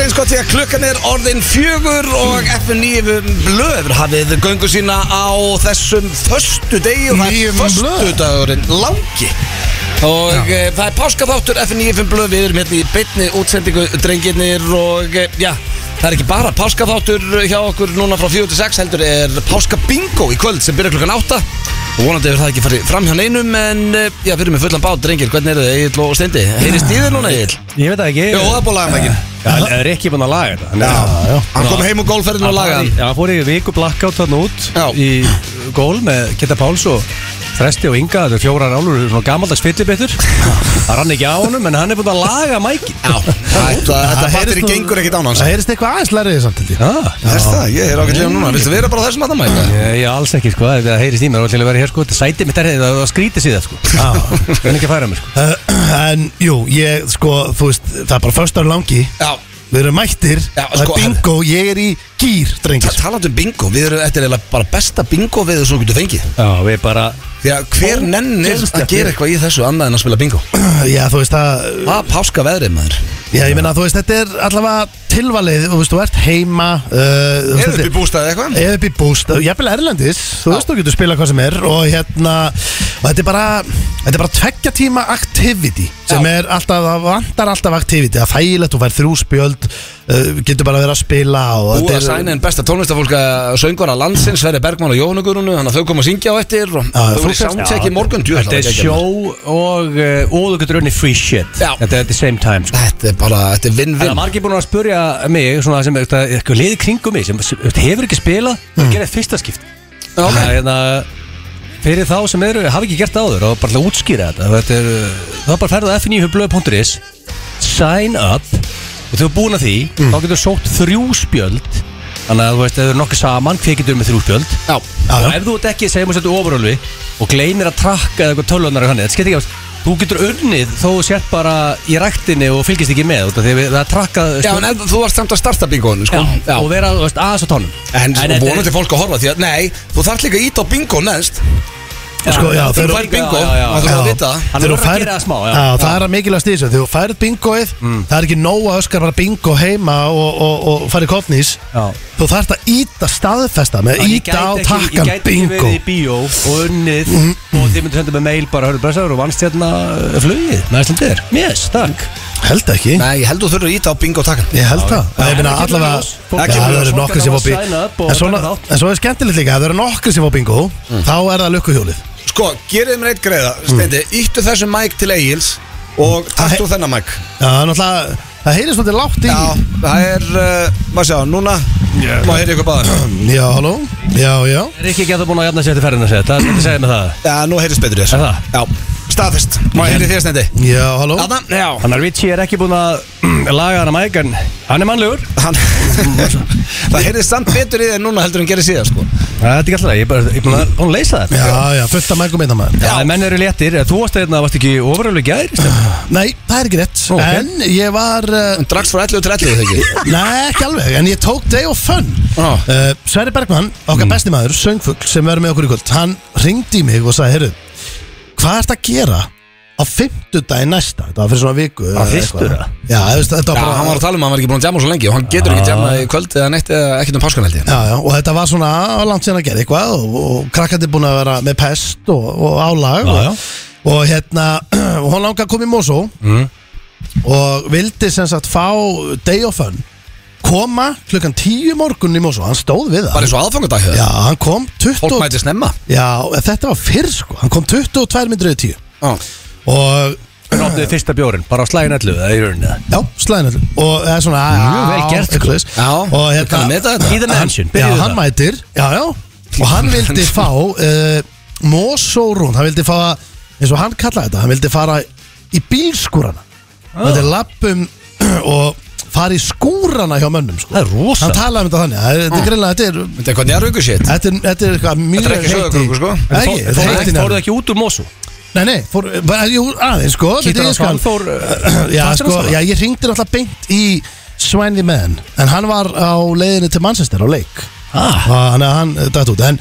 eins gott sko, því að klukkan er orðin fjögur og F9 blöður hafið göngu sína á þessum föstu degi og það Níu er föstu dagurinn langi og e, það er páskaþáttur F9 blöð við erum hérna í bytni útsendingu drengirnir og e, já Það er ekki bara páskaþáttur hjá okkur núna frá 46 heldur er páskabingo í kvöld sem byrjar klukkan 8 og vonandi hefur það ekki farið fram hjá neinum en e, já, við erum með fullan bát drengir, hvernig er það Egil og Steindi? Heyrist í þið núna Egil? Ég veit það ekki Jó, það er búin að laga mækin Það er ekki búin að laga þetta Hann er- Já, já Hann kom heim úr golfferðinu og lagaði hann Já, hann fór í viku blackout þarna út Já. Í gól með Kitta Páls og Fresti og Inga Þetta er fjórar álur, svona gamaldags fyllibittur Það rann ekki á honum, en hann er búin að laga mækin Já, þetta, þetta batteri gengur ekkit án hans Það heyrist eitthvað aðeins lærið þess aftur því ah. Þess sko. það, ég er ákveðlega núna Viltu vera bara á þessum að það mæta? Ég, ég alls ekki, sko, það heyrist í mér og til að vera hér, sko, þetta sæti mitt er þetta, það skrítið síðan, sko Það er ekki að færa mér, sko Eh, En jú, ég sko, þú veist, það er bara förstar langi Já Við erum mættir, Já, það er sko, bingo, ég er í gýr, drengir Talandi um bingo, við erum þetta er eiginlega bara besta bingo við þessum getur fengið Já, við bara, Því að hver nennir að gera eitthvað í þessu annað en að spila bingo Já, þú veist, það, Hvað páska veðrið maður? já, ég meina, þú veist, þetta er allavega tilvalið Þú veist, þú ert heima uh, Eða upp í bústaði eitthvað? Eða upp í búst, jafnvel Erlendis Þú veist, þú getur spilað hvað sem er Og hérna, og þetta er bara Þetta er bara tveggja tíma activity Sem Já. er alltaf, það vantar alltaf activity Það er þægilegt, þú fær þrjú spjöld uh, Getur bara að vera að spila og Búið þetta að er- sæna en besta tónlistafólka söngvara landsins Sverri Bergman og Jóhannu Gurunu Þannig að þau koma að syngja á eftir og Já, Þau þú voru í fékkst- soundcheck í morgun djú, þetta það er var sjó geggjað. og, uh, og þú getur unni free shit Já. Þetta er at the same time, sko Þetta er bara, þetta er Það er vinn-vinn margir búin að spurja mig svona sem eitthvað, eitthvað liði kringum mig sem eitthvað, hefur ekki spilað og mm. gerði fyrsta skipt Já, ok. Það er hérna fyrir þá sem eru, hafa ekki gert það áður og bara til að útskýra þetta, þetta er, það er bara að ferða fnihublu.is sign up og þegar þú er búin að því Mm. þá getur þú sótt þrjú spjöld þannig að þú veist, ef þú eru nokkuð saman hver getur með þrjú spjöld Já, Já, og ef þú ert ekki, segjum við settu ofurölvi og gleymir að trakka eða eitthvað tölunar og hann þetta skemmt ekki að þú getur unnið þó þú sért bara í ræktinni og fylgist ekki með út af því að við- það trakka Já, en ef- þú varst samt að starta bingoinu sko. já, og vera þú veist, aðeins á tónum En, en þetta er- vonandi fólk að horfa því að Nei, þú þarf líka að íta á bingo neðst Sko, já, Þú þeir- fær bingo, já, já, já. þá þarf að vita það. Þegar Hann er þú að færð- gera það smá, já. Mm. Já, það er að mikilvægast í þessu Þegar þú færð bingoið Það er ekki nóg að öskar bara bingo heima og, og, og farið kofnís Já. Þú þarft að íta staðfesta með Já, ég íta á gæti ekki- takkan Ég gæti ekki bingo Mm. verið í bíó og unnið og þið myndu senda mig mail bara hörðu bressaður og vannst hérna uh, flugið með Íslandir Yes, takk Held ekki Nei, ég held þú þurfur að íta á bingo takkan Ég held það já. Ég meina Það kemur allavega ljós. Fólk Já, kemur Það ljós. eru Fólk nokkur er sem að fá bingo sign up og En svona- taka þátt. Mm. en svo er skemmtilegt líka Það eru nokkur sem fá bingo Þá er það lukkuhjólið Sko, gerðið mér eitt greiða Mm. Steindi, íttu þessum mæk til Egils Og Æ. taktu þennan mæk Já, það er náttúrulega Það heyrðist svolítið látt í Já, það er, uh, eh, maður sjá, núna Má heyri ykkur báðan Já, halló Já, já Er ekki ekki að það búin að jafna sér til ferðina sér Það er þetta að segja með það Já, nú heyrist betur í þessu Er það? Já, staðfest, má heyri þér Steindi Já, halló Þarna, já Þannig að Ritchie er ekki búin að mm, laga hana mæk en hann er mannlegur Hann, það heyrðist samt betur í þér núna heldur en gerði síðan sko. Það er ekki alltaf, ég er bara- ég er búin að búin að leysa þetta Ah, Já, já, fullt af mægum einna maður Já, en menn eru léttir, þú varst að hérna, varst ekki ofuröfleg gæri Nei, það er ekki rétt Ó, ok. En ég var uh, Hann drakst frá 11 til 11 þegar ekki Nei, ekki alveg, en ég tók Day of Fun Já. uh, Sverri Bergmann, okkar besti maður, söngfugl sem verður með okkur í kvöld Hann ringdi í mig og sagði, heyrðu, hvað ert að gera á fimmtudagi næsta? Þetta var fyrir svona viku eða fyrstu eitthvað. það? Já, þú veist, þetta Já, var bara hann var að tala um að hann var ekki búin að djama svo lengi Og hann getur ekki djama í kvöld eða neitt eða ekkert um páskan held ég Já, já, og þetta var svona langt síðan að gera eitthvað og, og krakkandi búin að vera með pest og, og álag Já, já. og, og hérna, og hún langaði að koma í Mosó og vildi sem sagt fá Day of Fun koma klukkan 10 morgun í Mosó, hann stóð við það Bara eins og aðfangadag Já, hann kom 20 Fólk mæti snemma Já, en þetta var fyrr sko, hann kom 22 myndir yfir 10 Já, og Hún opniði fyrsta bjórin, bara á slægin 11 Það er í rauninni Já, slæðin allir Og það er svona Mjög vel gert, sko. eitthvað þess. Já, Og þú kann að meta þetta. Í the mansion, Já, byrjuðu hann það. mætir Já, já Og hann vildi fá uh, Mosórún Hann vildi fá eins og hann kallaði þetta Hann vildi fara í bílskúrana Hann vildi lappum og fara í skúrana hjá mönnum sko. Það er rosa. Hann talaði um þetta þannig Það er- Þetta er greinlega Þetta er þetta er hvernig að rauku sétt Þetta er, þetta er eitthvað mjög Þetta er ekki sögurkrókur, sko. Nei, Ekki, Fór- þetta er fór- heitt í Fóruðu nefnum. ekki út úr Mosú? Nei, nei, fór, bara, jú, aðeins sko þetta Kíktur er á ég skal- hann fór, uh, Já, fannst sko, þér hann já, ég ringdi náttúrulega beint í Svenny Mann En hann var á leiðinu til Manchester á leik Ah. Þannig að hann dætt út en,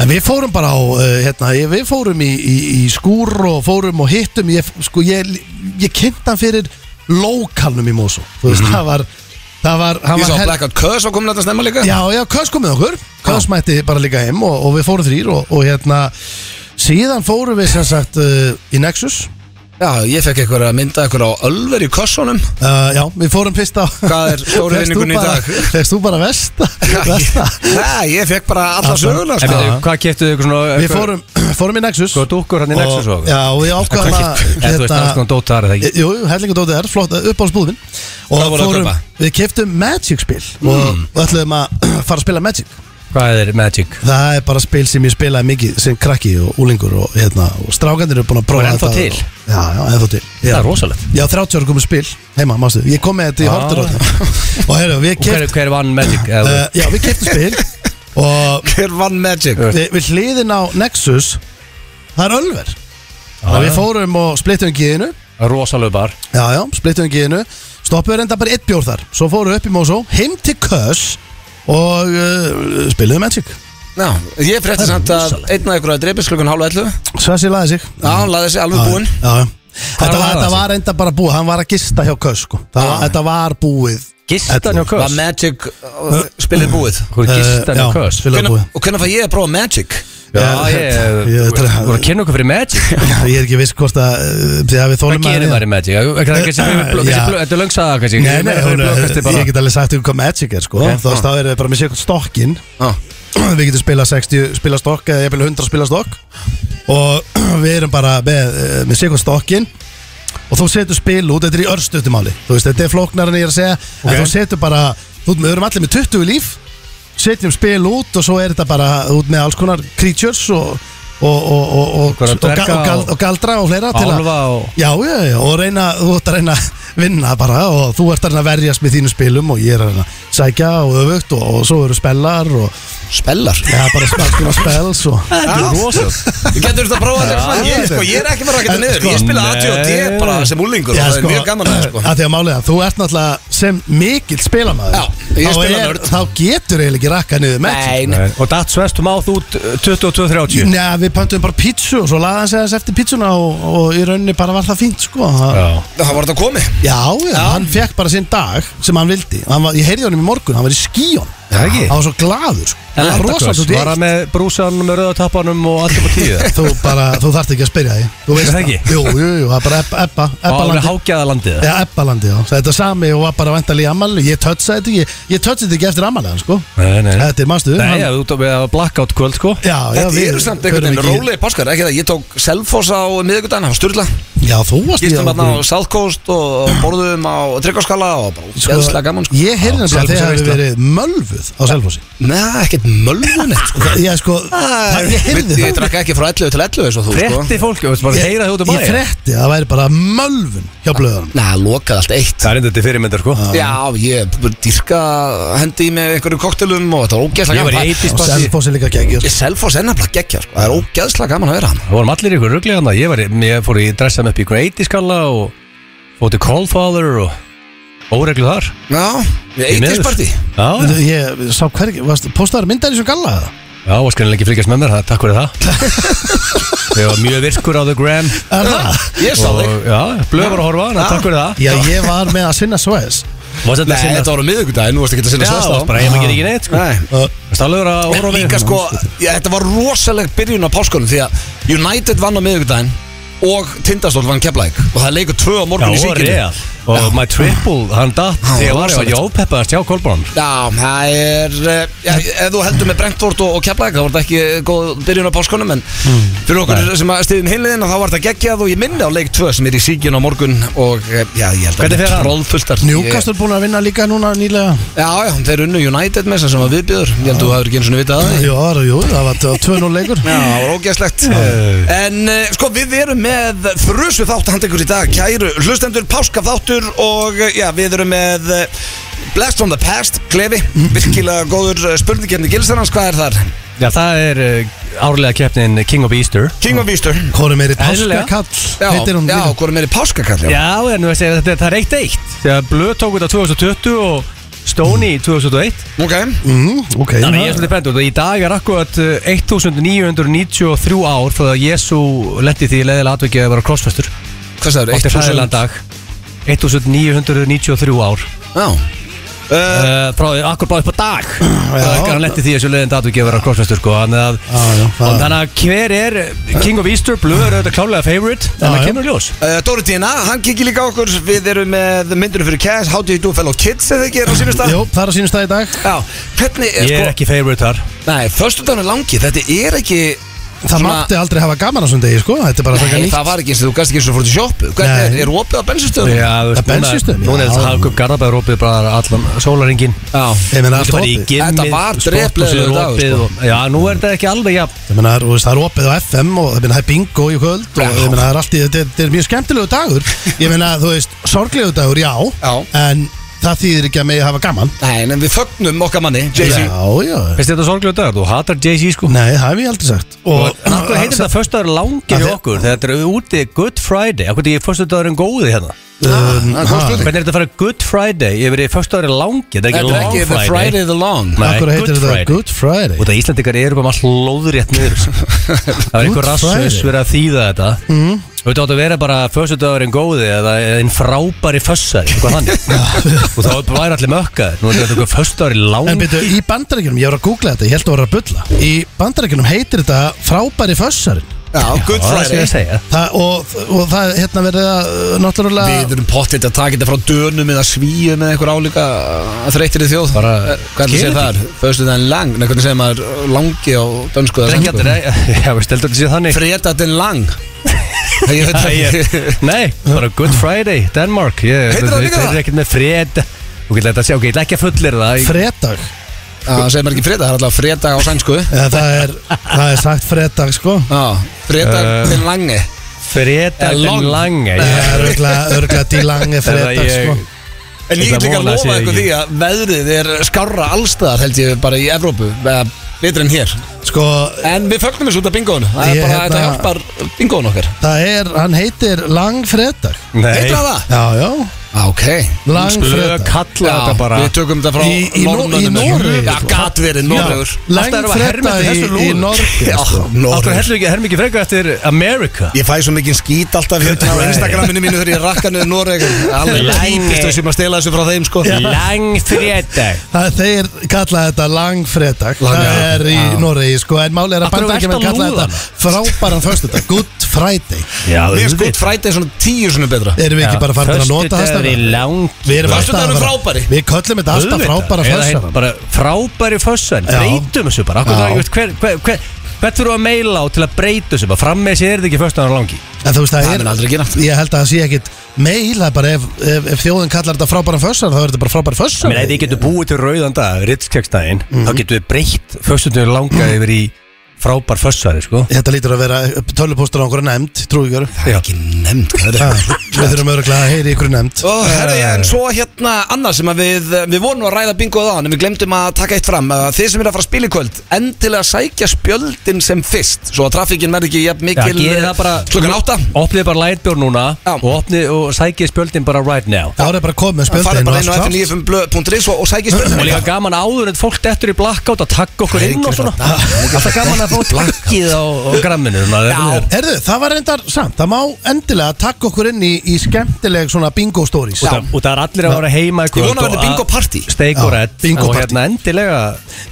en við fórum bara á, uh, hérna, ég- við fórum í, í, í skúr og fórum og hittum Ég, sko, ég, ég kynnt hann fyrir Lókalnum í Mosó Þú veist, það var Það var, hann Mhm. Ég var sá hel- Blackout Curse var komin að snemma líka Já, já, Kös kom með okkur Kös mætti bara líka heim og, og við fórum þrýr og, og hérna Síðan fórum við sem sagt uh, í Nexus Já, ég fekk eitthvað að mynda eitthvað á Ölver í Kössunum uh, Já, við fórum fyrst á Hvað er stóru Fékkst þú vinningunni í bara- dag? Fékkst þú bara vesta, vesta. Nei, ég fekk bara alla Alla. söguna En sko. veitu, hvað keftuðu ykkur svona Við fórum, fórum í Nexus Góða Sko, dúkkur hann í Nexus og og, Já, og við ákvaðum Hvað að keyptu? Eða þú veist, alls konar dót þar, eða ekki? hérna- Jú, hellingu dótið er, flott, eh, uppáhaldsbúðin Og Hvað voru að kaupa? við keftum Magic spil og, og ætluðum að fara að spila Magic Hmm. Hvað er Magic? Það er bara spil sem ég spilaði mikið sem krakki og úlingur og, hérna, og strákandir eru búin að prófa er ennþá þetta til? og, Já, já, ennþá til já. Það er rosalegt Já, 30 ára komið spil heima, mástu Ég kom með þetta í Ah. hortur Og heyrðu, við Og hver, keftum hver vann Magic? uh, Uh, Já, við keftum spil Og Hver vann Magic? Já. við, við hliðin á Nexus það er Ölver ah, já. við fórum og splittum gíðinu rosalegu bar já já, splittum gíðinu stoppum við reynda bara eitt bjór þar svo fórum við upp í Mosó, heim til Kös og uh, spiluðum Magic Já, ég frétti samt að einn af ykkur að dreipis klukkan hálf 11 Svessi laði sig Já, hann laði sig Já, alveg búinn já, já. Þetta, var var, hann þetta sig? var reynda bara búið, hann var að gista hjá Kös sko. það, var, Já. þetta var búið Gistan hjá Var Kös Magic uh, spilið búið? Uh, Hvað er gistan Eh, hjá já, Kös? spilað Hvenær- búið Og hvernig fæ ég að prófa Magic? Já, Já, ég ég- Þú voru að kynna okkur fyrir Magic ég er ekki viss hvort að eh, því að við Hvað þólum gerir maður í Magic? Er það ekki sem við blöð- Eh, Já. þessi blöð- Þetta er löngsaða kannski Nei, nei, Það hún, er blöðkasti bara ég get alveg sagt um hvað Magic er sko Ok. Þá þá erum við bara með sér eitthvað stokkin Já, Við getum spilað 60 spila stokk eða jafnvel 100 spila stokk Og við erum bara með, eh, með sér eitthvað stokkin Og þú setur spil út, þetta er í örstutumáli Þú veist, þetta er flóknar en ég er að segja Ok. En þú setur bara, þú, við erum allir með 20 líf Setjum spil út og svo er þetta bara út með alls konar creatures og, og, og, og, og, og, Einhverja ga- dverga og, gal, og- og galdra og fleira til að- Álfa og Já, já, já, og reyna, þú ert að reyna að vinna bara og þú ert að reyna að verjast með þínum spilum og ég er að reyna að sækja og öfugt og, og svo eru spellar og spellar já, bara spellar og spels og Þetta er rosalegt Þú getur þetta að prófa þetta svona, ég, sko, ég er ekki bara að geta niður Ég spila Nei. ATOT bara sem úlingur og það er mjög gaman að það sko að því að málega, þú ert náttúrulega sem mikill spilamæður Já, ég er spilanörd. Þá getur eiginlega ekki rakka niður með Nei, nei. Nei, Og Dats West, þú máð út eh, 22.30 Nei, við pöntum bara pítsu og svo laði hann segja eftir pítsuna og, og í rauninni bara var það fínt sko Það- Já það var þetta komið Já, já, hann fekk bara sinn dag sem hann vildi hann var, Ég heyrði honum í morgun, hann var í skíón Það er ekki? Hann var svo gladur sko. En Hann var þetta rosalega Kös vel. Var hann með brúsan með rauðatappanum og allt upp á tíu Þú bara, þú þarft ekki að spyrja því Þú veist Er það ekki? Jú, jú, jú, það er bara ebba, ebba, Og ebba Eh, alveg landi hágjaða landið Já, ebba landi, já Þetta er sami og var bara vantalið í ammali Ég tötsa þetta ekki, ég tötsa þetta ekki eftir ammali hans, sko Nei, nei Þetta er, manstu Nei, hann- já, þú tók með blackout kvöld sko já, já Þetta við eru samt förum einhvern veginn ekki- rólegi páskar, ekki það, ég tók Selfoss á miðvikudaginn, það var styrla Já, þú varst Gistum hérna á okkur- South Coast og borðum á Tryggvarskala og bara gæðslega gaman sko Ég heyrði hans að þið Selfossi hafi veisla. verið mölvuð á Selfossi Nei, ekkert mölvunni sko Já, sko, það- ég heyrði Ég það drakk ekki frá 11 til 11 eins og þú sko Fretti fólk, þú veist bara heyra þið út um Ég Ah. bæja frétti að það væri bara mölvun hjá blöðunum Nei, það lokaði allt eitt Það er enda til fyrirmyndar sko Já, ég dyrka hendi í með einhverjum koktelum og þetta var ógeðslega Ég var í gaman 80s Og party Selfossi líka geggjur Ég Selfoss er nefnilega geggja sko, það er ógeðslega gaman að vera hann Það vorum allir ykkur rugglega hann hérna. Ég, var, í- ég fór í dressað með upp í ykkur 80 skalla og fór til Callfather og óreglu þar Já, Því miður. 80s party Já, já. Ég sá hvergi, varst- postaðir myndar í svo galla eða? já og skrænilega ekki fylgjast með mér, það- takk fyrir það Ég var mjög virkur á The Gram Er það? Ég sá þig og já, blöð var að horfa, þannig að takk fyrir það Já, ég var með að sinna Sves Varst þetta Nei, að sinna þetta var á miðvikudaginn, nú varst ekki að Já, sinna svæst á varst bara ég maður gerir ekki neitt sko Nei uh, Stallur að horfa við Líka sko, já, þetta var rosaleg byrjun á páskunum Því að United vann á miðvikudaginn Og Tindastól vann Keflæk Og það leikur tvö á Já, morgun í og síkinu Real Og my triple, hann datt Þegar ég var ég rosalegt. var jópeppaðast hjá Kolbrón Já, það er eh, já, Ef þú heldur með Brentford og, og Keflæk þá var þetta ekki góð byrjun á páskunum En fyrir okkur sem að stiðum hinliðina Þá var þetta geggjað og ég minni á leik 2 Sem er í síkinu á morgun Og eh, já, ég held Hvernig fer hann? Trollfulltar Newcastle búin að vinna líka núna nýlega Ég- Já, já, þeir unnu United með þess sem var viðbjöður Ég held að þú hafður ekki eins og vitað það Jú, það var- jú, það var 2-0 leikur Já, það var ógæslegt En uh, sko, við erum með frusu þáttahandekur í dag Kæru hlustendur, páskaþáttur Og eh, já, við erum með eh, Blast from the past, klefi Mhm. Virkilega góður eh, spurningkefni Gilsarans, hvað er þar? Já, það er uh, árlega keppnin King of Easter King of Easter Hvorum er í Eðlilega. páskakall Já, heitir hún já, líka. hvað er meiri páskakall? Já, Já, en þú veist, þetta, það er eitt eitt Þegar Blöð tók þetta 2020 og Stoney 2001 ok mm, Ok, Þannig ég er svolítið brendur Í dag er akkurat eh, 1993 ár Frá það að Jésu lendi því leðilega atvikið að vera krossfestur Hvað sagður? Átti hræðilegan dag 1993 ár Já, uh, uh, frá því akkur bara upp á dag það er ekki hann letti því að þessu leiðin datugefur að crossfestur sko þannig að, Já, já, það- og þannig að hver er King of Easter, Blue er auðvitað klálega favorite en Já, það já. kemur í ljós uh, Dóri Dina, hann kikið líka á okkur Við erum með myndunum fyrir Cash How do you do fellow kids eða ekki er á sínum stað Jó, það er að sínum stað í dag Já, hvernig er ég er ekki favorite þar sko Nei, föstudagun er langi, þetta er ekki Það mátti aldrei hafa gaman á svona degi, sko Þetta er bara að taka Nei, nýtt það var ekki eins og þú gæst ekki eins og fór til sjoppu Hvernig er, Nei. er opið á bensinstöðum? Já, þú Það veist, núna, bensínstöðum, já. núna er þetta Hagkup Garðabæður opið bara allan sólaringin Já, Ég meina, allt opið Þetta Þetta var dreplegur dagur, sko. Já, nú er þetta ekki alveg jafn Ég meina, þú veist, það er opið á FM og það meina, það er bingo í kvöld og Já. ég meina, það er allt í, þetta er- þetta er mjög skemmtilegu dagur Ég meina, þú veist, sorglegu dagur, já, Já. en það þýðir ekki að megi hafa gaman nei, en við fögnum okkar manni Já, Jay-Z já Veist þetta sorglega dagur, þú hatar Jay-Z sko Nei, það hef ég aldrei sagt Og náttúrulega heitir þetta föstudagur langi Það hjá er- okkur þegar Þetta er úti Good Friday Akkur þetta er föstudagurinn góði hérna Um, Ah. það er góð ha. spurning. Hvernig er þetta að fara Good Friday yfir í föstudagurinn langi Þetta Þetta er er ekki ekki The Long Friday Friday the Long Nei, Akkur heitir Good þetta Friday. Good Friday Og það Íslandikar eru bara alltaf lóðrétt niður Það var einhver Good rassus Friday. Mhm. verið að þýða þetta mm. Þú veit átt að vera bara Fössudagurinn góði eða einn frábæri fössari Eitthvað þannig Og þá væri allir mökkaðir Nú er þetta eitthvað fössudagurinn En lang byrju, í bandarækjunum, ég var að googla þetta, ég held að voru að bulla Í bandarækjunum heitir þetta frábæri fössarinn Já, Good Það er sem Friday ég að segja Það, og, og það er hérna verið að uh, náttúrulega Við erum pottitt að taka þetta frá dönum eða svíum eða einhver álíka að þreytir í þjóð Bara, Eh, Hvernig segir skilur það? Föstu það lang, nei hvernig segir maður eh, langi á dönsku eða sænsku? Drengjandi, já, veist, heldur þetta sé þannig Fredagen lang Ég veit Nei, ekki ég- Nei, bara Good Friday, Denmark Ég- Heitir það Þetta líka það? er ekkert með fred Þú getur þetta að sjá, ok, ég ætla ekki að fullir það ég- fredag Sko, Það segir maður ekki fredag, það er alltaf fredag á sænsku Eða, það, er, það er sagt fredag, sko Já, fredag Eh, til Eh, langi Fredag Long. en lang ég- Það er örgulega, örgulega dílangi Þetta fredag, ég- sko En ég Þetta get líka að vona sé lofa ykkur ekki. því að veðrið er skárra allstaðar held ég bara í Evrópu eða betur en hér Sko, En við fögnum þessu út af bingónu Það er Ég bara, þetta hérna- hjálpar bingónu okkar það er, hann heitir langfredag Nei, Heitir það það? Já, já, Ah, Ok skulum við langfredag kalla Já, þetta bara Við tökum þetta frá Í- í Nor- í Norðmönnum. Noregi, Já, sko. gat verið Norröður Alltaf erum við að herma Langfredag í, eftir þessu í lúður. Norge, Já, sko Akkur Norröður heldur ekki, heldur ekki frekar eftir America Ég fæ svo mikið skít alltaf hérna á Instagraminu mínu þegar ég rakka niður Noreg Alveg Læmi. tímist þessum að stela þessu frá þeim sko Lang fredag Það þeir kalla þetta langfredag Það er í Noregi sko En máli er að Af hverju bandarækjum ertu að kalla lúða þetta frábæran föstudag Good Friday Já, Mér sko frætið er svona tíu svona betra Erum við ekki bara farin að nota það Föstudagur í stafan? lang Við erum alltaf Föstudagur að er vera- frábæri. Við köllum þetta alltaf frábæra fössan föstudag bara frábæri fössan Já. breytum þessu bara akkur Já. það ekki veist hver, hver, hver hvert fyrir að meila á til að breyta þessu bara fram með þessi er þetta ekki fössan langi En þú veist það Það er mun aldrei gerast. Ég held að það sé ekkit meil Það er bara ef, ef, ef þjóðin kallar þetta frábæran föstudag Þá er þetta bara frábæra Ég meina, ef við föstudag getum búið til rauðan dag rittskjöksdægin þá Mhm. getum við breytt fössan langa yfir í frábær fössari sko Þetta lítur að vera tölupóstur á einhverju nefnd Trúiður Það er ekki nefnd hvað er þetta? Við þurfum örgulega að heyri ykkur nefnd Og herri, en svo hérna annars sem að við, við vorum nú að ræða bingoð á en við glemdum að taka eitt fram að þið sem eru að fara að spila í kvöld endilega sækja spjöldin sem fyrst svo að trafikkinn verði ekki jafn Já, mikil gerið það bara klukkan átta Opnið bara lightbjörn núna Já. og, opnið, og sækið spjöldin bara right now Það er bara að koma með farið spjöldin bara inn á fnifm.is og, og sækja spjöldin Og líka gaman áður en fólk dettur í blackout að takka okkur inn og svona Alltaf gaman að fá takkið á, á gramminu svona, Já. Herðu, það var reyndar samt, það má endilega taka okkur inn í, í skemmtileg svona bingo stories Já. og það er allir að vera heima í Ég kvöld vona að og verði bingo party steik og Já, redd bingo og party. hérna endilega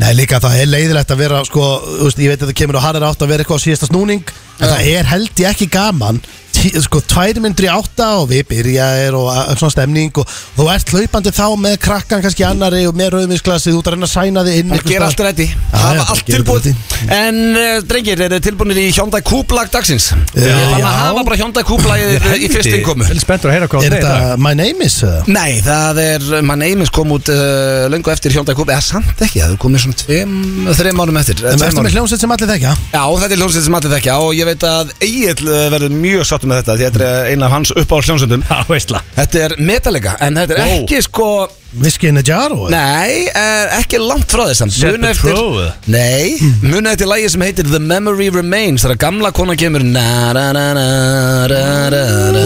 Nei, líka það er leiðilegt að vera sko, þú veist, ég veit að það kemur á harðar átt að vera eitthvað á síðasta snúning en það er held ég ekki gaman tí, sko, tvær myndri átta og við byrjaðir og a- svona stemning og þú ert hlaupandi þá með krakkan kannski annari og með rauðmisklasið, þú ert að reyna að sæna þig inn Það gera allt rætti, Já, já, hafa bara allt gera tilbúið þetta En uh, drengir, eru þið tilbúinir í Hyundai Kúblag dagsins? Ég ætla að já. hafa bara Hyundai Kúblagið í fyrst innkomu Ég er spenntur að heyra hvað Er það er í dag. þetta my name is? eða? Nei, það er, mann Eimis kom út uh, löngu eftir Hyundai Coupe, eða samt ekki, það er komið svona tveim, þreim árum eftir eh, En tveim Ertu árum. með hljómsveit sem allir þekka? Já, þetta er hljómsveit sem allir þekkja og ég veit að Egil verður mjög sáttum með þetta því þetta er eina af hans upp á hljómsveitum Já, veistla Þetta er Metallica, en þetta er Wow. ekki sko, Whiskey in a jar og nei, eh, ekki langt frá þess samt. Set Muna the eftir- Crow, eða? Nei, muna eftir lægi sem heitir The Memory Remains þegar gamla konan kemur na, ra, ra, ra, ra, ra, ra.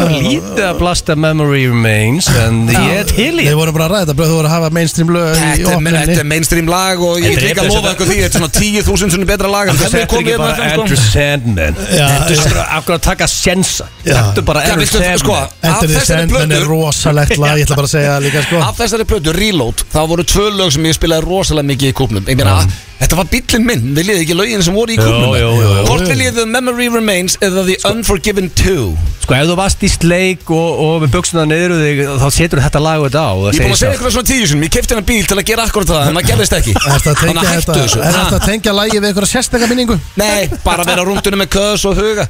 var lítið að blasta Memory Remains En ég er til í Við vorum bara að ræða þetta Þú voru að hafa mainstream lög í Þetta er, menn, þetta er opninni mainstream lag og ég Þetta get er líka að eplið, lofa þetta- eitthvað því Þetta er svona 10.000 sinni betra lag en það hefur Þetta er ekki komið hérna bara fram, Andrew sko. Sandman Já, Þetta er bara akkur að taka sjensa Já. Þetta er bara Já, Andrew veistu, Sandman sko, af Enter the þessari Sandman er plötu rosalegt lag Ég ætla bara að segja það líka sko Af þessari plötu, Reload, þá voru tvö lög sem ég spilaði rosalega mikið í kúpnum Ég meina, þetta var bíllinn minn, viljið þið ekki lögin sem voru í Jú, kúpnum jú, jú, jú. Hvort viljið þið Memory Remains eða The Unforgiven 2 Sko ef þú varst í sleik og, og með buksuna niður úr þig Þá setur þetta lag og þetta á og það Ég er búin segir að segja sjálft. ykkur svona tíu sinum, ég kefti hennar bíl til að gera akkurat það en það gerðist ekki Er þetta að Þannig tengja að hættu þetta- þessu er þetta Ha? að tengja lagið við einhverja sérstaka minningu? Nei, bara vera á rúndunum með köðs og huga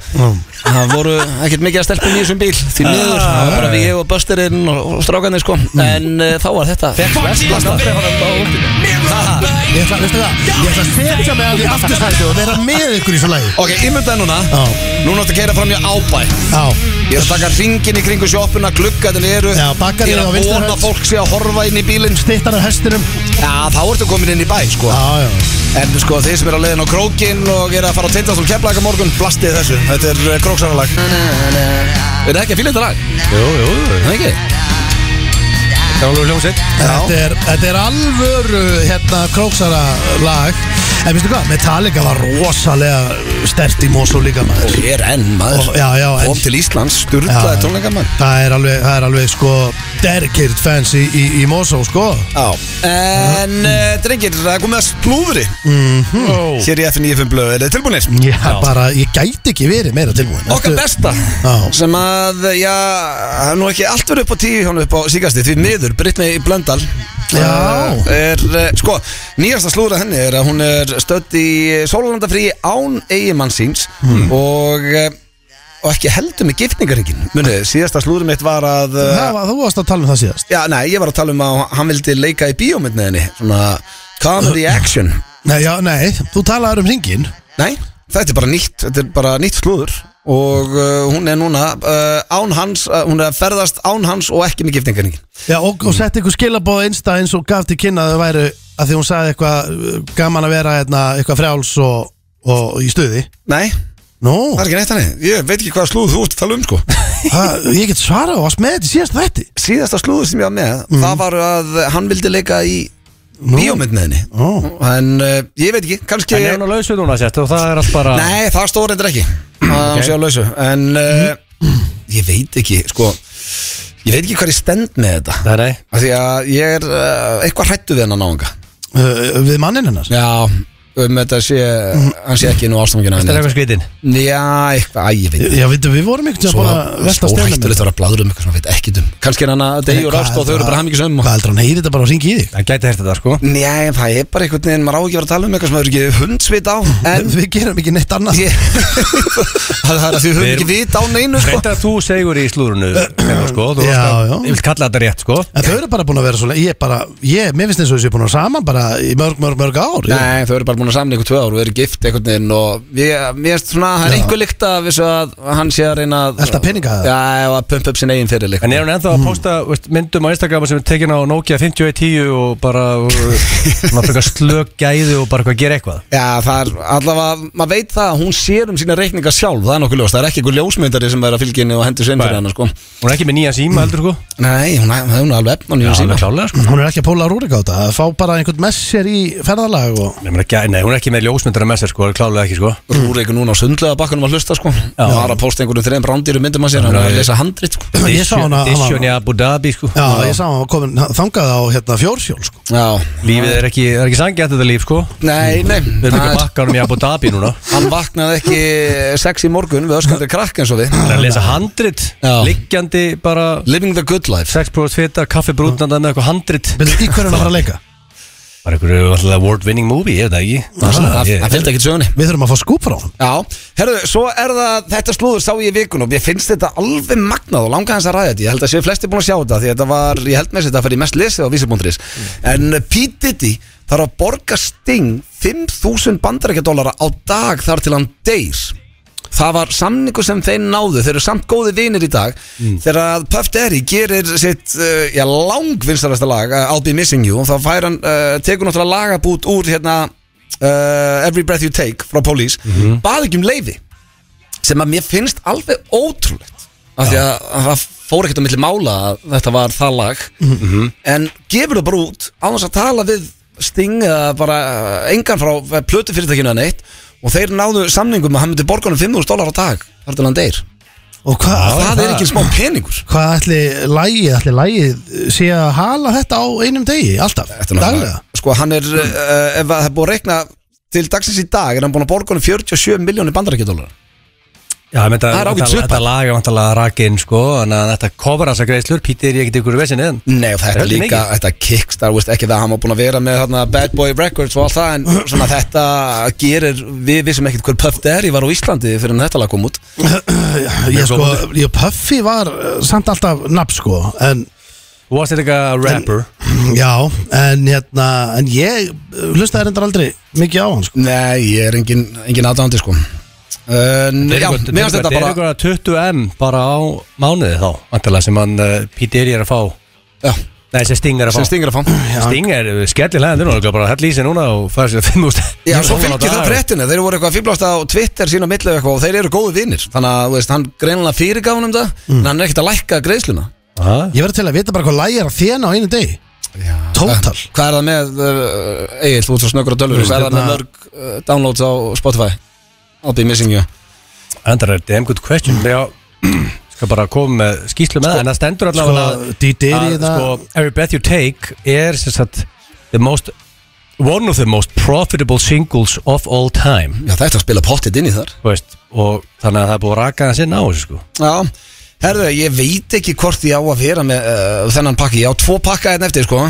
Það voru ekkert mikið að stelpa í þessum bíl Því miður, það var bara við og Busterinn og, og strákanir sko En uh, þá var þetta Vestlasta Ég ætla, veistu það, ég ætla að setja mig alveg í afturstættu og vera með ykkur í þessu lagi Ok, ímyndaði núna Já. Núna áttu að keira fram í ábæ Já, Ég er að taka ringin í kringu sjoppuna, gluggaðin eru Já, bakkarnir Ég á er að vinstri vona hönd. að fólk sé að horfa inn í bílinn stittar af hestinum Já, þá ertu komin inn í bæ sko Já, já, En sko, þeir sem eru á leiðin á krókin og eru að fara á tindastól keflaðaka morgun Blastið þessu, þetta er uh, króksaralag Er það ekki að fíla þetta lag? Jú, jú, jú. Það ekki? Það var alveg hljómsveit þetta er, þetta er alvöru hérna króksara lag En veistu hvað, Metallica var rosalega stert í Mosó líka maður Ég er enn maður Og- já, já, en- Kom til Íslands, sturlaði Já. tónleika maður Það er alveg, það er alveg sko dedicated fans í, í, í Mosó sko Já, en uh, drengir, það er komið að splúðri Mm. Hér í FN95 blöð, er þið tilbúinir? Já, Mhm. bara, ég gæti ekki verið meira tilbúin Okkar Ertu- besta Já. Sem að, já, það er nú ekki allt verið upp á tíu hjónu upp á síkasti Því miður, Brittany Blöndal Já. eh, Er, eh, sko, nýjasta slúðra henni er að hún er stödd í Sólandafrí án eigimann síns Hmm. Og, eh, og ekki heldur með giftningaringin Munið, síðasta slúðri mitt var að eh, Það var, þú varst að tala um það síðast Já, nei, ég var að tala um að hann vildi leika í bíómyndinni henni Svona, comedy action Nei, já, nei, þú talaður um ringin Nei, þetta er bara nýtt Þetta er bara nýtt slúður Og uh, hún er núna uh, án hans uh, Hún er að ferðast án hans og ekki með giftingarningin Já, og, og sett ykkur skilabóð einsta eins og gaf til kynna að þau væru að því hún sagði eitthvað uh, gaman að vera hérna, eitthvað frjáls og, og í stuði Nei, Nú, það er ekki neitt hannig Ég veit ekki hvaða slúð þú ert að tala um sko það, ég get svarað og varst með þetta í síðast þætti Síðasta slúður sem ég var með Mm. Það var að hann vildi leika í bíómyndinni henni Nú. En uh, ég veit ekki, kannski En ég er nú laus við núna sett og það er allt bara Nei, það stóð reyndir ekki að hún sé á lausu En uh, ég veit ekki, sko Ég veit ekki hvað ég stend með þetta Nei, nei Af Því að ég er uh, eitthvað hrættu við hennar náunga uh, Við mannin hennar Já, um þetta sé Hann sé ekki nú ástofningina Þetta er eitthvað skvitin Já, eitthvað, æ, ég veit Já, veitum, við vorum einhvern veginn bara að velta steinum stórhættulegt að vera að bláður um eitthvað sem hann veit ekki um Kannski er hann að degi og rást og þau eru bara hamingi söm Hvað heldur hann heyri þetta bara að ringi í þig? Það gæti hérta þetta sko Nei, það er bara einhvern veginn, maður á ekki að vera að tala um eitthvað sem maður er ekki hundsvit á En Við gerum ekki neitt annað ég, það er að því höfum Við ekki erum- vit á neinu sko. Þetta þú segur í slúrunu sko, þú Já, varst að- já. Ég vil kalla þetta rétt sko En þau eru bara búin að vera svona Ég er bara, ég, mér finnst eins og þessu búin að vera saman bara í mörg, mörg, mörg ár ég- Nei, þau eru bara búin að samna ykkur tvö ár og eru gift einhvern veginn og við, mér erst svona, það er einhver líkt að vissu að hann sé að reyna að Elta peninga það? Já, og að pumpa upp sinn eigin fyrir líka En er hún ennþá Hmm. að posta veist, myndum á Instagram sem er tekin á Nokia 5110 og bara náttúrulega slök gæði og bara eitthvað að gera eitthvað Já, það er allavega, maður veit það að hún sér um sína reikninga sjálf, það er nokkuð ljóst, það er ekki einhver ljósmyndari sem er að fylgja henni og hendur svein Nei. fyrir henni, sko Hún er ekki með nýja síma heldur sko Nei, hún, hún er alveg efnan í hún sína klálega sko Hún er ekki að póla að rúrika á þetta að fá bara einhvern messer í ferðalag og Nei, hún er ekki, nei, hún er ekki með ljósmyndara með sér sko, alveg klálega ekki sko Rúri ykkur núna á sundlega bakkanum að hlusta, sko Já, það er að posta einhverjum þreim rándýru myndum að sér, hann er að lesa handrit, sko Ég sá hana- Disjón hana- í Abu Dhabi sko Já, ég sá hann komin þangað á hérna fjórsjól sko. Já, Lífið er ekki, það er ekki sangjætt þetta líf sko nei, nei Við erum það ekki er- að bakka honum í Abu Dhabi núna Hann vaknaði ekki sex í morgun við öskandri krakk eins og við Það er að lesa handrit, Já. liggjandi bara Living the good life sexprófis fita, kaffi brúnandað með eitthvað handrit Vildu í hverju hann var að leika? Bara einhverju alltaf award winning movie, ég veit það ekki Það Ég- það fylgdi ekkert sögunni Við þurfum að fá skúp frá hann Já, herru, svo er það Þetta slúður sá ég í vikun og ég finnst þetta alveg magnað og langa hans að ræða þetta Ég held að séu flesti búin að sjá þetta því þetta var, ég held með þess að þetta fyrir mest lesið á vísibúndris En Pete Diddy þarf að borga Sting 5.000 bandarækjadólara á dag þar til hann deyr Það var samningu sem þeir náðu Þeir eru samt góði vinir í dag Þegar að Puff Derry gerir sitt uh, já, langvinstarasta lag uh, I'll be missing you og þá fær hann uh, tekur náttúrulega lagabút úr hérna uh, Every breath you take frá Police mm ekki um leiði sem að mér finnst alveg ótrúlegt af því að það fór ekkert á milli mála að þetta var það lag en gefur það bara út á þess að tala við Sting eða bara eh, engan frá plötu fyrirtækinu að neitt og þeir náðu samningum að hann myndi borgunum 5.000 dólar á dag þar til hann deyr Og hvað það, er ekki smá peningur Hvað ætli lægið, ætli lægið sé að hala þetta á einum degi, alltaf, Þetta er náttúrulega- daglega sko hann er, uh, ef að það er búið að rekna til dagsins í dag er hann búin að borgunum 47 miljónir bandarækjadólar Já, menn, Það er ágætis upphæð. þetta- Þetta lag er vantalega rakinn, sko Þannig að þetta kofra þessa greiðslur Pítir, ég get ykkur vesin eðan Nei og þetta Er þetta líka, mikið? þetta kickstar veist, ekki það að hann var búin að vera með þarna, Bad Boy Records og allt það en svona þetta gerir, við vissum ekkert hver Puff Daddy var á Íslandi fyrir en þetta lag kom út Ég sko, ég Puffy var uh, samt alltaf nafn sko En, Þú varst þetta eitthvað rapper já, en hérna, en ég uh, hlustaði reyndar aldrei mikið á hann sko Nei, ég er engin, engin aðdáðandi sko uh, Já, Þetta er mér finnst þetta bara eitthvað 20M bara á mánuði þá Vantalega sem hann uh, Pítir er að fá Já, Nei, sem Sting er að sem fá stingir að fá Sting er skellilega Það er náttúrulega bara að hella í sig núna og fara sér að fimm úst Já, svo fylgir það fréttina, þeir voru eitthvað að fýblast á Twitter sína millu eitthvað og þeir eru góðu vinnir Þannig að, þú veist, hann greinlega fyrirgáðan um það en hann er ekkert að lækka greiðsluna frétt Mm. Ég verður til að vita bara hvað lægið er að þjána á einum degi Tótal Eh, Hvað er það með, uh, Egil, þú ert svo snöggur á dölur Hvað er það með hérna- mörg uh, downloads á Spotify? I'll be missing you Andrar er damn good question Já, skal bara koma með skýslu með það, En það stendur Sko, allavega að- D-Diri að það sko, Every Breath You Take er sem sagt the most one of the most profitable singles of all time Já, þetta spila pottit inn í þar þú veist, og þannig að það er búið að raka það sinna á þessu sko Já, herðu, ég veit ekki hvort ég á að vera með uh, þennan pakki Ég á tvo pakka einn eftir, sko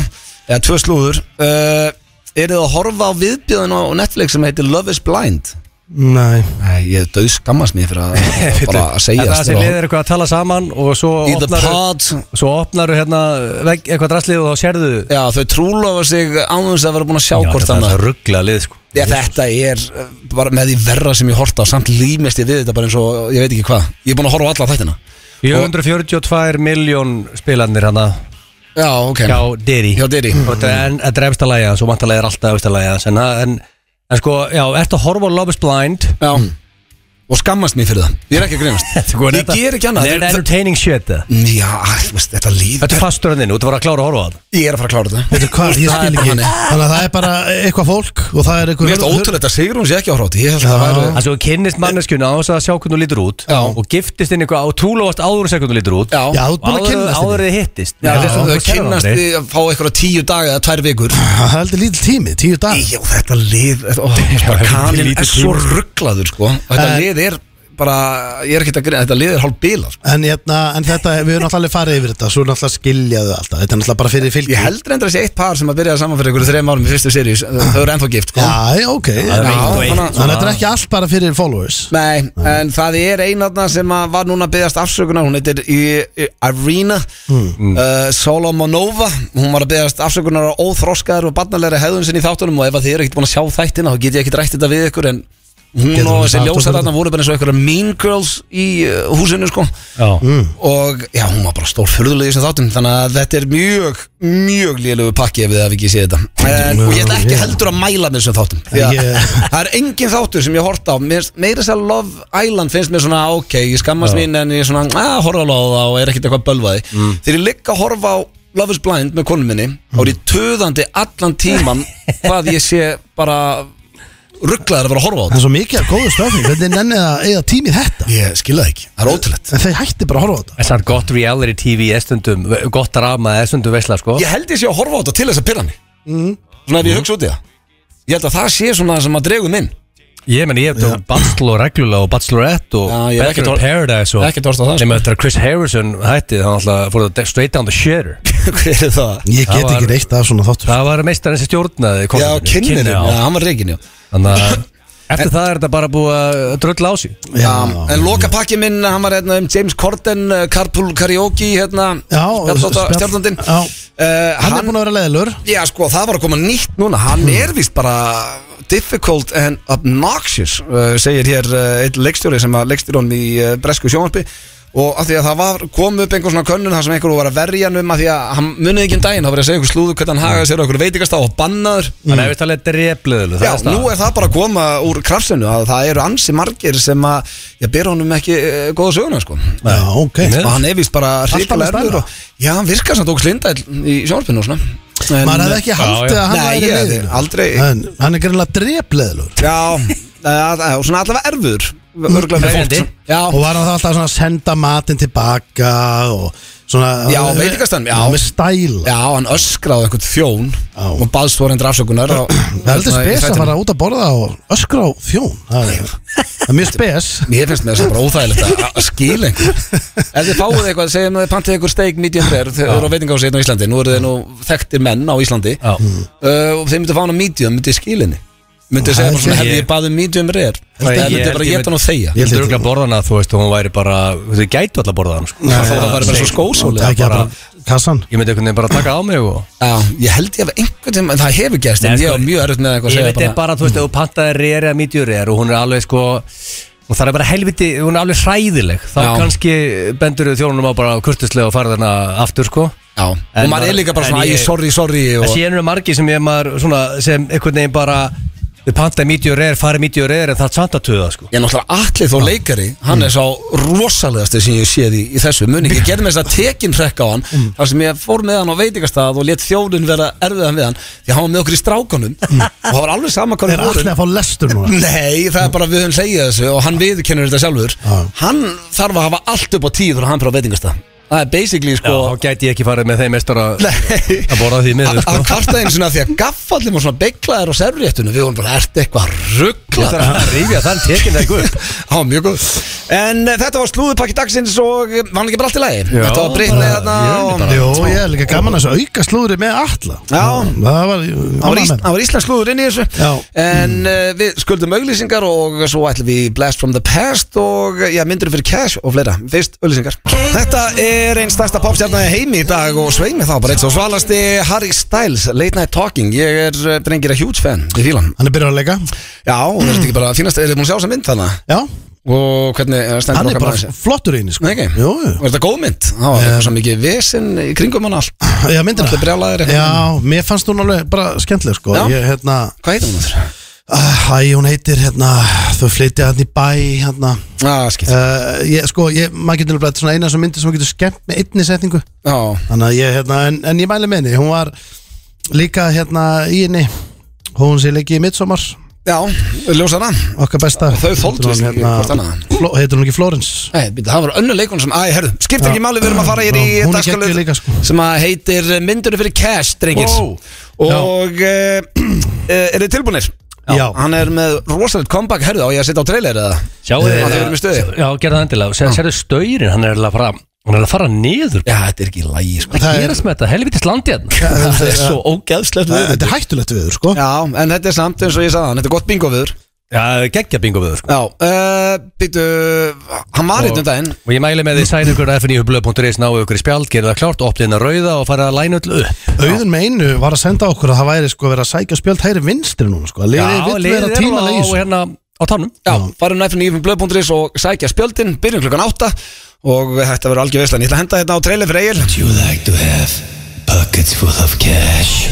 Eða tvö slúður uh, Eru þið að horfa á viðbjöðun á Netflix sem heitir Love is Blind? Nei Nei, ég döð skammast mér fyrir að bara að segja sko. það sem liðir eitthvað að tala saman og svo Í the opnar pod svo opnar hérna vegg, eitthvað draslið og þá sérðu Já, þau trúlofa sig ánvegis að vera búin að sjá Já, hvort þetta er annað það ruggla lið sko Já, þetta er uh, bara með því verra sem ég horta á samt límest ég við þetta bara eins og ég veit ekki hvað Ég er búin að horfa á alla þættina 442 miljón spilarnir hana Já, ok hjá Diri Hjá Diddy. Og þetta er- en þetta er efsta lagi hans og vantarlega er alltaf efsta lagi hans en, en, en sko, já, ertu að horfa á Love is Blind Mm. Já Og skammast mér fyrir það Ég er ekki að grínast Sko, Ég ger ekki annað Þetta er entertaining shit það. Já, æ, veist, þetta líf Þetta er fastur hann þinn, þú ert að fara að klára að horfa á það Ég er að fara að klára þetta Veitu hvað, ég Það er skil bara ekki þannig. Þannig að það er bara eitthvað fólk og það er Mér finnst eitthvað ótrúlegt að Sigrún sé ekki á hróti Ég held að Já. það væri Það svo kynnist manneskjuna á þess að sjá hvernig hún lítur út Já. og giftist inn eitthvað á trúlófast áður en sér hvernig hún lítur út Já, Já, þú ert búin að kynnast áður henni. þið hittist já, Þetta er svona- þau þú sérðu kynnast aldrei. í að fá eitthvað tíu daga eða tvær vikur Það er heldur lítill tími, tíu dag Já, þetta lið ó, Já, bara Kaninn lítið er tími. svo rugglaður sko. Þetta Eh. lið er bara Ég er ekki að grina, þetta lið er hálf bíla sko. En, hérna, en þetta, við erum náttúrulega farið yfir þetta Svo náttúrulega skiljaðu alltaf Þetta er náttúrulega bara fyrir fylgi Ég heldur endur að sé eitt par sem að byrja saman fyrir ykkur þreim árum í fyrstu seríus Þau eru ennþá gift sko. Já, já, ok Það er Já, eitt og eitt, þannig að- Þannig að þetta er ekki allt bara fyrir followers Nei, en það er einarna sem að var núna að byggast afsökunar Hún heitir I- I- Irina Hmm. Mm. Hmm. uh, Solomonova Hún var að byggast afsökunar á óþroskaður og barnalegri hegðun sinni í þáttunum Og ef að þið eru ekkert búin að sjá þættina Þá get ég ekkert rætt þetta við ykkur En hún Getur og hún þessi sagt okkur ljósararna voru bara eins og einhverja mean girls í uh, húsinu sko Já. Og já, hún var bara stór fyrðulegi sem þáttum Þannig að þetta er mjög, mjög lélegu pakki ef þið hafi ekki séð þetta en, Og ég ætla ekki Já. heldur að mæla með þessum þáttum Því að Ég- það er engin þáttur sem ég horta á Mér- Meira þess að Love Island finnst mér svona Ok, ég skammast mín en ég er svona að horfa alveg á það og er ekkert eitthvað bölvaði mm. Þegar ég ligg að horfa á Love is Blind með konum minni Þá Mm. er ég töðandi allan tíman Hvað ég sé bara rugglaður að vera að horfa á Það þetta er svo mikið að góðu stöfning Hvernig nennið að eiga tímið þetta Ég skilja það ekki, það er ótrúlegt En þeir hætti bara að horfa á þetta En samt gott reality TV er stundum gott rama er stundum veisla sko Hmm. Ég held ég sé að horfa á þetta til þess að pyrra mig Mhm. Svona ef ég hugsa út í það Ég held að það sé svona sem að dregu minn Ég meni ég hef Bachelor reglulega og Bachelorette og Já, ég er ekkert Bachelor hor- in Paradise og ekkert horft á það, sko. Nefnum eftir að Chris Harrison hætti þá alltaf fór það straight down the shitter Hver er það? Ég Það get var- ekki neitt að svona þáttur Það var meistarinn sem stjórnaði Já, konfektinu. kynninum, Kynni, já, hann var reikin, já Þannig að eftir það er þetta bara búið að drölla á sig Já, en loka pakki minn, hann var hérna um James Corden, uh, Carpool Karaoke, hérna Já, spjall- Stjórnandinn Já. Hann er búin að vera leðilur Já, sko, það var að koma nýtt núna Hann er vist bara difficult and obnoxious uh, segir hér uh, einn leikstjóri sem að leikstjóran í uh, Bresku sjónvarpi og af því að það var, kom upp einhver svona könnun þar sem einhver var að verja hann um af því að hann munið ekki um daginn, þá var ég að segja einhver slúðu hvernig hann hagaði sér á einhver veitingastá og bannaður Þannig að við talaðum drefleðilu Já, nú er það bara að koma úr krafsinu að það eru ansi margir sem að ég ber honum ekki e, góða söguna sko. Já, ok Nei. og hann er vist bara með hrikalega stærra. erður og, Já, hann virkar sem tók slindæl í sjónarpinu og svona En- Maður hefði ekki haldið já. að hann Nei, væri ég hefði leiðinu. aldrei- En Hann er greinlega drepleðilur Já, eh, að, að, svona allavega erfur Örgulega með fólk Krefjandi. sem- Já, Og var hann það alltaf svona að senda matinn tilbaka Og svona Já, veitingastaðnum, já. Með stæla já, hann öskraði eitthvað þjón Já. og baðst vorendra afsökunar á- Það er heldur hérna í spes að þættinum. fara út að borða og öskra á þjón Það er, það er mjög spes Mér finnst mér þess að bara óþægilegt að- að skila einhver Ef þið fáið eitthvað, segjum að þið pantið einhver steik medium rare, þið eru á veitingási hérna á Íslandi nú eru þið nú þekktir menn á Íslandi Já. uh, og þið myndu fá hana medium myndið skilinni, myndið segja bara svona Ég- hefði ég baðið medium rare Nei, það ég- myndið bara ég- geta hann og þegja Ég Ég held heldur þetta- að borða hana, þú veist, og hún væri bara, þú gætu alltaf borða hana, sko. Það þótt að væri bara svo Það er skósólega ekki að bara. bara kassan Ég myndi einhvern veginn bara taka á mig og... Já, Ég held ég að einhvern tímann, það hefur gerst en Nei, ég sko, var mjög erfitt með eitthvað að Ég segja veit bara, bara, þú veist, ef þú pantaði reyri að mítjur er og hún er alveg, sko, hún þarf bara helviti, hún er alveg hræðileg. Þá Já. kannski bendur þjónunum á bara kurtislega og farið hana aftur, sko. Já, og En maður er maður- líka bara en svona, æ, ég- sorry, sorry En og, síðan eru margir sem ég maður, svona, sem einhvern veginn bara, við pantaði mítjur er, farið mítjur er, en það er samt að tuða, sko. Ég er náttúrulega allir þó leikari Hann Mm. er sá rosalegasti sem ég séð í, í þessu muni Ég gerði með þess að tekin hrekka á hann Þar sem ég fór með hann á veitingastað Og létt þjóðun vera erfiðan við hann Því hann var með okkur í strákunum Og það var alveg sama hvað Er við allir vorum að fá lestur núna Nei, það er bara við höfum segið þessu Og hann viðurkennur þetta sjálfur Já. Hann þarf að hafa allt upp á tíð Þegar hann fyrir á veitingastað Það er basically sko Þá gæti ég ekki farið með þeim mestar að Nei. að borða því miður, Hann sko. kvartaði einu svona því að gaffallin var svona beiglaðir á servréttunum Við vorum bara, ertu eitthvað Það er rugglaður að rífja þann tekin þegar guð. Það var mjög góð En eh, þetta var slúðupakki dagsins og eh, var hann ekki bara allt í lagi Já, Þetta var bara- breytnið þarna ég er og- bara- Jó, ég er líka gaman að þessu auka slúðri með alla Já. Það var, Það var, ánægð ís, með. það var Íslands slúður inn í þessu Já. En uh, við skuldum auglýsingar og svo ætlum við í Blast from the Past og eh, já, myndur fyrir cash og fleira Fyrst auglýsingar Þetta er einn stærsta popstjarnar í heimi í dag og sveið mig þá bara eitt svo svalasti Harry Styles, Late Night Talking Ég er eh, drengir að huge fan í fílan Hann er byrjað að leika Já, og það er ekki bara fínast, er þið búin að sjá þessa mynd þarna Já, Og hvernig eh, stendur hann er okkar maður bara þessi? flottur í henni sko. Nei, ekki? Jú, jú. Var þetta góð mynd? Það var eitthvað svo mikið vesen í kringum hann allt já, myndina Allir brjálaðir eitthvað. Já, mér fannst hún alveg bara skemmtileg sko. Já. Ég, hérna, Hvað heitir hún þurr? uh, Æ, hún heitir hérna, Þau flytja hann í bæ hérna. Ah, skýt uh, ég, Sko, ég, maður getur nefnilega svona eina sem myndir sem maður getur skemmt með einni setningu Já, Þannig að ég, hérna, en, en ég mæli með henni Hún var líka hérna í henni Hún sé leikið í midsommar já, ljósana Okkar besta Þau þoldu Heitir hún, sig hérna, hvort annað. Flo- Heitir hún ekki Florence Nei, býta, það var önnur leikun sem, æ, herðu, skiptir ekki Já. máli, við erum að fara hér í Já, hún er dagskrárlið geggjuð líka, sko. Sem að heitir eh, myndunum fyrir cash, drengir Wow. Og uh, er þið tilbúinir? Já. Hann er með rosalegt comeback, herðu, á ég að setja á trailer eða? Sjáu Að þið erum í stuði? Já, gerða það endilega Sér, Sérðu staurinn, hann er alveg að fara Hann er að fara niður sko. Já, þetta er ekki í lagi, sko Það Hvað er- gerast með þetta? Helvitist landi hérna Það er svo ógeðslegt Æ, við Þetta er hættulegt viður, sko Já, en þetta er samt eins og ég sagði hann, þetta er gott bingo viður Já, geggja bingo við það sko Já, uh, býtu, hann var hérna um daginn Og ég mæli með því sæn ykkur fnifblöð.is náu ykkur í spjald, gerðu það klárt, opnið það rauða og fara að læna öll upp Auðun með einu var að senda okkur að það væri sko verið að sækja spjöld hægri vinstri núna sko Liðið vill vera liðið tíma er á, leið hérna, á tánum Já, farum næfnum í blöð.is og sækja spjöldin, byrjum klukkan átta og þetta verður algjör veislan. Ég ætla að henda hérna á trailer fyrir Egil. You like to have pockets full of cash.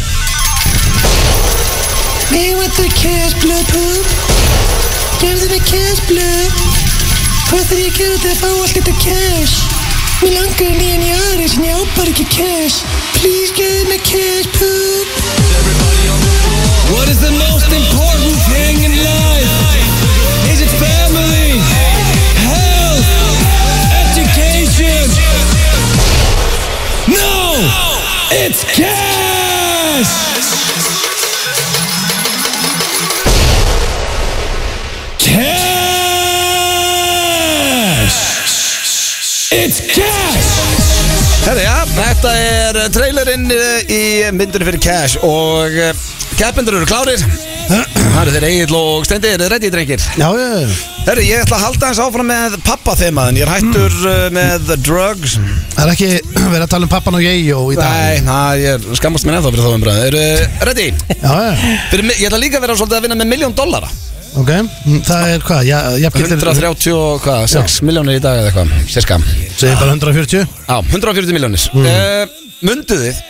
Me with the cash blue poop Gefðu mig cash blue Hvað þarf ég að gera til að fá allt þetta cash? Mér langar nýjan í aðri sem ég á bara ekki cash Please gefðu mig cash poop What is the most important thing in life? Is it family? Health? Education? No! It's cash! Cash! It's cash! Herra, já, þetta er trailerinn eh, í myndunum fyrir Cash og eh, keppendur eru klárir. Það eru þeir Egil og Steindi, eru þeir ready, drengir? Já, já, já. Herra, ég ætla að halda hans áfram með pappathemaðin. Ég er hættur mm. með the drugs. það er ekki verið að tala um pappan og ég og í dag Nei, na, ég er- skammast mér ennþá fyrir þá umræðu. Eru eh, ready? Já, já, Fyrir, mi- ég ætla líka að vera svolítið að vinna með miljón dollara. Ok, mm, það er hvað? Já, jafngildir 136 og hvað, 6 miljónir í dag eða eitthvað, sérska Segir bara 140 Já, 140 miljónir mm. uh, Munduð þið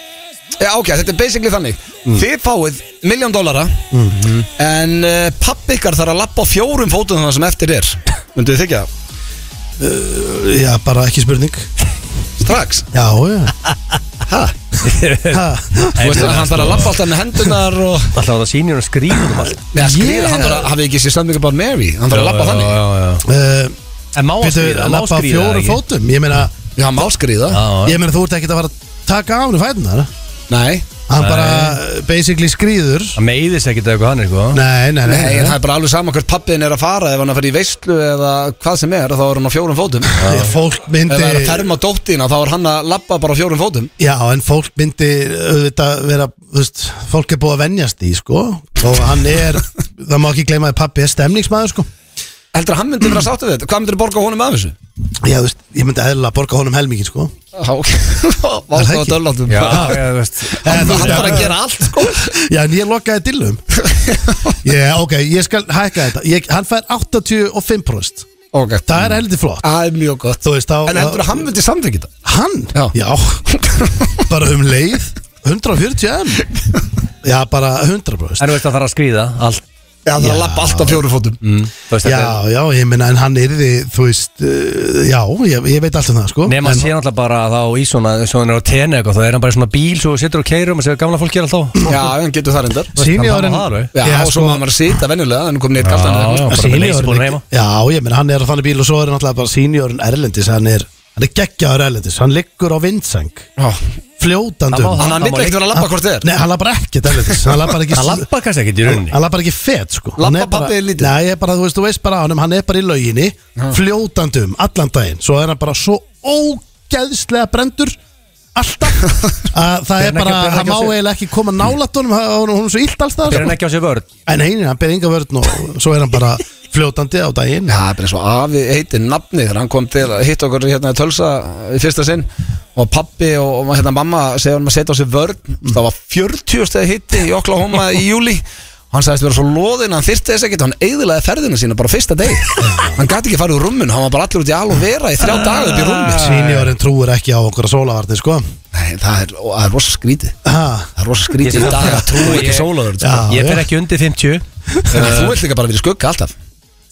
Já, ok, þetta er basically þannig Mm. Þið fáið miljón dólara Mhm. En uh, pappi ykkar þarf að lappa á fjórum fótum þannig sem eftir er Munduð þið þykja það? Eh, Já, bara ekki spurning Strax Já, já Hæ? Ha. Þú veist að hann þarf að lappa alltaf með hendunar og Alltaf að það sýnir hann skrýnum um allt Nei, að skrýða, Yeah. hann þarf að hafi ekki sér samvika bara Mary Hann þarf að lappa þannig já, já. uh, Eh, En má að Býttu, skrýða, má lappa á skrýða fjóru ekki? fótum Ég meina, Já, hann má skrýða Já, já. ég meina þú ert ekkert að fara að taka á henni fætunar Nei, Hann bara uh, basically skrýður Það meiðist ekkert eða eitthvað hann eitthvað Nei, nei, nei, nei, en það er bara alveg sama hvert pappiðin er að fara Ef hann er að fara í veistlu eða hvað sem er Þá er hann á fjórum fótum Ef Ég, Fólk hann er að myndi ferma dóttina Þá er hann að lappa bara á fjórum fótum Já, en fólk myndi auðvitað vera, þú veist, fólk er búið að venjast í, sko og hann er, það má ekki gleyma að pappi er stemningsmaður, sko Heldur að hann myndi vera sáttu við þetta? Hvað myndir þú borga honum af þessu? Já, þú veist, ég myndi eðlilega borga honum helmingin, sko Já, ok Vá, Er það það var ekki? döllatum Já, Hann já, þú veist hann þarf að gera allt, sko Já, en ég lokaði dillum Já, ok, ég skal hækka þetta ég, Hann fær 85% Ok, Það er heldur flott það er mjög gott Þú veist, þá En heldur að hann myndi samþykja þetta? Hann? Já. Bara um leið 140 M Já, bara 100% En þú veist að það þarf að skrýða allt Mm. Já, það er að lappa allt á fjórum fótum Þú veist, þetta er- Já, já, ég meina, en hann er því, þú veist uh, Já, ég, ég veit allt um það, sko Nefn að en, sé náttúrulega bara þá í svona Svo hann er á tenni eitthvað Þá er hann bara í svona bíl Svo situr og keirum Og segir gamla fólk gera alltaf Já, hann getur það reyndar Seniorinn- Það var það, Já, Já, og svo sko- maður var að sita venjulega en kom neitt kalt Já, hann já, bara með leysibólinn heima Já, ég meina, hann er á þannig bíl og svo er náttúrulega bara seniorin Erlendis Hann er, hann er geggjaður Erlendis Hann liggur á vindseng Fljótandi Það má um. Þannig að hann Það vill má ekkert vera að lappa hvort þið er Nei, hann lappar ekkert erlendis Hann lappar ekki Hann lappa kannski ekkert í rauninni Hann lappar ekki fett sko Labbar Hann er bara- pabbi þinn lítið? Nei, ég er bara, þú veist, þú veist bara á honum Hann er bara í lauginni Fljótandum, allan daginn Svo er hann bara svo ógeðslega brendur Alltaf að Það er Ber hann ekki- bara, ber hann hann ekki má á sig? eiginlega ekki koma nálætt honum hann- Honum honum er svo illt alls sko. Er hann það ekki á sér vörð En einin, hann ber enga vörn og svo er hann bara fljótandi á daginn Já, það er bara eins og afi heitir nafni þegar hann kom til að hitta okkur hérna í tölsa í fyrsta sinn og pappi og og hérna mamma segja hann að setja á sig vörn það var 40 stegi hitti í Oklahoma í júli og hann sagðist vera svo loðinn að hann þyrfti þess ekkert og hann eigðilaði ferðina sína bara á fyrsta deg hann gæti ekki farið úr rúmmun, hann var bara allir út í al og vera í þrjá daga upp í rúmmun Seniorin trúir ekki á okkur að sólavarni sko Nei, það er, og það er rosa skrítið Ha, það er rosa skrítið í dag að trúa ekki á sólarvörn, sko. Já, Ég já. fer ekki undir 50 Þannig að þú vilt líka bara verið skugga alltaf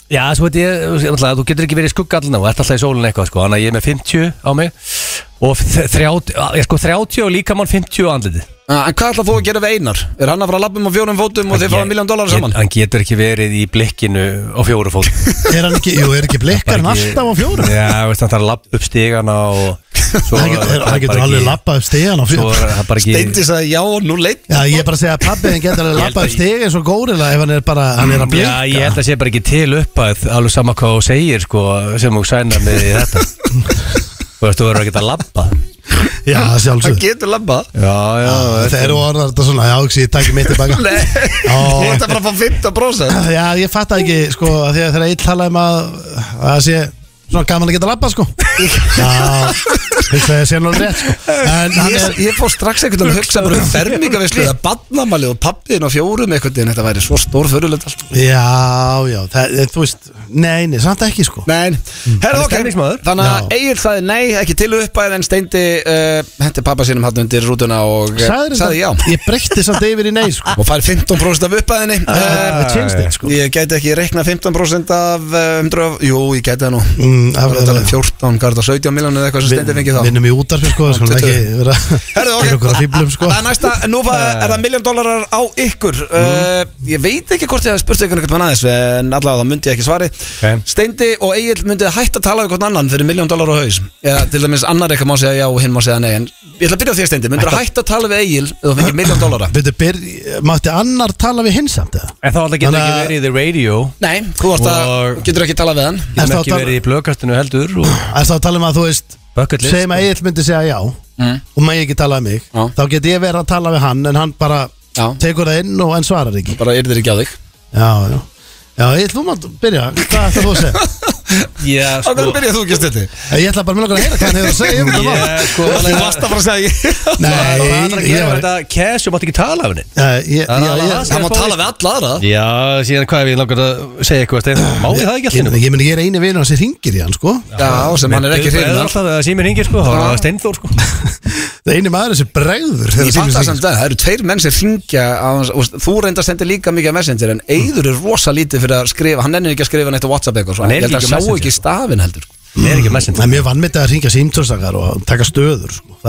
Já, svo veit ég, náttúrulega, þú getur ekki verið í skuggallina og ert alltaf í sólinu eitthvað, sko, þannig að ég er með 50 á mig og 30, ég sko 30 og líka mann 50 á andliti Ah, En hvað ætlar þú að gera við Einar? Er hann að fara að lappum á fjórum fótum og þið fáið miljón dólar saman? Hann getur ekki verið í blikkinu á fjóru fólk Er hann ekki, jú, er ekki blikkar hann alltaf á fjórum Já, veist, hann þarf að lappa upp stigana og svo Hann getur, hann getur alveg lappað upp stíðan á Svo fjórum er það bara ekki Steindi sagði já og nú leitt Já, ég er bara að segja að pabbiðin getur alveg held lappað að upp stig eins og górilega ef hann er bara, hann er að blika Já, ég held að sé bara ekki til upp að alveg sama hvað þú segir, sko, sem þú sæna með í þetta Þú veist, þú verður ekki að lappa Já, Ah. Hann sjálfsög getur lappað Já, já, Það eru orðar þetta svona, já, hugsi, ég takk mitt tilbaka Nei, Ó. þú ert að fara að fá 15% Já, ég fatt ekki, sko, að því að þegar ég tala um að að það sé svona gaman að geta lappað, sko Já, hugsa ég sé nú rétt, sko En hann Ég, er, ég fór strax einhvern veginn að hugsa bara um fermingavislu eða badnamalið og pappiðin á fjórum einhvern veginn þetta væri svo stór förulegt allt já, já, það, eh, þú veist, nei, nei, samt ekki, sko Nei, herra Hann er ok stemningsmaður. Þannig að Já. Egil sagði nei, ekki til uppæð en Steindi uh, hendi pappa sínum hann undir rútuna og eh, Sagðir sagði já þetta, ég breytti samt yfir í nei, sko Ah, og fær 15% af uppæðinni Það uh, tjenst eitt, sko Ég gæti ekki reikna 15% af eh, 100 af, jú, ég gæti það nú Mm, Það var að tala um af- 14, garda 17 miljónu eða eitthvað sem stendir fengið þá Vinnum í útarfi, sko, sko, Tuttugu. ekki vera Herðu, ok. gera okkur að fýblum, sko Eh. Það er næsta, nú var, er það miljón dólarar á ykkur uh, Mm. Ég veit ekki hvort ég hef spurt ykkur einhvern veginn aðeins En allavega það myndi ég ekki svari Ok. Steindi og Egil myndið hætt að tala við hvort annan fyrir miljón dólarar á haus Eða til dæmis annar eitthvað má segja já og hinn má segja nei En ég ætla að byrja á því að Steindi, myndir að hætt að tala við Egil Ef þú fengið miljón dólarar Veitu, byr, mátti annar tala við hins samt eða? En þá alltaf getur Þannig ekki að- verið í the radio Nei, þú ert að, Og- getur ekki tala við hann Ertu Ég hef að ekki tala- verið í blöðkastinu heldur og Æst þá að tala um að þú veist bucket list sko. segjum að Egil myndi segja já Mm. og maður ekki tala um mig Já. þá get ég verið að tala við hann en hann bara Já. tekur það inn og hann svarar ekki Bara yrðir ekki á þig Já, já Já, ég ætlum að byrja, hvað ætlar þú að segja? Já, sko. Á hverju byrjaði þú ekki stætti? Ég ætla bara með langar að heyra hvað hann hefur að segja um þetta mál. Ég, sko, Þú varst að fara að segja ég Nei, Það er að ég gera var þetta Cash, ég mátti ekki tala af henni Nei, ég- Það er já, alveg ég- aðstæða. Það má tala við alla aðra Já, síðan hvað ef ég langar að segja eitthvað Steinar? Má ég það ekki allir Ég- Ég meni, ég er eini vinur hans sem ringir í hann, sko Já, sem hann er ekki Það hrifin er af alltaf að það sé mér hingir sko Það Ah. var Steinþór sko Það er eini maður sem bregður þegar Ég síminn fatt það hringir. samt að það eru tveir menn sem ringja á, hans- og þú reyndar að senda líka mikið á messenger en Eyður er rosa lítið fyrir að skrifa hann ennir ekki að skrifa neitt á Whatsapp eitthvað Hann svona. er ég held ekki að á sjá Messenger. ekki stafin heldur sko. Það er ekki Það messenger er mjög vannmyndið að ringa símtúrstakar og taka stöður, sko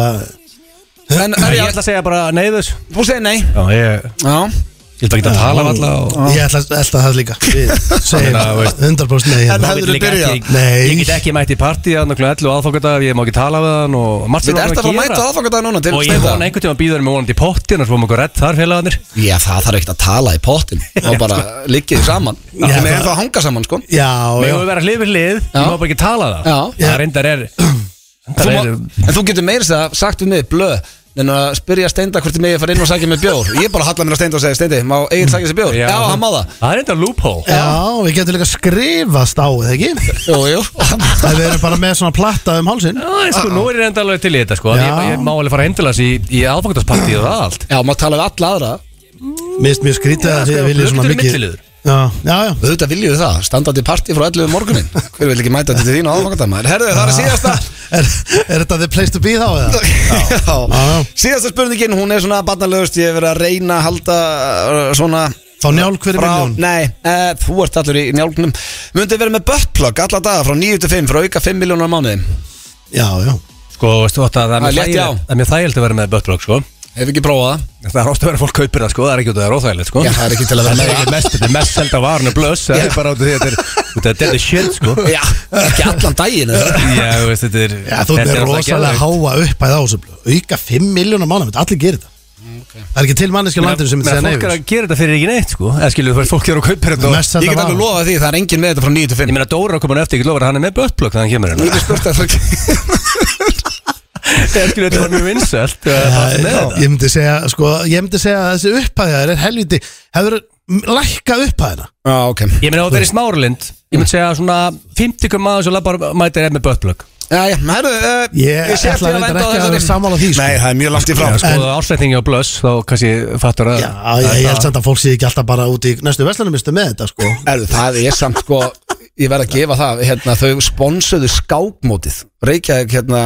Það en er, Ég ég, ætla að segja bara neyðus þú segir nei Já, ég já. Ég ætla ekki að tala af alla og Ég ætla að elta það líka Við segjum Þannig að, veist- 100% nei En hérna. það- hefðirðu Ég get byrjað? ekki- Nei. Ég get ekki mætt í partí að náttúrulega 11 aðfokkata Ég má ekki tala við hann og margt sem Við langar ert að fara að mæta gera. aðfangadag núna til Og ég vona einhvern tíma að býða með vonandi í potti Þannig að fórum okkur redd þar félagarnir Já, það þarf ekkert að tala í pottin og bara liggið saman Það er það- það að hanga saman sko sko. Já, já Megum við vera hlið við hlið Ég Já. má bara ekki tala það Já. Það reyndar er Þú Það má, er en þú getur meira þess að sagt við mig blöð en að spyrja Steinda hvort ég megi að fara inn og sækja með bjór ég bara halla mér að Steinda og segja Steindi, má eigin sækja sér bjór já, hann má það Það er reyndar loophole Já, við getum líka skrifast á, eða ekki? jú, jú. Það við erum bara með svona platta um hálsinn Já, en Ah, sko, nú er ég reynda alveg til í þetta, sko. að Ég, Já. ég má alveg fara heimtilas í, í aðfangataspartíð og það allt. já, maður tala við alla aðra Mist mjög skrítið að sko, þið viljið svona blöktur er mikið milliliður. Já, já, já auðvitað viljum við það, standandi partí frá 11 um morgunin hver vil ekki mæta til þín á aðfangatamaður herðu, það er síðasta Er, er þetta the place to be þá eða? já. Já, já. síðasta spurningin, hún er svona barnalegust ég hef verið að reyna að halda uh, svona Þá njálg fyrir frá, miljón nei, uh, þú ert allur í njálgnum mundið verið með buttplug alla daga frá 9 til 5 frá auka 5 miljónar á mánuði Já, já Sko, veistu þetta, það Það er er mjög létt, þægilegt- já. það er mjög þægilegt að vera með buttplug, sko. hef ekki prófað það Það er ofta að vera fólk kaupir það, sko. Það er ekki út að það er óþægilegt, sko. Já, það er ekki til að vera Það er meira. ekki mest, þetta er mest selda varnu blöss. Það er bara út af því að þetta er- út af þetta er shit, sko. Já, ekki allan daginn eða? Já, þú veist, þetta er... Já, þú þetta er alltaf rosalega geðveikt. háa uppæð á þessu blöð Auka 5 miljónar mánu, allir gerir þetta Mm, Það er ekki til manneski á landinu sem Meina, þetta segja Fólk er neyfis að gera þetta fyrir ekki neitt, sko. Eða skilur þú, fólk er að kaupa þetta og... Mest Ég selda get alveg varan lofa því, það er enginn með þetta frá 9 til Ég 5 meina, Dóra komin eftir, ég get lofað að hann er með buttplug þegar hann kemur hérna. Ég get spurt að það Eða skilur þetta var mjög vinsælt. Já, Ég myndi segja, sko, ég myndi segja að þessi uppæðar er helviti Hefur lækka uppæðina Já, ok Ég meina, þetta er í smáralind Ég myndi segja svona 50 kom maður sem labbar mætir er með buttplug Já, já, herru, uh, Ég ætla reyndar ekki að vera sammála því, sko. Nei, það er mjög langt í frá Já, sko, ástætningi á blöss þá kannski fattur að Já, ég, ég held samt að fólk sé ekki alltaf bara út í næstu veslanumistu með þetta, sko Erðu, það er samt sko Ég verð að gefa það, hérna, þau sponsuðu skákmótið Reykjavík, hérna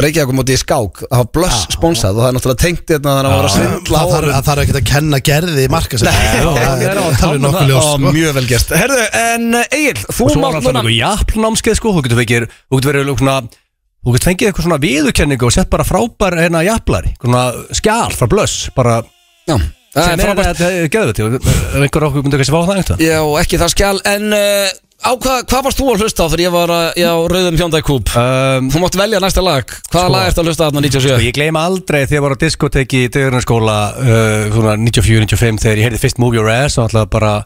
Reykjavíkumótið í skák, það var blöss sponsað og það er náttúrulega tengt hérna þannig að það var að svindla Ah. Það á þarf, honum. það þarf ekki að kenna gerði marka sér Það er alveg Tala um nokkuð það. ljós, Ó, sko Mjög vel gert Herðu, en eh, Egil, þú og svo var mátt alltaf núna eitthvað jafnnámskeið sko þú getur fengið þú getur verið svona þú getur fengið eitthvað svona viðurkenningu og sett bara frábær hérna jafnlari svona skjál frá blöss bara Já, það sem er frábært þetta er geðvöld ef einhver okkur myndi kannski fá það einhvern Já, ekki það skjál En uh, á hvað, hvað varst þú að hlusta á þegar ég var að- ég á rauðum hjóndækúb? um, Þú mátt velja næsta lag Hvaða Sko. lag ertu að hlusta á þarna 97? og ég gleyma aldrei þegar ég var á diskoteki í dagurinnarskóla uh, svona 94-95 þegar ég heyrði fyrst Move Your Ass og alltaf bara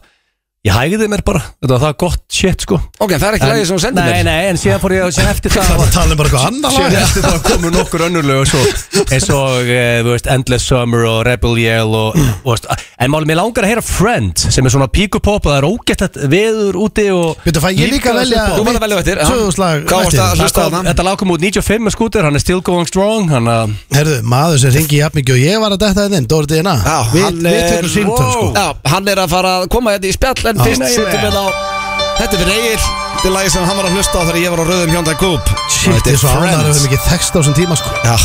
ég hægði mér bara þetta var það gott shit sko ok, það er ekki lagið sem þú sendir nei, mér nei, en síðan fór ég að segja eftir það Það var að tala um bara eitthvað annað Síðan lag eftir það komu nokkur önnurlög og svo, eins og, eh, þú veist, Endless Summer og Rebel Yell og, og veist, en málum ég langar að heyra Friend sem er svona píkupop og það er ógætt að veður úti og Býttu, fæ ég líka að velja Þú mátt að velja á eftir, já. Söðuslag Hvað varstu að- Það Hlustaðu á kom- það. Þetta lag kom út 95 með skútur, hann er still going strong hann að Herðu, maður sem ringi jafn mikið og ég var að detta þeim Dóri DNA Já, Við hann við er- tökum símtöl, sko Já, hann er að fara að koma hérna í spjall En fyrst setjum við á Þetta er fyrir Egil Þetta er lagið sem hann var að hlusta á þegar ég var á rauðum hjóndækúb Shit, ég er svo ánæður að við um höfum ekki þekst á þessum tíma, sko Já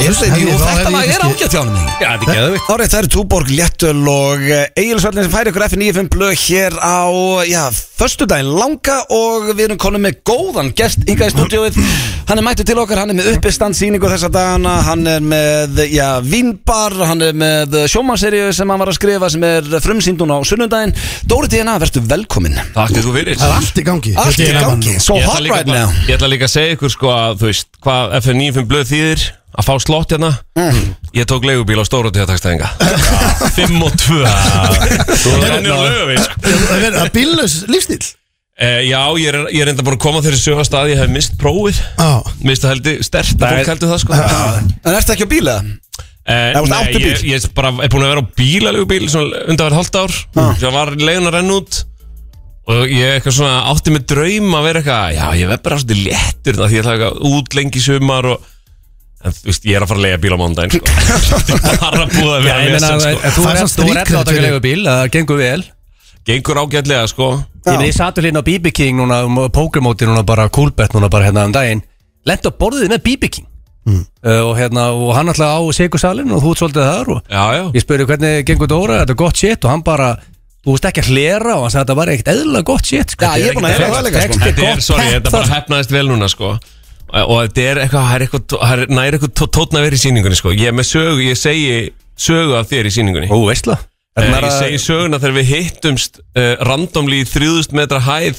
Ég Hefði- segi, jú, þá Þetta hefði lag ég er kannski- ágætt hjá hann Já, þetta er geðvikt Árið, það eru Túborg, Léttöl og Egilsvöldin sem færi ykkur F95 blöð hér á, já, föstudaginn langa og við erum konum með góðan gest yngað í stúdíóið. Hann er mættu til okkar, hann er með uppistandsýningu þessa dagana, hann er með, já, vínbar, hann er með sjómanserju sem hann var að skrifa sem er frumsýndun á sunnudaginn. Dóri Díana, verðstu velkominn. Takk þú fyrir Það er allt í gangi Allt í Þetta er gaman. gangi, so Ég ætla hot líka right bara- now. Ég ætla líka að segja ykkur sko að þú veist hvað FN95 blöð þýðir að fá slott hérna Ég tók leigubíl á stóru tíðatakstæðinga 5 og 2 Þú er hann í löfi Það er verið- það er bíllaus lífstíl Eh, Já, ég er, ég er enda bara að koma þeirri sögast að ég hef mist prófið Já, Mist að heldur stert að fólk heldur það sko En ertu ekki á bíla? Eh, Það varst Nei, áttu bíl? ég, ég bara er búin að vera á bílalegu bíl svona undanverð hálft ár sem var leiðin að renna út Og ég eitthvað svona átti með draum að vera eitthvað Já, ég verð bara svolítið léttur það Því ég ætla eitthvað út lengi í sumar og En þú veist, ég er að fara að leiða bíl á mándaginn sko. Þetta er sko. bara búið að Já, vera ég meina, vesen, en Fær þú er samt eftir að stríkkrem taka fyrir- leigubíl, það gengur vel sko. Gengur ágætlega, sko Ég meina, ég satur hérna á BB King núna, um pókermóti núna bara, coolbet núna bara hérna um daginn Lent á borðið með BB King Mm. uh, og hérna, og hann alltaf á sigursalinn og þú ert svolítið þar og Já, já ég spurði hvernig gengur Dóra, þetta er gott shit og hann bara, þú veist ekki að hlera og hann sagði þetta var ekkert eðla gott shit sko. Já, ég er búin að heyra það líka, sko. Texti Þetta er, gott sorry, þetta bara pent þar. hefnaðist vel núna, sko Og þetta er eitthvað, það er eitthvað, það er nær eitthvað tó- tónn að vera í síningunni, sko Ég er með sögu, ég segi sögu af þér í síningunni Ó, veistla Eh, Þetta er Ég segi söguna þegar við hittumst uh, randomli í 3000 metra hæð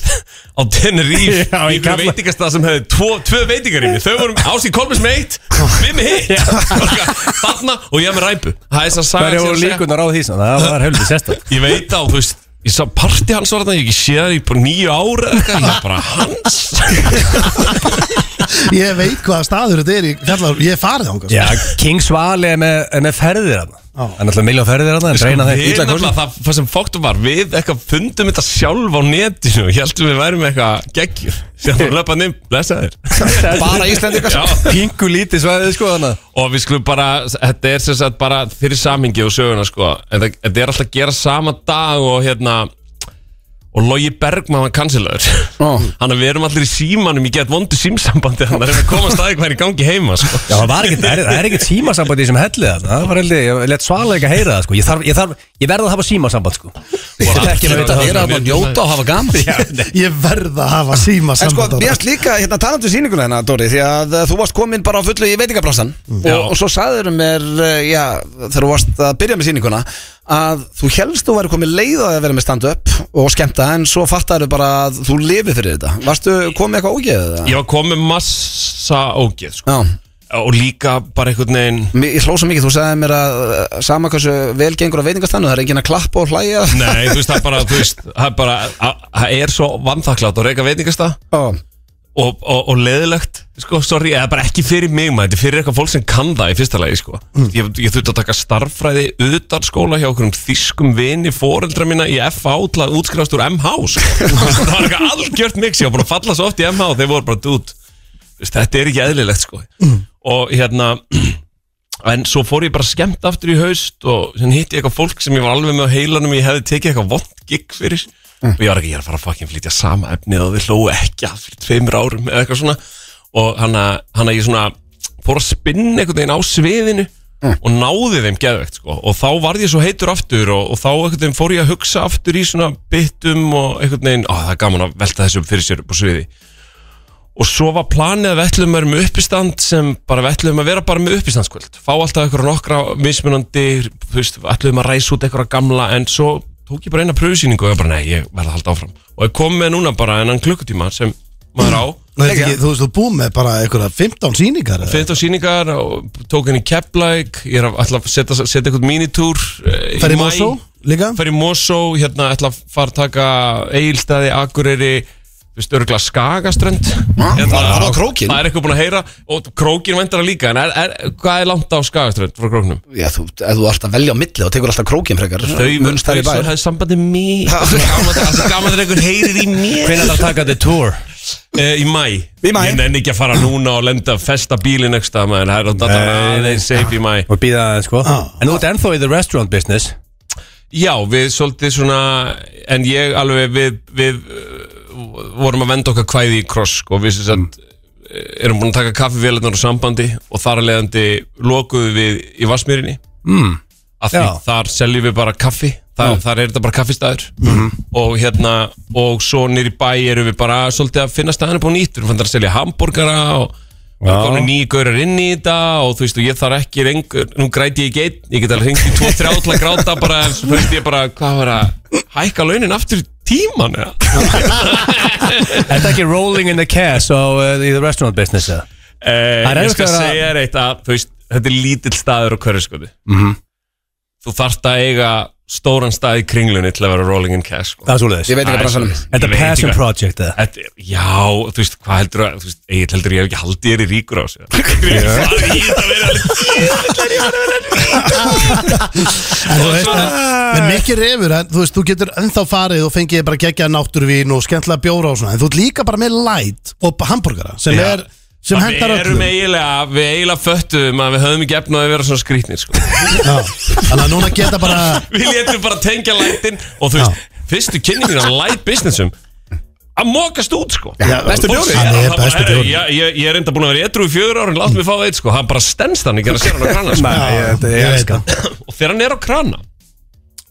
á Tenerife Já, ég í ykkur kalla- veitingastað sem hefði tvo, tvö veitingarými þau vorum Ási Kolbis með eitt við með hitt þarna og ég með ræpu það er þess að Hverja voru sagja líkunar á því sem það var helviti sérstætt ég veit á þú veist ég sá parti hans var þarna ég hef ekki séð það í bara nýju ára ég bara hans Ég veit hvaða staður þetta er í fjallar Ég hef farið sko. ánga Já, King Svali er með, er með ferðir hann sko. Hann er alltaf miljón ferðir hann En Sko, reyna það við ítla nefnilega, það, það sem fóktum var Við eitthvað fundum þetta sjálf á netinu Hjæltum við værum eitthvað geggjur Sér þú löpa nimm, lesa þér Bara Íslendingar. sko. Já, Pingu lítið svæðið sko hann og við skulum bara, þetta er sem sagt bara fyrir samhengi og söguna sko en það, þetta er alltaf að gera sama dag og hérna og Logi Bergman var kansilaður Ó. hann að við erum allir í símanum í gett vondu símsambandi hann er að koma staði hvað er í gangi heima sko. Já, það var ekkert, það er- það er ekkert símasamband í þessum hellið þarna. Það var heldig, ég let Svala ekki að heyra það sko Ég, þarf, ég, þarf, ég verð að hafa símasamband sko Ég er ekki að Þetta veita er það að bara njóta og hafa gaman Ég verð að hafa síma En sko, samband á mér það. erst líka, hérna, talandi um sýninguna hérna, Dóri Því að uh, þú varst komin bara á fullu í veitingablassan Mm. Já. og, og svo sagður mér, uh, já, þegar þú varst að byrja með sýninguna Að þú helst þú væri komin leið á að vera með stand-up og skemmta En svo fattar þau bara að þú lifið fyrir þetta Varstu komið eitthvað ógeðið það? ég var komið massa ógeð sko. Já, og líka bara einhvern veginn Mér- ég hló svo mikið, þú sagði mér að uh, sama hversu vel gengur á veitingastannu Það er enginn að klappa og hlæja Nei, þú veist, það er bara, þú veist, það er bara, að- það er svo vannþakklátt að reyka veitingasta Ó, og, og, og leðilegt sko, sorry, eða bara ekki fyrir mig maður, þetta er fyrir eitthvað fólk sem kann það í fyrsta lagi sko. ég, ég þurfti að taka starffræði utan skóla hjá okkur um þýskum vini foreldra mína í FH til að útskrifast úr MH sko. það var eitthvað algjört mix ég var bara að falla svo oft í MH og þeir voru bara dút þetta er ekki eðlilegt sko. og hérna en svo fór ég bara skemmt aftur í haust og sem hitti ég eitthvað fólk sem ég var alveg með á heilanum ég hefði tekið eitthvað vond gig fyrir og ég var ekki, ég er að fara að fucking flytja sama efnið og við hlóu ekki að fyrir tveimur árum eða eitthvað svona og hann að hann að ég svona fór að spinna einhvern veginn á sviðinu og náði þeim geðvegt sko og þá varð ég svo heitur aftur og, og þá einhvern veginn fór ég að hugsa aftur í svona byttum og einhvern veginn, ó það er gaman að velta þessu upp fyrir sér upp á sviði og svo var planið að við ætlum að vera með uppistand sem bara við ætlum að vera bara með uppistandskvöld fá alltaf einhverja nokkra mismunandi þú veist, við ætlum að ræsa út einhverja gamla en svo tók ég bara eina pröfusýningu og ég bara nei, ég verða að halda áfram og ég kom með núna bara enan klukkutíma sem maður á Nei, þetta er ekki- Þú veist, þú búið með bara einhverja 15 sýningar eða? 15 síningar og tók henni kepplæk ég er að ætla að setja, setja eitthvað mínitúr eh, í Ferð í maí. Mosó líka? fer í Mosó, hérna ætla að fara að taka Egilstaði, Akureyri þú veist, örgulega Skagaströnd hérna, Ah, það var krókin. Það er eitthvað búin að heyra og krókin vendar að líka en er, er, hvað er langt á Skagaströnd frá króknum? já, þú, ef þú ert að velja á milli og tekur alltaf krókin frekar munst þær í svo bæ hafði sambandi mig Það er gaman að- það er gaman að einhver heyrir í mér Hvernig það taka þetta tour? Eh, Í mæ Í maí. Ég nenni ekki að fara núna og lenda að festa bílinn ekstra maður, það er að data Nei, nei. aðeins safe í mæ Og býða það sko Já. En þú ert ennþá í the restaurant business Já, við svolítið svona En ég alveg við, við uh, vorum að venda okkar kvæði í kross og við sem sagt eh, erum búin að taka kaffivélirnar úr sambandi og þar að leiðandi lokuðu við í Vassmýrinni mm. að því Já. þar seljum við bara kaffi þar, þar er þetta bara kaffistæður og hérna og svo nýri bæ erum við bara svolítið að finna stæðinu búin nýtt við erum fann að selja hamborgara og Það er komin nýju gaurar inn í þetta og þú veist og ég þarf ekki rengur, nú græti ég ekki einn, ég get alveg hringt í 2-3 til að gráta bara, en svo finnst ég bara, hvað var að hækka launin aftur í tíman eða? Er þetta ekki rolling in the cash á, uh, í the restaurant business eða? Það er Eh, ég skal erfitt að vera- segja Mhm. þér eitt að þú veist, þetta er lítill staður á hverju skoði -hmm. þú þarft að eiga stóran stað í kringlunni til að vera rolling in cash sko. Það er svolítið Ég veit ekki bransanum. Þetta er passion project eða? Þetta, er- já, þú veist, hvað heldur að, þú veist, Egil heldur ég hef ekki haldið þér í ríkur á sig Hvað er ég að vera En þú veist að, en mikið refur, en þú veist, þú getur ennþá farið og fengið bara geggja náttúruvín og skemmtilega bjóra og svona, en þú ert líka bara með light og hambúrgara, sem Já. er, sem hendar Við erum öllum. eiginlega, við eiginlega föttum að við höfum ekki efna að vera svona skrýtnir sko. Já. Þannig að núna geta bara, Við letum bara tengja lætin og þú veist, fyrstu kynni mín að light businessum að mókast út sko Já, bestu bjórinn. Hann er Það bara, bestu herri, bjórinn. ég- Ég ég er enda búin að vera etru í fjögur ára en látt mig fá eitt sko, hann bara stendst hann ekki að sér hann á krana sko. Nei, þetta ég er veit elska það. og þegar hann er á krana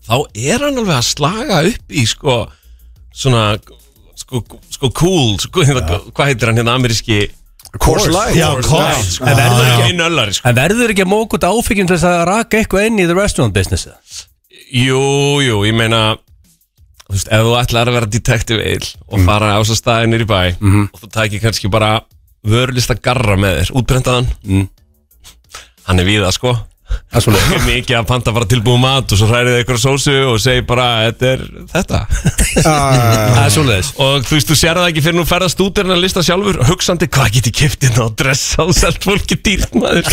þá er hann alveg að slaga upp í sko svona sko, sko cool sko, hérna, hvað heitir hann hérna ameríski Coors Light Já, kort. sko, það er ekki einu öllari sko. En verður ekki að móka út áfengjum til þess að raka eitthvað inn í the restaurant business eða? jú, jú, ég meina þú veist, ef þú ætlar að vera detektiv eil Mhm. og fara á þess að staði nýri bæ og þú tækir kannski bara vörlista garra með þér, útbrentaðan Mm. hann er víða sko Það er svolítið Ekki mikið að panta bara tilbúið mat og svo hrærið þið eitthvað sósu og segir bara þetta er þetta Það er svolítið og þú veist, þú sér það ekki fyrir nú ferðast út en að lista sjálfur, hugsandi hvað get ég kipt inn á dressa og selt fólki dýrt maður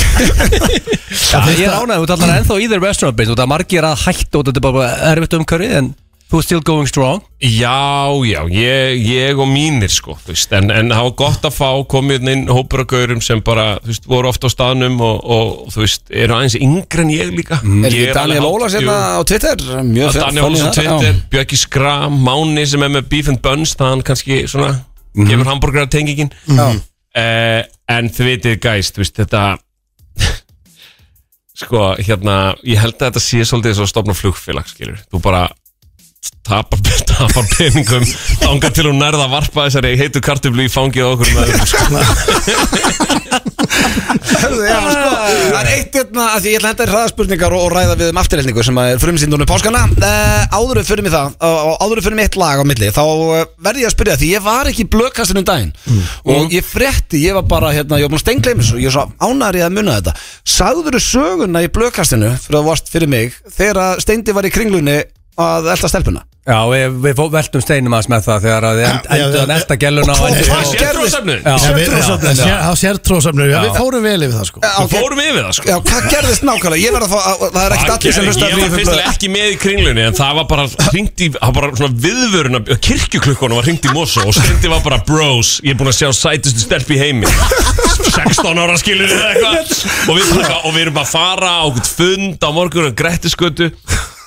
Ég er ánægð, þú talar ennþá í the restaurant business og það margir að hætta og þetta er bara erfitt umhverfið en þú er still going strong Já, já, ég, ég og mínir sko, þú veist, en, en það var gott að fá komið hérna inn hópur af gaurum sem bara, þú veist, voru oft á staðnum og, og þú veist, eru aðeins yngri en ég líka Mm. Er Ég ekki Daniel alveg Ólas hátt- hérna Jú. á Twitter? Mjög Já, fyrir Daniel Olsson Twitter, Björki Skram Máni sem er með Beef and Buns það hann kannski svona gefur hambúrgara tengingin en þið vitið gæst, veist, þetta sko, hérna ég held að þetta sé svolítið eins og að stopna flugfélag, skilur, þú bara tapar, tapar peningum ángar til hún nærða að varpa þessari heitu kartublu í fangið á okkur með öðrum, sko. Já, sko, það er eitt hérna að því ég ætla að henda þér hraðaspurningar og, og ræða við um afturreikningu sem að er frumsýndunum páskana uh, áður en við fyrir mig það uh, áður en fyrir mig eitt lag á milli þá eh, verð ég að spyrja því ég var ekki í blökkastinu um daginn og ég frétti, ég var bara hérna, ég var búin að steingleimis og ég var svo ánæri að muna þetta sagður þú söguna í blökkastinu fyrir að þú varst fyrir mig þegar að steindi var í kringlunni að elda stelpuna Já, við, við fó- veltum steinum aðeins með það þegar að þið end- Já, já, enduðu já. að elta gæluna Og og- hvað Það sé gerðist? trúarsöfnuður. Já. Já, við- Sértrúarsöfnuðu. já, Já, sértrósöfnur, já, við fórum vel yfir það sko Við fórum yfir það sko Já, hvað gerðist nákvæmlega? Ég verð að fá, að- það er ekkert allir sem hlusta Ég var fyrstilega ekki með í kringlunni En það var bara hringt í Það var bara svona viðvöruna Kirkjuklukkonum var hringt í mosso Og stendi var bara bros Ég er búin að sjá sætustu stelp í heimi 16 ára skilur eða eitthvað og við, bara, og við erum bara að fara á okkur fund á morgun og grættiskötu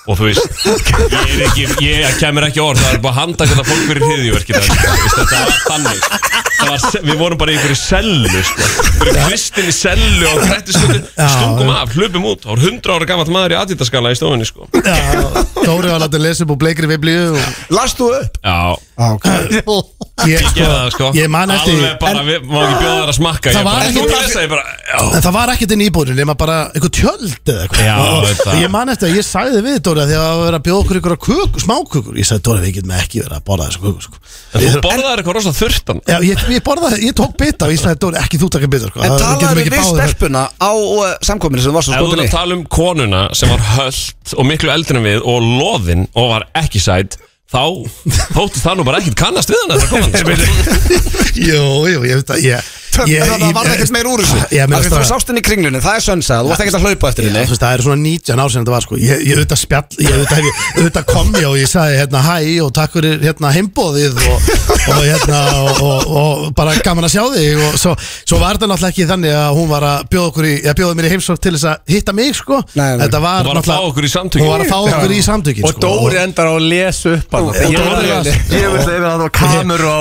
Og þú veist Ég, er ekki, ég kemur ekki á orð Það er bara að handa hvernig fólk fyrir hriðjuverkið Þetta var þannig Það var, se- Við vorum bara í einhverju sellu sko. Fyrir kristinni sellu og grættiskötu Stungum af, hlupum út Það var 100 ára gamall maður í adidaskala í stofunni sko. Já, Dóri var látið að lesa upp úr bleikri viblíu og Last þú upp? Já, Ah, ég, ég sko, gera það sko ég man eftir Alveg bara, við má ekki bjóða þær að smakka Það Ég var bara, ekki- þú lesa, ég bara Já, En það var ekkert inn í íbúðinu nema bara eitthvað tjöld eða eitthvað Já, þetta. Og Ég man eftir að ég sagði við Dóri að því að það var verið að bjóða okkur ykkur kökur, smákökur Ég sagði Dóri við getum ekki verið að borða þessu kökur sko. þú ég, borðaðir eitthvað rosa þurftan já, ég, ég borðaði, ég tók bita og ég sagði Dóri ekki þú taka bita sko. En Það- við getum talaðu ekki við báðir- stelpuna á uh, samkominu sem þú varst Ef svo þú ert skotin í að tala um konuna sem var höllt og miklu eldri en við og loðin og var ekki sætt þá þóttist það nú bara ekkert kannast við hann þetta komandi Jú, jú, ég veit að ég, ég, ég, Það var ekkert meir úr þessu Ég, Af því Þú ég, sást henni í kringlunni, það er sönsað Þú varst ekkert að hlaupa eftir Já, þú henni veist, það er svona 19 ár sem þetta var sko. ég, ég auðvitað spjall, ég auðvitað, hef, ég auðvitað kom ég og ég sagði hérna hæ og takk fyrir hérna heimbóðið og, og hérna og, og, og bara gaman að sjá þig og svo, svo var þetta náttúrulega ekki þannig að hún var að bjóða, okkur í, að bjóða mér í heimsók til þess að hitta mig sko Nei, nei. Þetta var Hún var að fá náttúrulega- okkur í samtökin. Hún var að fá okkur í samtökin sko. Og Dóri endar á að lesa upp hann Og Dóri Ég- las- Ég vil segja það var kamur á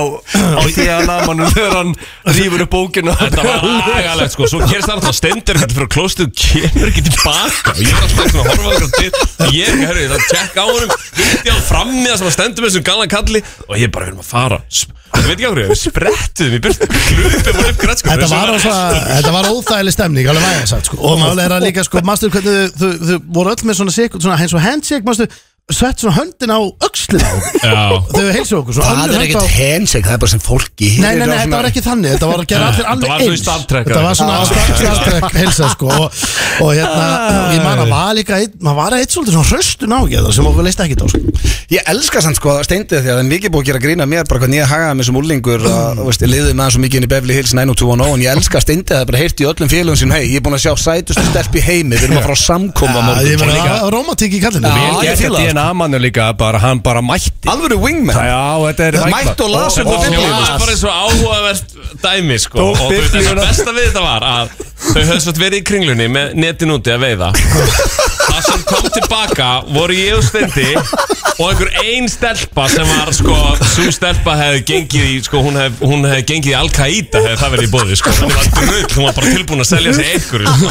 á því að namanum þegar hann rýfur upp bókinu Þetta var lagalegt sko, svo gerist það alltaf stendur ekkert fyrir klóstið og kemur ekki tilbaka og ég er alltaf svona að horfa okkur til ég er ekki, herri, það tjekka á honum hitti á frammiða sem að stendur með þessum galna kalli og ég er bara, við erum að fara Sp- ég veit ekki okkur, við sprettum í byrtu klupum og upp grætskum Þetta var, svona, þetta var óþægileg stemning alveg vægast sagt sko. og málega er að líka sko, master, hvernig, þau, þau, þau voru öll með svona, sikur- svona eins og handshake master, sett svona höndin á öxlin á okkur Já. Þegar við heilsum okkur svona önnur Það er hönd á- ekkert henseg, það er bara sem fólk gerir Nei, nei, nei, og þetta svona- var ekki þannig Þetta var að gera allir Þetta var alveg þau eins Star Trek, Þetta var svona eða? Star- Star Trek hilsa sko og, og hérna, og ég man að var líka einn- maður var eitt svolítið svona hröstun á ekki sem okkur leist ekki á sko. Ég elska samt sko steindið því að það er mikið búið að gera grína mér bara hvernig ég hagaði með sem úlingur Mm. að, þú veist, ég liðið með það svo mikið inn í Beverly Hills 90210 en ég elska steindið að það er bara heyrt í öllum félagum sín hei, ég er búin að sjá sætustu stelp í heimi við erum að fara að samkoma á Já, ég morgun meina, að- rómantík í kallinu Já, Vel ég gert fíla það, að sko. DNA mannu líka bara, Hann bara mætti Alvöru wingman Já, þetta er Mætt og las upp úr Það Biblíunni. og- var bara eins og áhugavert dæmi sko Tók Og þau- það biblíuna. besta við þetta var að Þau höfðu svo verið í kringlunni með netin úti að veiða Það sem kom tilbaka voru ég og Stendi Og einhver ein stelpa sem var sko Sú stelpa hefði gengið í sko Hún hefði hún hef gengið í Al-Qaida hefði það verið í bóði sko Þannig var drull, hún var bara tilbúin að selja sig einhverju sko.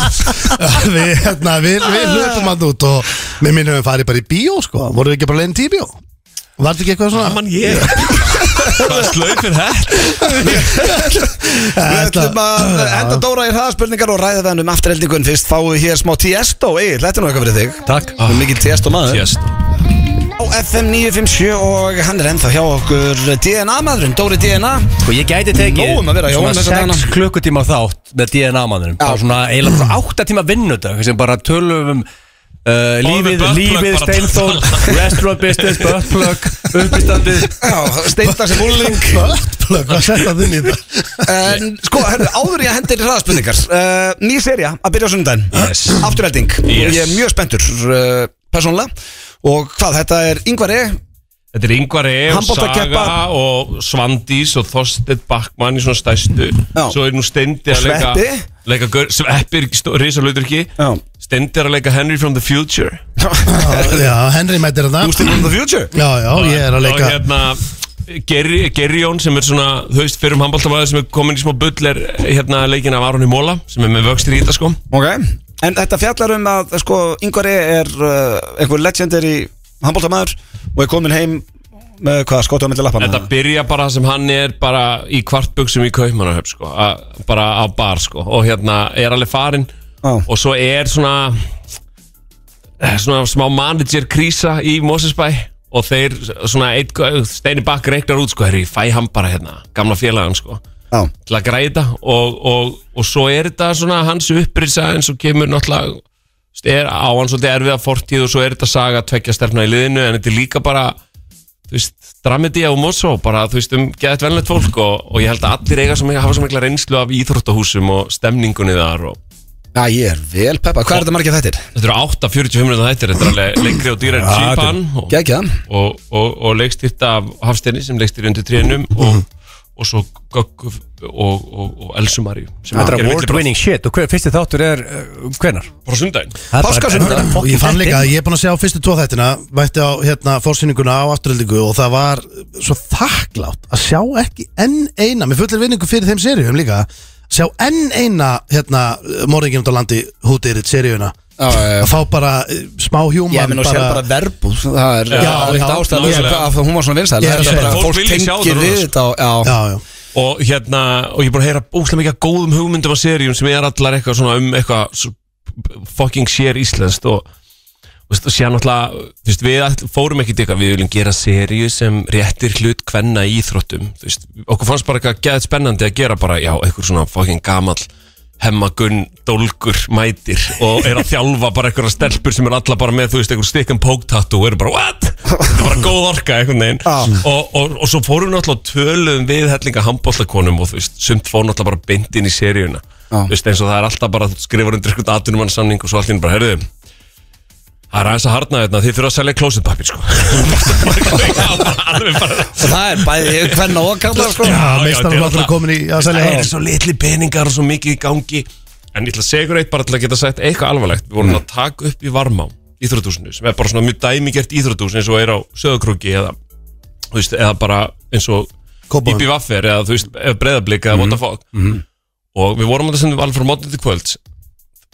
við, hérna, við, við hlöpum hann út og með minn höfum farið bara í bíó sko. voru við ekki bara leiðin til í bíó var þetta ekki eitthvað svona Mann ég Hvað slaupir þetta? Við Þetta- ætlum að enda Dóra í hraðaspurningar og ræða það um afturheldingun fyrst fáum við hér smá Tiesto Egil, þetta er nú eitthvað fyrir þig Takk Þú er Mikið Tiesto maður Yes. Á FM 957 og hann er ennþá hjá okkur DNA maðurinn, Dóri DNA Sko ég gæti tekið Nóg um að vera hjá honum svona þessa 6 dagana. klukkutíma þátt með DNA mannum bara svona eiginlega svona 8 tíma vinnudag sem bara tölum um Uh, lífið, buttplug lífið, bara steinþór restaurant business, buttplug uppistandið Já, steinda sem úling Böttplögg, hvað setja þinn í það? En sko, herru, áður ég hendir hraðaspurningar uh, Ný serja að byrja á sunnudaginn Yes. Afturhelding Yes. Ég er mjög spenntur uh, persónulega Og hvað, þetta er Ingvar E Þetta er Ingvar E og Handboltakeppa. Saga og Svandís og Þorstedt Backmann í svona stæstu Já. Svo er nú Stendi að Og leika Sveppi. leika gaur- Sveppi er ekki stó- risalautur ekki Já. Stendi er að leika Henry from the future Já, Já, Henry mættir Þú þetta stil from the future Já, já, ég er að leika Og hérna Gerri- Gerjón sem er svona þú veist fyrir um handbóltamæður sem er komin í smá bull er hérna leikin af Aron í Móla sem er með vöxtir í þetta sko Ok En þetta fjallar um að sko, Ingvar E er uh, einhver legendary handbóltamaður Og er komin heim með hvað, skotu á milli lappana Þetta byrja bara sem hann er bara í kvartbuksum í kaupmannahöf sko, a, bara á bar sko og hérna er alveg farinn Já. og svo er svona eh, svona smá manager krísa í Mosesbæ og þeir svona eitt, steini bakk reiknar út sko, herri, ég fæ hann bara hérna, gamla félagann sko Já, til að græða og, og, og svo er þetta svona hans upprýsa en svo kemur náttúrulega þú veist, er á hann svolítið erfiða fortíð og svo er þetta saga að tvekja stefna í liðinu en þetta er líka bara þú veist, dramedi á Mosó bara þú veist um geðet venlegt fólk og, og ég held að allir eiga sem hafa svo mikla reynslu af íþróttahúsum og stemningunni þar og Já, ég er vel peppa Hvað er þetta margir þettir? þetta eru 8-45 minúta þættir þetta er alveg lengri og dýrar ja, sípan og, Gækja og, og, og leikstýrt af Hafsteini sem leikstýr undir trénum Mhm. og, og svo Göggu og, og, og Elsu Maríu sem Þetta er gerir award villibráð. winning shit og hver, fyrsti þáttur er uh, hvenar? bara sundaginn Páskasundag Og ég fann líka að ég er búin að sjá fyrstu tvo þættina Vætti á hérna fórsýninguna á afturöldingu Og það var svo þakklátt Að sjá ekki enn eina Mér fullir vinningu fyrir þeim seríum líka Sjá enn eina hérna Morðingin út á landi hútýrit seríuna Já, já, já. Að fá bara eh, smá hjúman Ég minn og sér bara verbúð Það er Já, það er ekkert já, ástæða nákvæmlega. fyrir hvað Hún var svona vinsæl Ég er að Það er segja bara það. að fólk Fólk vilji sjá tengir það við núna, þetta og- Já, Já, já og hérna, og ég er búin að heyra óslega mikið af góðum hugmyndum á seríum sem er allar eitthvað svona um eitthvað svo- fucking sér íslenskt og þú veist, og sér náttúrulega, þú veist, við all, fórum ekkert eitthvað, við viljum gera seríu sem réttir hlut kvenna í íþróttum þú veist, okkur fannst bara eitthvað geðið spennandi að gera bara, já, eitthvað svona fucking gamall hemmagunn, dólgur, mætir og er að þjálfa bara einhverja stelpur sem er alla bara með, þú veist, einhver stikkan póktattu og eru bara, what? Þetta er bara góð orka einhvern veginn og, og, og svo fórum við náttúrulega og töluðum við hellinga handbóllakonum og þú veist, sumt fór náttúrulega bara beint inn í seríuna þú veist, eins og það er alltaf bara, þú skrifar undir eitthvað atvinnumann og svo allt inn bara, herðu Það er aðeins að harna þetta, þið þurfa að selja klósetpapir sko Já, bara alveg bara Og það er bæði hvenna og kallar sko Já, já, meistaraflokkur þetta er komin í að Það selja eru það svo litli peningar og svo mikið í gangi En ég ætla að segja ykkur eitt bara til að geta sagt eitthvað alvarlegt Við vorum að taka upp í varmá Íþrótúsinu sem er bara svona mjög dæmigert íþrótús eins og er á söðukrúki eða, þú veist, eða bara eins og Kópavogur. Mhm. Íbí Vaffer Mhm. eða þú veist eða breyðablika eða Votafog Og við vorum að það sendum alveg frá mótnið til kvölds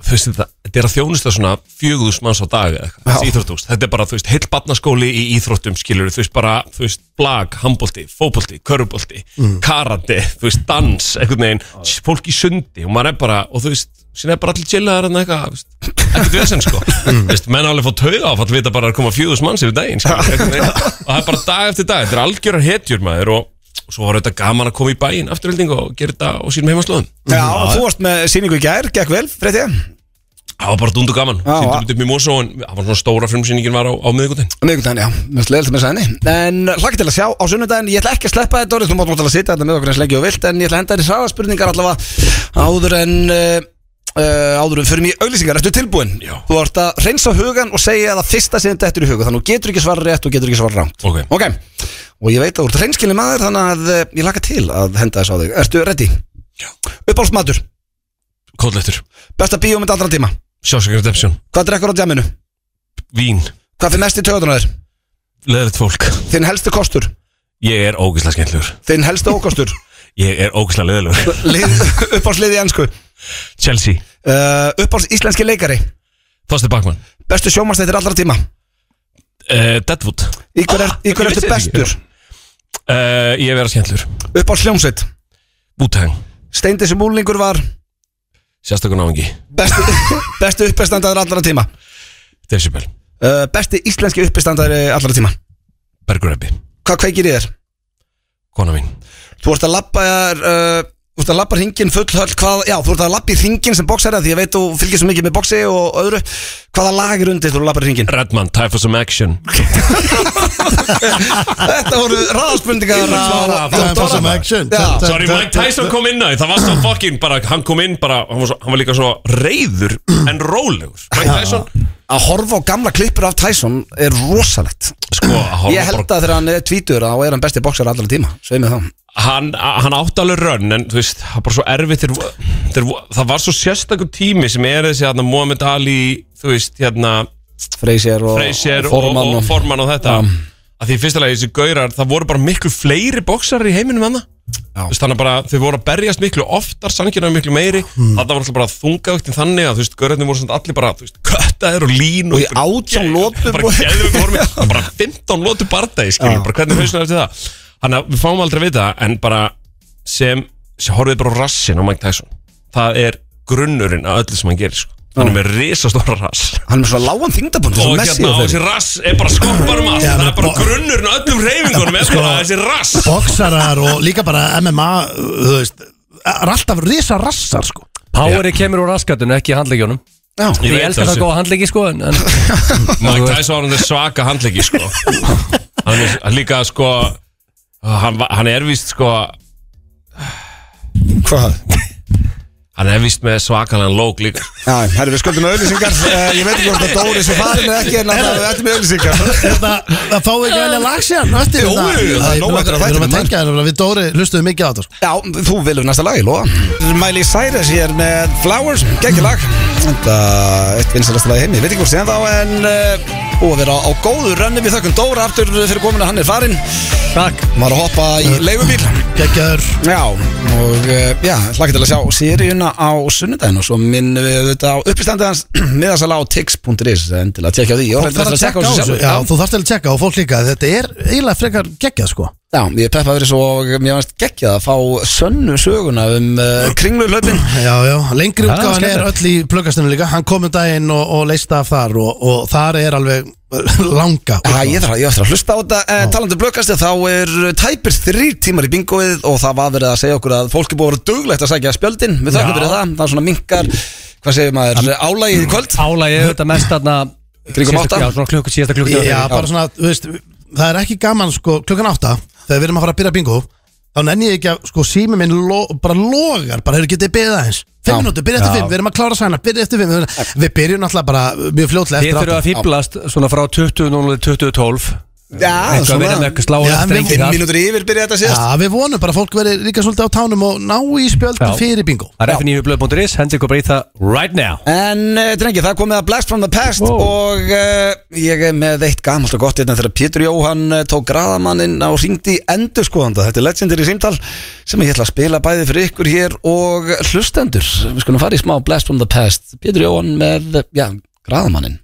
þú veist, þetta, þetta er að þjónusta svona fjögðus manns á dag eða eitthvað, þessi íþróttús, þetta er bara, þú veist, heill barnaskóli í íþróttum skilur, þú veist, bara, þú veist, blag, handbólti, fótbólti, körubólti, Mm. karate, þú veist, dans, einhvern veginn, fólk í sundi og maður er bara, og þú veist, síðan er bara allir chillaðar en eitthvað, þú veist, ekkert vesen sko, Mm. þú veist, menn alveg fótt tauga áfall vita bara að koma fjögðus manns yfir daginn, skilur, einhvern veginn, og það er bara dag eftir dag, þetta er algjörar hetjur maður og, og svo var þetta gaman að koma í bæinn afturhilding og gera þetta á sínum heimaslóðum. Já, þú varst með síningu í gær, gekk vel, freytti Það var bara dundu gaman, Já, síndum já. við upp í Mosó en það var svona stóra frumsýningin var á, á miðvikudaginn Miðgundaginn, já, mér slegðist með sæðinni En hlakka til að sjá á sunnudaginn Ég ætla ekki að sleppa þetta orðið, þú mátt mátt að sitja þetta með okkur eins lengi og vilt En ég ætla að henda þér í hraðaspurningar allavega Áður en uh, uh, Áður en fyrir mig auglýsingar, ertu tilbúin? Já. Þú ert að reynsa hugan og segja það fyrsta sem þetta eftir í huga Þannig að þú getur ekki svara rétt og getur ekki svara rámt Ok. Og ég veit að þú ert reynskilni maður Þannig að uh, ég hlakka til að henda þess á þig Ertu ready? Já. Uppáhaldsmatur, Kóðleitur, besta bíómynd allra tíma Shawshank Redemption, Hvað drekkur á djaminu? Vín, Hvað fyrir mest í töðunar þér? leðilegt fólk Þinn helsti kostur, Ég er ógeðslega skemmtlegur þinn helsti ókostur Ég er ógeðslega leðilegur uppáhalsliði ennsku Chelsea, uh, uppáhalds íslenski leikari Þorstein Bakman bestu sjómanstættir allra tíma uh, Deadwood í hver, er, í Ah, ég hver vissi ertu þetta ekki. bestur uh, Ég er vera skemmtlegur uppáhalds hljómsveit Wu-Tang, steindi sem úlingur var sérstakun áhengi bestu, bestu uppistandar allra tíma Decibel, uh, besti íslenski uppistandar allra tíma Bergurabbi, hvað kveikir í þér? kona mín þú ert að labba uh, Þú ert að labba hringin full höll hvað, Já, þú ert að labba í hringin sem boksari af Því ég veit þú fylgir svo mikið með boksi og öðru Hvaða lag er undir þú labbar hringin? Redman, Time for Some Action Þetta voru ráðspundingar Time for some action Já. Sorry, Mike Tyson kom inn að því, það var svo fokkin bara, hann kom inn bara, hann var, svo, hann var líka svo reyður en rólegur Mike Tyson, Að horfa á gamla klippur af Tyson er rosalegt sko, hann Ég held að þegar hann er tvítur þá er hann besti boksar allra tíma Sveið mig þá hann, hann átti alveg rönn en þú veist, það var bara svo erfitt þeir, þeir, það var svo sérstakur tími sem er þessi hérna Mohamed Ali þú veist, hérna Freysier og, Freysier og, og, Forman og Forman og þetta að því í fyrsta lagi þessi gaurar, það voru bara miklu fleiri bóksar í heiminum hann veist, þannig að bara, þau voru að berjast miklu oftar sannkjörnum miklu meiri, Hmm. mm. það var alltaf bara þungavöktin þannig að þú veist, gaurarnir voru svona allir bara þú veist, köttaðir og lín Og í 18 lotum bara, og- geðveiku formi. Það var bara 15 lótu bardagi skilur, bara hvernig hausnum er til það þannig að við fáum aldrei að vita það, en bara sem, sem horfið bara á rassin á Mike Tyson það er grunnurinn að öllu sem hann gerir sko. hann er með risastóra rass Hann er með svona lágan þingdabund og Svo messi og hérna á þeir þessi rass er bara skopparum Já, allt það er men bara bo- grunnurinn á öllum reyfingunum er bara þessi rass Boksarar og líka bara MMA Þú veist eh, Er alltaf risa rassar sko Poweri kemur úr raskatunum, ekki handleikjónum Já, Ég Ég veit elskar það, það sé- góða handleiki sko en, en, Mike Tyson var hann er svaka handleggi sko hann er hann líka sko hann, va- hann er vist sko hvað? hann er vist með svakalega lók líka Já, herri, við skuldum með auðlýsingar Eh, Ég veit ekki hvort að Dóri sem farin eða ekki En að það er með auðlýsingar Þetta, Hérna, það fáið ekki velja lag síðan hérna. Jú, Jú, jú, það er nóg eftir að Við erum þættinum, að tengja þér nefnilega, Við Dóri hlustuðum mikið á þetta sko. Já, þú velur næsta lag, ég lofa Miley Cyrus hér með Flowers, geggjur lag Þetta er eitt vinsalasta lag í heimi, ég veit ekki hvort sem þá En uh, búið að vera á, á góðu rönni Við þökkum Dóra aftur fyrir komuna, hann er farin Takk Maður að hoppa í leigubíl Geggjaður Já, og eh, já, hlakka til að sjá Sýriuna á sunnudaginn og svo minnum við þetta á uppistandi hans miðasala á tix.is en til að tjekka á því og Fólk þarf að tjekka á þessu Já, þú þarfst að tjekka og fólk líka Þetta er eiginlega frekar geggjað sko Já, ég er peppa verið svo og mér finnst geggjað að fá sönnu söguna um uh, kringlu hlaupin Já, já, lengri Já, útgáðan er skemmtilegt. öll í plöggastinu líka Hann kom um daginn og, og leist af þar og, og þar er alveg langa Já, ég þarf að, ég þarf að hlusta á þetta eh, Talandi blökast þá er tæpir þrýr tímar í bingoið og það var verið að segja okkur að fólk er búið að vera duglegt að sækja spjöldin við þakkum fyrir það, það er svona minkar hvað segir maður, álagið í kvöld Álægi auðvitað mest þarna Kringum síðasta- átta? Já, svona klukku síðasta klukku Já, bara svona, þú veist Það er ekki gaman sko klukkan átta Þegar við erum að fara að byrja bingo Þá nenni ég ekki að sko sími minn lo, bara logar Bara hefur getið beðið aðeins Já. Fimm minútur, byrja eftir fimm, við erum að klára sæna Byrja eftir fimm, við- við byrjum náttúrulega bara mjög fljótlega Þið eftir þurfum að átta fýblast svona frá 20.00 til 20.12 Já, Eitthvað verið með eitthvað slá Já, og en við- drengi Fimm þar. mínútur yfir byrja þetta síðast Já, við vonum bara að fólk veri líka svolítið á tánum og ná í spjöldum Já. fyrir bingo Það er fnifblöð.is, hendi ykkur bara í það right now En uh, drengi, það er komið að Blast from the Past Wow. og uh, ég er með eitt gamalt og gott hérna þegar Pétur Jóhann eh, tók graðamanninn á hringdi endurskoðanda Þetta er legendary símtal sem ég ætla að spila bæði fyrir ykkur hér og hlustendur Við skulum fara í smá Blast from the Past Pétur Jóhann með, eh, já, graðamanninn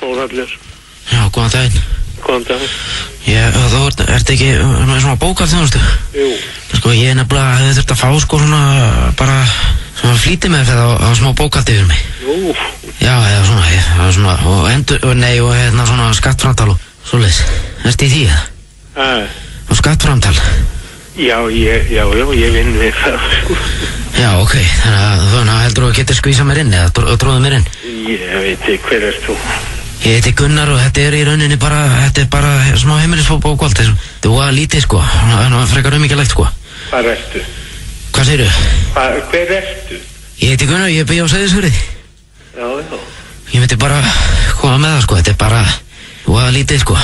Þórhallur, Já, góðan daginn. góðan dag. Ég, þú ert, ert ekki er með svona bókald þjónustu? Jú, Sko, ég er nefnilega hefði þurft að fá sko svona bara svona flýti með það á, á smá bókaldi yfir mig. jú, Já, eða svona, ég, það var svona, og endur, og nei, og hérna svona skattframtal og svoleiðis. Ertu í því eða? að, Og skattframtal? já, ég, já, já, ég vinn við það, sko. Já, ok, þannig að þú veist, heldur þú að getur skvísað mér inn eða dró, dróðið mér inn? Ég veit ekki hver er þú. Ég heiti Gunnar og þetta er í rauninni bara, þetta er bara smá heimilisbókald, þetta er óa lítið sko, en frekar umíkjalegt sko. Hvað ertu? Hvað segir Hvað, hver ertu? Ég heiti Gunnar, ég byrja á Sæðisverið. Já, já, Ég myndi bara koma með það sko, þetta er bara, þú aða lítið sko.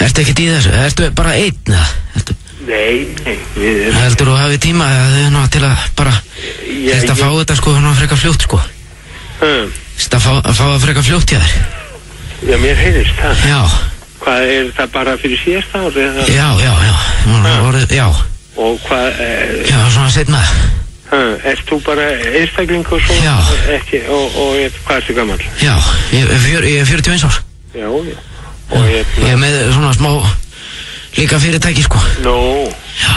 Ertu ekkert í þessu, ertu bara einn eða? Ertu, nei, nei, við erum, heldur þú hafið tíma eða, ná, til að bara, Já, til þess að ég- fá þetta sko, ná, frekar fljótt sko. hm, Til þess að fá, að fá það frekar fljótt hjá þér. já, mér heyrðist það. Já, Hvað, er það bara fyrir síðasta ár eða? já, já, já, núna Hmm. orðið, já, Og hvað, eh, já, svona setna. hm, ert þú bara einstaklingur svo? Já. Ekki, og, og, og hvað ertu gammal? Já, ég, er fjör, ég er 41 árs. Já, já. Og Ég hérna, er með svona smá líka fyrirtæki sko. nú, Já,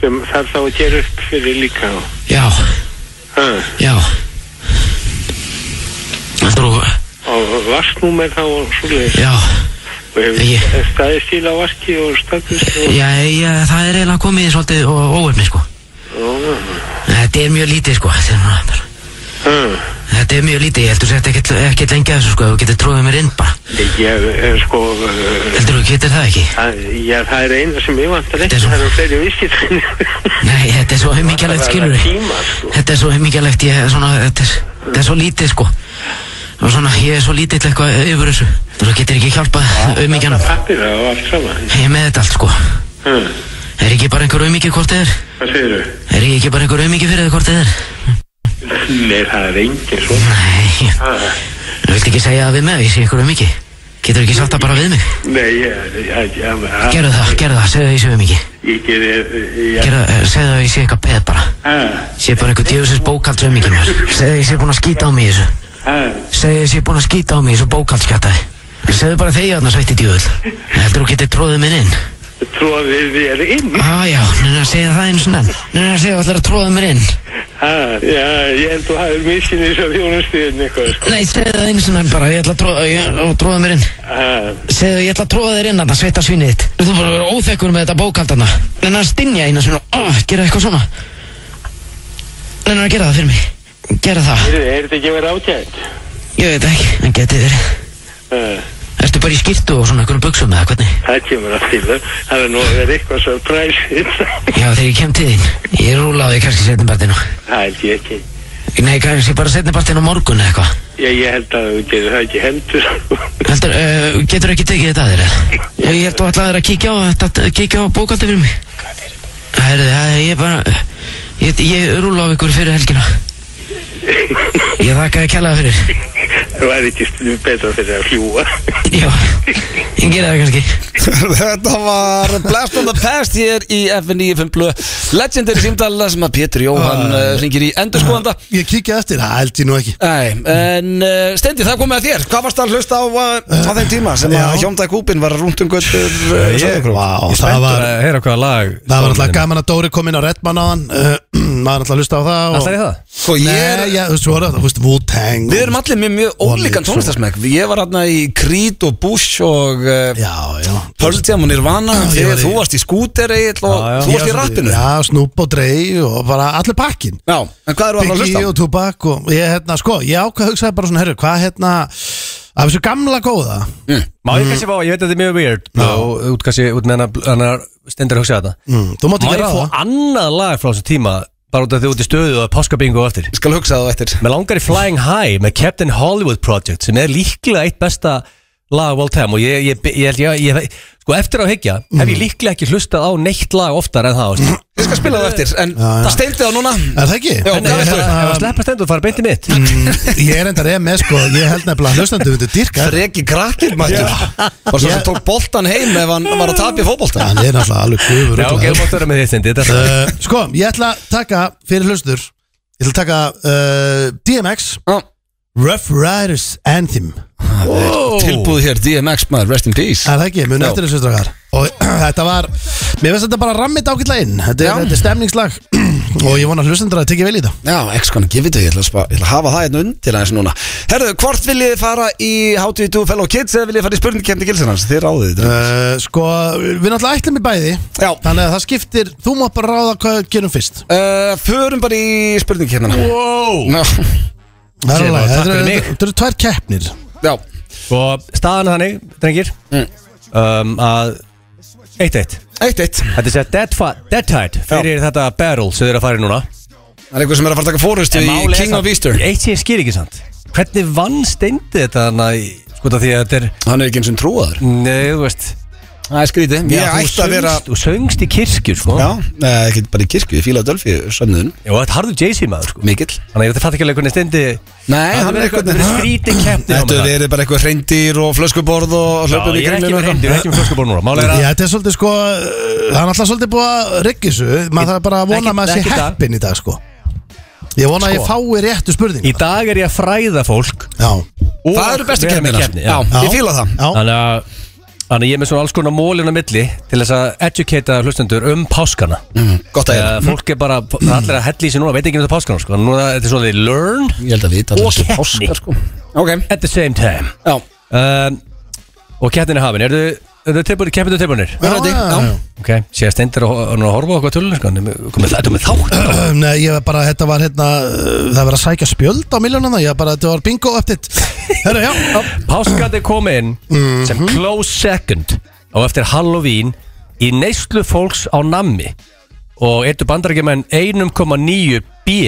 sem þarf þá að gera upp fyrir líka, já, hm, já. Heldur þú, og vasknúmer þá og svoleiðis. já. og Ég- hefur staðið stíl á vaski og staðist og Já, já, það er eiginlega komið í svolítið ó- óefni, sko. Já, Þetta er mjög lítið, sko. Þetta er, svona bara- já. þetta er mjög lítið, ég heldur sett ekkert, ekkert lengi að þessu, sko. ef Þú getur tróðið mér inn bara. ég er sko eh, Heldur þú, getur það ekki? það- já, það er eina sem ég vantar ekki Þetta er svo- það eru fleiri viskit Nei, þetta er svo heimíkjalegt, skilur við. tíma sko Þetta er svo heimíkjalegt, ég, svona, þetta er, þetta er svo lítið, sko. Og svona, ég er svo lítill eitthvað yfir þessu. Þú getur ekki hjálpað auðmíkjanum. pappir og allt saman Ég er með þetta allt, sko. Ha, Er ekki bara einhver auðmíkja hvort þið er? hvað segir Er ég ekki bara einhver auðmíkja fyrir þið hvort þið er? nei það er engin Ah, svo Nei, ég- þú vilt ekki segja það við mig, að ég sé einhver auðmíkja. Getur ekki sagt það bara við mig? nei ég- ég- ég- ég- Gerðu það, gerðu það, segðu það í sögum ekki ég gerði Gerðu það, segðu það í sé eitthvað peð bara Sé bara einhver djöfusins bókald sögum ekki mér Segðu það í sé búin að skýta á mig í þessu Segðu það í sé búin að skýta á mig í þessu bókaldskjattaði Segðu bara þegja þarna sveitti djöfull Heldur þú getur tróðið minn inn? tróðið þér inn Á já, neina að segja það einu svona Neina að segja allir að tróða mér inn Ha, já ég held þú hafið missin eins og þjónustuðin eitthvað sko Nei, segðu það einu svona bara, ég ætla að tróða, ég, ó, tróða mér inn Ha, Segðu ég ætla að tróða þér inn þarna, sveita svínið þitt Þú þarf bara að vera óþekkur með þetta bókald þarna Neina að stinja einu svona, ó, gera eitthvað svona Neina að gera það fyrir mig Gera það, heyrðu, er þetta ekki að vera ágætt ég veit ekki, en getið verið Ha. Ertu bara í skýrtu og svona einhvern buksum eða hvernig? Það kemur að til það. Það er nú að vera eitthvað surprise. Já, þegar ég kem til þín Ég rúla á því kannski setnibartinu það held ég ekki. Nei, kannski bara setnibartinu á morgun eða eitthvað Ég, ég held að þú getur það ekki heldur. Heldur, uh, getur ekki tekið þetta að þér eða? Ég ég held þú ætlaðir að kíkja á, þetta- kíkja á bókaldi fyrir mig Herði, það er ég bara Ég, ég rúla á ykkur fyrir helgina Ég þakka að kjallaða fyrir Það væri ekki stu- betra fyrir að fljúa. Já, ég gera það kannski Þetta var Blast on the Past hér í FN95 Blöð Legendary símtala sem að Pétur Jóhann uh, ringir í endurskoðanda Ég kíkja eftir, það held ég nú ekki Nei, en uh, Stendi, það komið að þér Hvað varst að hlusta á, uh, á þeim tíma sem að Hjóndag Kúpin var rúnt um göttur uh, Sauðárkrók? Vá, Ég það spennt. var, Það er okkar lag það var alltaf gaman að Dóri kom inn á Redman á hann uh, Maður alltaf að hlusta á það Alltaf er það Sko, ég er, Nei, já, þú veist, svo er það, þú veist, Wu-Tang Við erum allir með mjög ólíkan tónlistarsmekk Ég var hérna í Creed og Bush og uh, Já, já Pearl Jam og Nirvana Já, ég var Þegar í- þú varst í Scooter Egil og Já, já. þú varst í rappinu Já, Já, Snoop og Drey og bara allir pakkin en hvað eru að Biggie hlusta á? og Tupac og ég, hérna, sko, ég ákvað að hugsaði bara svona, herru, hvað, hérna af þessu gamla góða Má ég kannski fá, ég veit að þetta er mjög weird Og út kannski, út með hennar- hennar stendur að hugsa þetta mm, þú mátt Má ekki ég ráða fá annað lag frá þessum tíma Bara út af því út í stöðu og páskabingu og eftir Ég skal hugsa það á eftir Mér langar í Flying High með Captain Hollywood Project sem er líklega eitt besta lag Wild Time og ég, ég, ég, ég, ég, ég sko eftir á higgja hef ég líklega ekki hlustað á neitt lag oftar en það veist. Ég skal spila það eftir En steindi það núna Er það ekki? Já, en hvað ef viltu? ef að sleppa stendur og fara beint í mitt Mm, Ég er enda reyð með sko Ég held nefnilega að hlustandi vindu dyrka Regi krakkir mættur Var svo sem tók boltan heim ef hann var að tapja fótbolta Hann er náttúrulega alveg gufur já ok, þú mátt vera með því stendi þetta er uh, Sko, ég ætla að taka fyrir hlustur Ég ætla að taka uh, DMX Já. Rough Riders Anthem Tilbúð hér DMX maður, rest in peace Er það ekki, muni Já. eftir þessu strákar Og þetta var, mér finnst þetta bara rammið ákveðlega inn Þetta er, þetta er stemningslag Og ég vona hlustendur að tekja vel í það Já, X gonna give it to you, ég ætla að spa- ég ætla að hafa það hérna undir aðeins núna Herðu, hvort viljið þið fara í How do you do fellow kids eða viljið þið fara í spurningkemni gilsinans? Þið ráðið þetta uh, Sko, við náttúrulega ætlum í bæði Já. Þannig að það skiptir, þú mátt bara ráða hvað við gerum fyrst uh, Förum bara í spurningkemnina Wow Það er Sér alveg, bara, takk Þetta fyrir eru- mig. þetta eru tvær keppnir Já, og staðan er þannig, drengir um, að 1-1 eitt eitt Þetta er sér dead, fa- dead tide fyrir þetta barrel sem þið eru að fara í núna Það er einhver sem er að fara að taka fórustu í Málið er King samt- of Easter Eitt sem ég skil ekki sant Hvernig vann steindi þetta þannig að Sko það því að þetta er Hann er ekki eins og trúaður Nei, þú veist Það er skrítið Ég þú ætti að vera söngst- Þú söngst í kirkju, sko Já, eh, ekki bara í kirkju, ég fílaði Dölfi Sönnun, Jó, þetta er harður Jay-Z maður, sko mikill Þannig að þetta fatt ekki alveg hvernig steindi Nei, hann er eitthvað eitthvað Þetta er skrítið keppni á Þetta með það. verið bara eitthvað hreindir og flöskuborð og hlöpum Já, í ég er ekki kringlinu með hindi, ég er ekki með flöskubor núna Málega er að Já, þetta er svolítið sko uh, Það er alltaf svolítið búið að riggi þessu Maður þarf bara að vona Ekki- að maður ekki sé í dag. Sko, heppin í dag sko Ég vona að ég fái réttu spurning Í dag er ég að fræða fólk Já, og Það eru bestu vera með keppnina keppni, Já, já. ég fíla það já, Þannig að Þannig að ég er með svona alls konar mólin á milli til þess að educata hlustendur um páskana Gott að ég Eh, Þegar fólk er bara, það er allir að hella í sig núna, veit ekki um þetta páskana sko. Núna þetta er svona learn Ég held að vita og keppni sko. Ok, at the same time já um, Og keppnin er hafin, eru þau tilbúinir, keppinu tilbúinir? já, já, Ah. já. Ok, sé að stendur að ho- að horfa okkur tölun sko. Nei, komið þetta með þá Um, Nei, ég var bara, þetta var hérna uh, Það var að sækja spjöld á miljónana Ég var bara, þetta var bingo update Herra, já, já, Mhm. Páskandi kom inn sem close second og eftir Halloween í neyslu fólks á nammi og eittu bandarækjumenn 1,9 b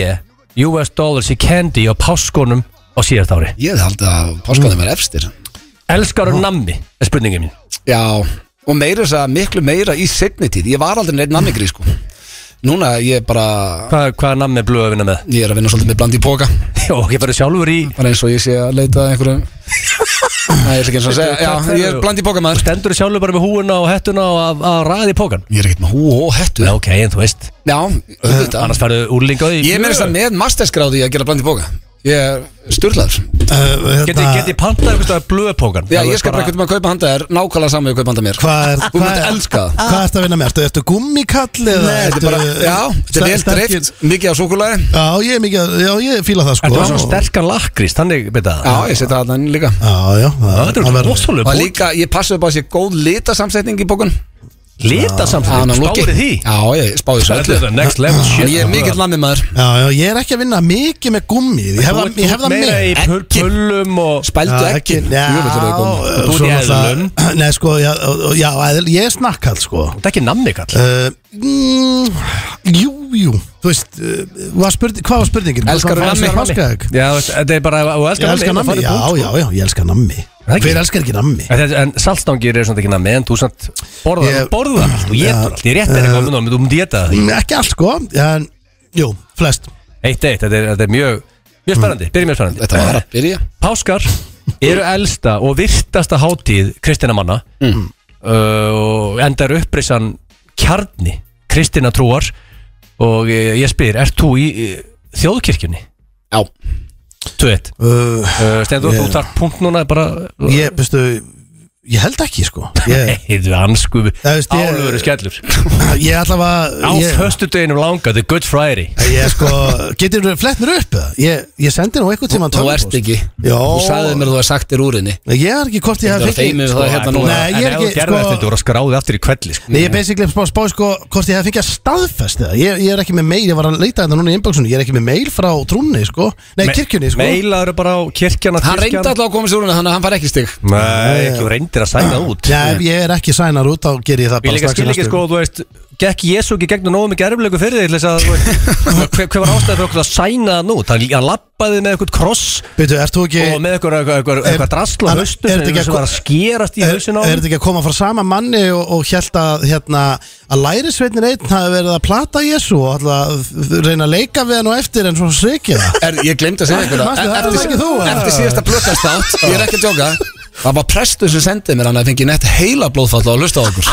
US dollars í candy á páskonum á síðast ári. Ég held að páskaðum er efstir Elskar hún nammi, er spurningin mín. Já, og meira þess að miklu meira í setni tíð Ég var aldrei neitt namningri, sko Núna ég bara Hva, hvaða nammi er blöð að vinna með? Ég er að vinna svolítið með blandi í póka Jó, ég verður sjálfur í Bara eins og ég sé að leita að einhverjum Nei, ég ætla ekki eins og að segja Já, ég er blandi í póka og maður stendur sjálfur bara með húuna og hettuna og að, að ræði í pókan. Ég er ekkert með hú og hettu Já, ok, en þú veist, Já, auðvitað annars færðu úrlingaði í Ég meðist að með masterskráði að gera blandi bóka Ég er sturlaður uh, Geti, hérna, geti pantað eitthvað blöðpókan Já, ég skal bara eitthvað um að kaupa handa þér Nákvæmlega saman við að kaupa handa mér Hvað er, Þú hvað myndi er, elska það. hvað ertu að vinna með? Ertu, ertu gummikall eða Nei, þetta er ertu, bara Já, þetta er sterk- vel sterkir- dreift Mikið af súkulagi Já, ég er mikið, að- já, ég fíla það sko Ertu með svona sterkan lakrís, þannig beita það Já, ég setja það þannig líka Já, já, það, Þetta það er verður- rosalega Og bók líka, ég passa upp á að sé góð litasamsetning í bókun Lita samt spárið því Já, ég spáði svo Þetta öllu er next level shit sko. En ég er mikill lammi maður Já, já, ég er ekki að vinna mikið með gummið Ég hef, Þú það- ert- ég hef þú ert það meira með í pull- pullum og Spældu Já, ekki ekki- Já, uh, Þú Þú ert í svona eðlum. það Nei, sko, já, já eðl- ég er snakkall, sko Þetta er ekki nammi kall uh, mm, Jú, jú Þú veist, uh, var spurning, hvað var spurningin? Elskarðu Hvað nammi? fannst þér páskaegg? Já, þú veist, þetta er bara Þú Ég elskar elskar nammi, nammi já, já, já, ég elskar nammi Það ekki? Hver elskar ekki nammi? En þetta- En saltstangir eru svona ekki nammi En þú samt borðar Ég- Eh, Borðar allt og Já. getur allt Ég rétt er eitthvað með námi Þú mútti geta það Mm, Ekki allt, sko, en, jú, flest Mm. Eitt eitt Þetta er- þetta er mjög Mjög spennandi Byrjum mjög spennandi Þetta var að byrja Páskar eru elsta og virtasta hátíð kristina manna Mm. Mm. uh, og endar upprisan kjarni kristina trúar og ég, ég spyr, ert þú í uh, þjóðkirkjunni? Já, Þú veit, uh, uh, Stendur, þú Ég- þarf punkt núna bara Ég, veistu, ég held ekki, sko Ég, Heiðu ansku, Það veist, ég- álöfuru skellur ég ætla að Á ég- föstudeginum langa, the good friday Ég sko, getur þú flett mér upp eða? Ég, ég sendi nú eitthvað tíma þú ert ekki Jó, Þú sagði mér að þú hefði sagt þér úr henni ég er ekki hvort ég Þú hef ert fengið feimið Sko, við það hérna núna Nei, En ég er ef þú ekki, gerði þetta, þú sko voru að skráði aftur í kvelli sko. Nei, ég er basically spá, spá sko, hvort ég hef fengið að staðfest það ég, ég er ekki með mail, ég var að leita þetta núna í inboxunum Ég er ekki með mail frá trúnni, sko Nei, kirkjunni, sko Meilaður bara á kirkjana Hann reyndi alltaf að komast úr henni Þannig að hann fær ekki stig Nei, ekki þú reyndir að sæna út Já, ef ég er ekki sænar út, þá ger ég það Ég bara líka strax í skil ekki næstu sko, þú veist gekk Jésu ekki gegnum nógu mikið erflegu fyrir þig til þess að, þú veist, hver, hver var ástæðið fyrir okkur að sæna það nú? Það hann lappaði með eitthvað kross Býtu, ert þú ekki og með eitthvað, eitthvað, eitthvað, Er- eitthvað drasla er- haustu er þetta ekki sem að var að skerast í Er, er hausin á honum? þetta ekki að koma frá sama manni og, og held að, hérna, að lærisveitnin einn hafi verið að plata Jésu og ætla að reyna að leika við hann og eftir en svo sveikið það er, Ég glemdi að segja ykkur Manstu, það var Eftir, ekki þú, eftir, eða? síðasta blöðkastátt Ég er ekki að djóka Það var prestur sem sendið mér hann að fengi nett heila blóðfall og hlusta á okkur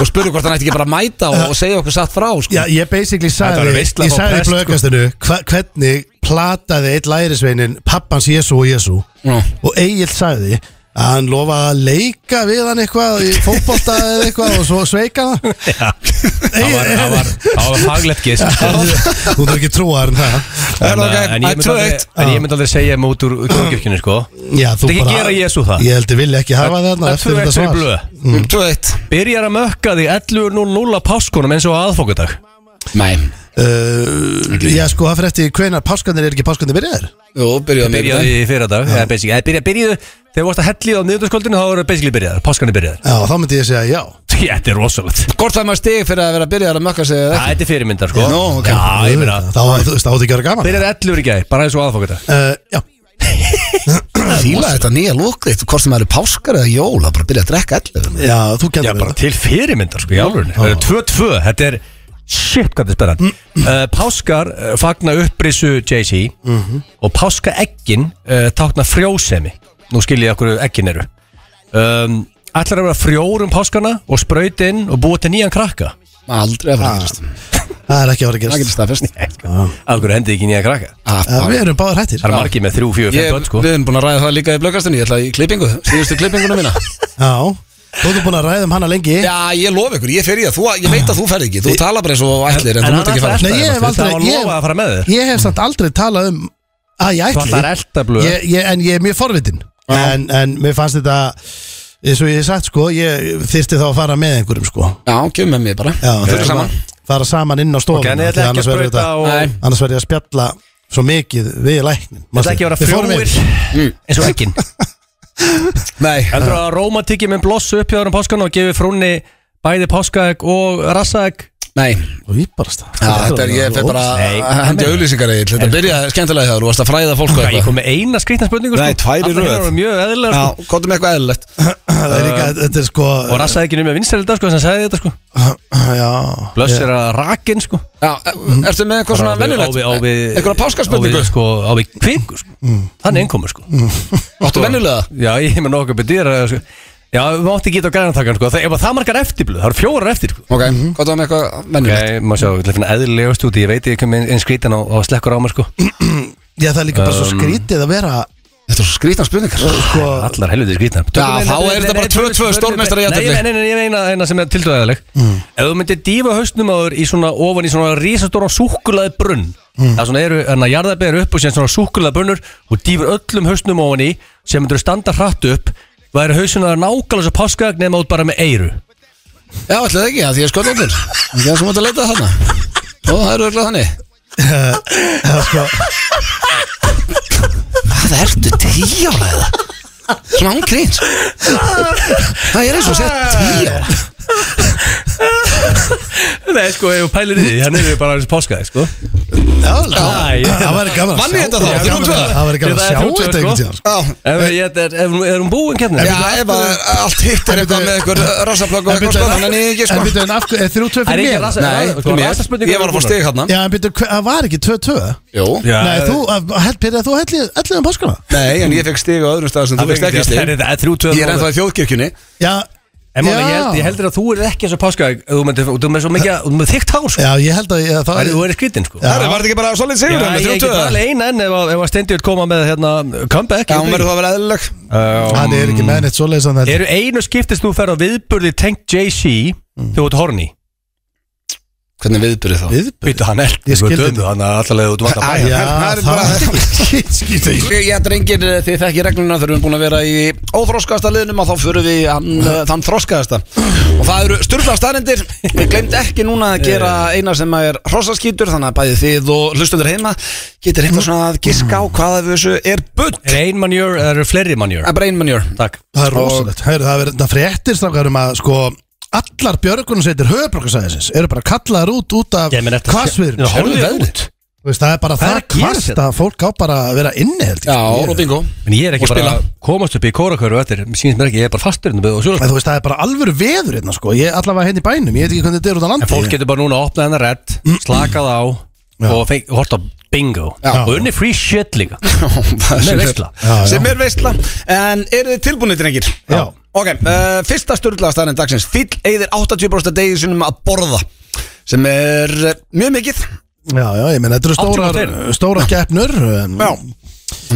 og spurði hvort hann ætti ekki bara að mæta og, og segja okkur satt frá sko. Já, ég basically var sagði, veisla ég frá sagði í prest, sko. blöðkastinu hva, hvernig plataði einn lærisveinin pappans Jésu og Jésu Já. og Egil sagði að hann lofaði að leika við hann eitthvað í fótbolta eða eitthvað og svo sveika hann Það var- það var- það var faglegt gist Þú þarf ekki að trúa þér en eh, það En, uh, en ég myndi aldrei- en ég myndi aldrei segja mig út úr kongirkjunni sko Já, þú Þetta ekki gera Jesú það. Ég held ég vilja ekki hafa það þarna Það eftir tvö þetta ekstra í svar Mm. blöð Tvö eitt Byrjar að mökka því 11.00 á páskunum eins og á aðfókudag Nei uh, Já, sko, það fyrir eftir hvenar páskandir er ekki páskandir byrjaðir Jú, byrjuðu að Byrjaði í fyrra dag Eða basically- eða byrja- Byrjuðu Þegar þú varst að hellið á miðvikudagsköldinu Þá eru basically byrjaðar Páskanir byrjaðar Já, þá myndi ég segja já Þetta er rosalegt Hvort það maður stig fyrir að vera að byrja að mökka sig eða Það þetta er fyrirmyndar sko Nú, ok. Já, ég meina Þá, þú veist, þá átti ekki að vera gaman Byrjar 11 í gæð Bara eins og aðfókudag uh, Já, ekki Fýla þetta nýja lókriðt Hvort sem maður er páskar eða jól Það bara byrja að drekka allir já, þú Já, kendur bara til fyrirmyndar sko í álurinu Það eru 2-2, þetta er Shit, hvað þetta er spennand Mm. uh, Páskar uh, fagna upprisu Jay-Z Mhm. Og páska ekkin uh, tákna frjósemi Nú skil ég okkur ekkin eru um, Ætlar að vera frjór um páskana Og spraut inn og búa til nýjan krakka Aldrei að Ah, Það fara gerist. er ekki að vera Það að getur gerast staðfest sko. Af hverju hendi ekki nýjan krakka Uh, við erum báðar hættir Það er margir með 3, 4, 5 Ég, börn sko Við erum búin að ræða það líka í blöggastinu Ég ætla í klippingu Síðustu klippinguna mína Já, þú ert búin að ræða um hana lengi Já, ég lof ykkur, ég fer í það þú, Ég veit að þú ferð ekki, þú talar bara eins og ætlir En, þú En hann mátt ekki fara ætlar eftir- Nei, ég hef Það var aldrei lofað ég- að fara með þig. Ég hef samt aldrei talað um að ég Þú ætli ætlar að elta blöð. Ég- ég- En ég er mjög forvitin en, en mér fannst þetta eins og ég hef sagt sko Ég þyrsti þá að fara með einhverjum sko Já, kemur með mig bara Já, Förum saman. fara saman inn á stofuna Ok, en því ég ætla ekki að annars verður sprauta þetta- og Nei. Ég annars verður ég að spjalla svo mikið við læknin ætla ekki að vera Við fórum frjóir yfir. Eins og ekkin Nei, Heldur að rómantíki með blossu upp hjá þarum páskana og gefi frúnni bæði páskaegg og rassaegg nei, og ég bara stað já, þetta er ég fer bara Nei, að hendi nei. auðlýsingar eitt Þetta byrjaði skemmtilega þegar, þú varst að fræða fólk og Hvað, ég eitthvað kom með eina skrýtna spurningu Nei, tvær í Allar röð. hinar voru mjög eðlilega Já, sko. komdu með eitthvað eðlilegt það er líka, þetta er sko Og rassaði ekki með vinsæli dag sko, sem sagði þetta sko já Blöss er að rakin sko Já, e- ertu með eitthvað svona venjulegt Eitthvað páskaspurningu, Mm. Ávið sko, ávi kvingu sko Þannig einkomur sko áttu venjulega Já, ég með nokkuð betur sko. Já, við mátti geta á grænantakan sko Það, ef að það margar eftirblöð, það eru fjórar eftir sko. Ok, komdu með eitthvað venjulegt Ok, maður sjá, ég ætla að finna eðlilegast út í- Ég veit ég kom einn skrítan og, og slekkur á mér sko já það er líka bara svo Um, skrítið að vera Þetta er svo skrítan spurningar sko Allar helviti skrýtnar Já, þá er þetta bara 2-2 stórmeistari í Mm. jættefli jafntefli. Nei, nei, nei, nei, ég meina eina sem er tildræðileg Ef þú myndir dífa hausnum á þér í svona ofan í svona risastóran súkkulaði brunn Mm. Það svona eru, þannig að jarðabæð eru upp og sér svona súkkulaði brunnur og dýfur öllum hausnum ofan í sem myndir standa hratt upp væri hausnum að nákvæmlega svo páskaðag nema út bara með eiru Já, ætlaði ekki, já, því ég skoði okkur Það er sem áttu að leita þarna Ó, það eru örugglega þannig það er sko Hvað ertu tíu ára eða? Svona ángríns Það er eins og sett Ah! tíu ára Nei, sko, ef þú pælir í því, hann er bara þessi páskaðag, sko Æ, ég- það væri gaman Vann ég þetta þá? það væri gaman að- það væri gaman að Þetta er sjá þrjú tvö, þetta sko. einhvern tíðan Já, Ef ég- þetta er- ef hún- er hún búin kemni? já ef að allt hitt er eitthvað með eitthvað rassaplögg og En eitthvað byrju, sko Þannig að ég ekki en sko byrju, en af hverju- er þrjú tvö Það er fyrir ekki mér? rasa- Nei, það þú var mér, rasaspurningu ég var að fá stig hérna Já, en byrju, hve- það var ekki 2-2 Jú Já, Nei, þú, Pétur, þú hellið 11 um páskana Nei, en ég fekk stig á öðrum stað sem þú veist ekki Það stig er þetta þrjú, tvö Ég er ennþá í þjóðkirkjunni Já, En máli, ég, held, Já. ég heldur að þú er ekki eins og páska Þú myndir, þú með svo mikið, þú með þykkt hár sko. já, ég held að ég, Það það er þú er skritinn sko Það var þetta ekki bara solid sigur Já, með ég get 32 eða? alveg eina enn ef, að- ef að Steindi vil koma með hérna, comeback Já, hún verður það að vera eðlileg Hann er ekki með neitt svoleiðis hann heldur. Eru einu skiptist þú ferð á viðburði tengt Jay-Z þegar þú ert horny Hvernig viðbyrði þá? Viðbjörn Býtu hann er Ég skildi þetta þetta. Þannig að alltaf leður þú vant að Æ, bæja Já, það er bara- bara Já, drengir, eh, þið þekki regluna þegar við erum búin að vera í óþroskaðasta liðnum og þá förum við hann, uh, þann þroskaðasta og það eru styrla staðrendir við glemt ekki núna að gera eina sem er hrossaskítur, þannig að bæði þið og hlustundur heima getur eitthvað svona að giska á hvað af þessu er bull Er ein manjör, er fleiri manjör að brain manure Takk Það er rosalegt Hörru, Það er verið þetta fréttir strákar um að sko allar björgunarsveitir höfuborgarsæðisins eru bara kallaðar út út af Ég meina, ertu að sjá- hvassviðrum Já, horfðu Sérðu veðrið. veðrið? Þú veist, það er bara Hvað það er að gerast kvast hérna? að fólk á bara að vera inni held ég. Já, og bingo En ég er ekki Og bara spila. að komast upp í kórakörðu eftir Mér sýnist mér ekki, ég er bara fastur hérna og En sjóla þú veist, það er bara alvöru veður hérna sko Ég er allavega henni í bænum, ég veit ekki hvernig þetta er út á landi En fólk getur bara núna að opna hennar redd Slakað á og feng- og hort á bingo Og unni free shit líka Með veistla sem er veistla En eru þið tilbúinir, drengir? Já. Ok, uh, fyrsta störðlega staðarinn dagsins Fýll eigðir 80% af degi sinum að borða sem er uh, mjög mikið Já, já, ég meina, þetta eru stórar, 80%. stórar keppnur en Já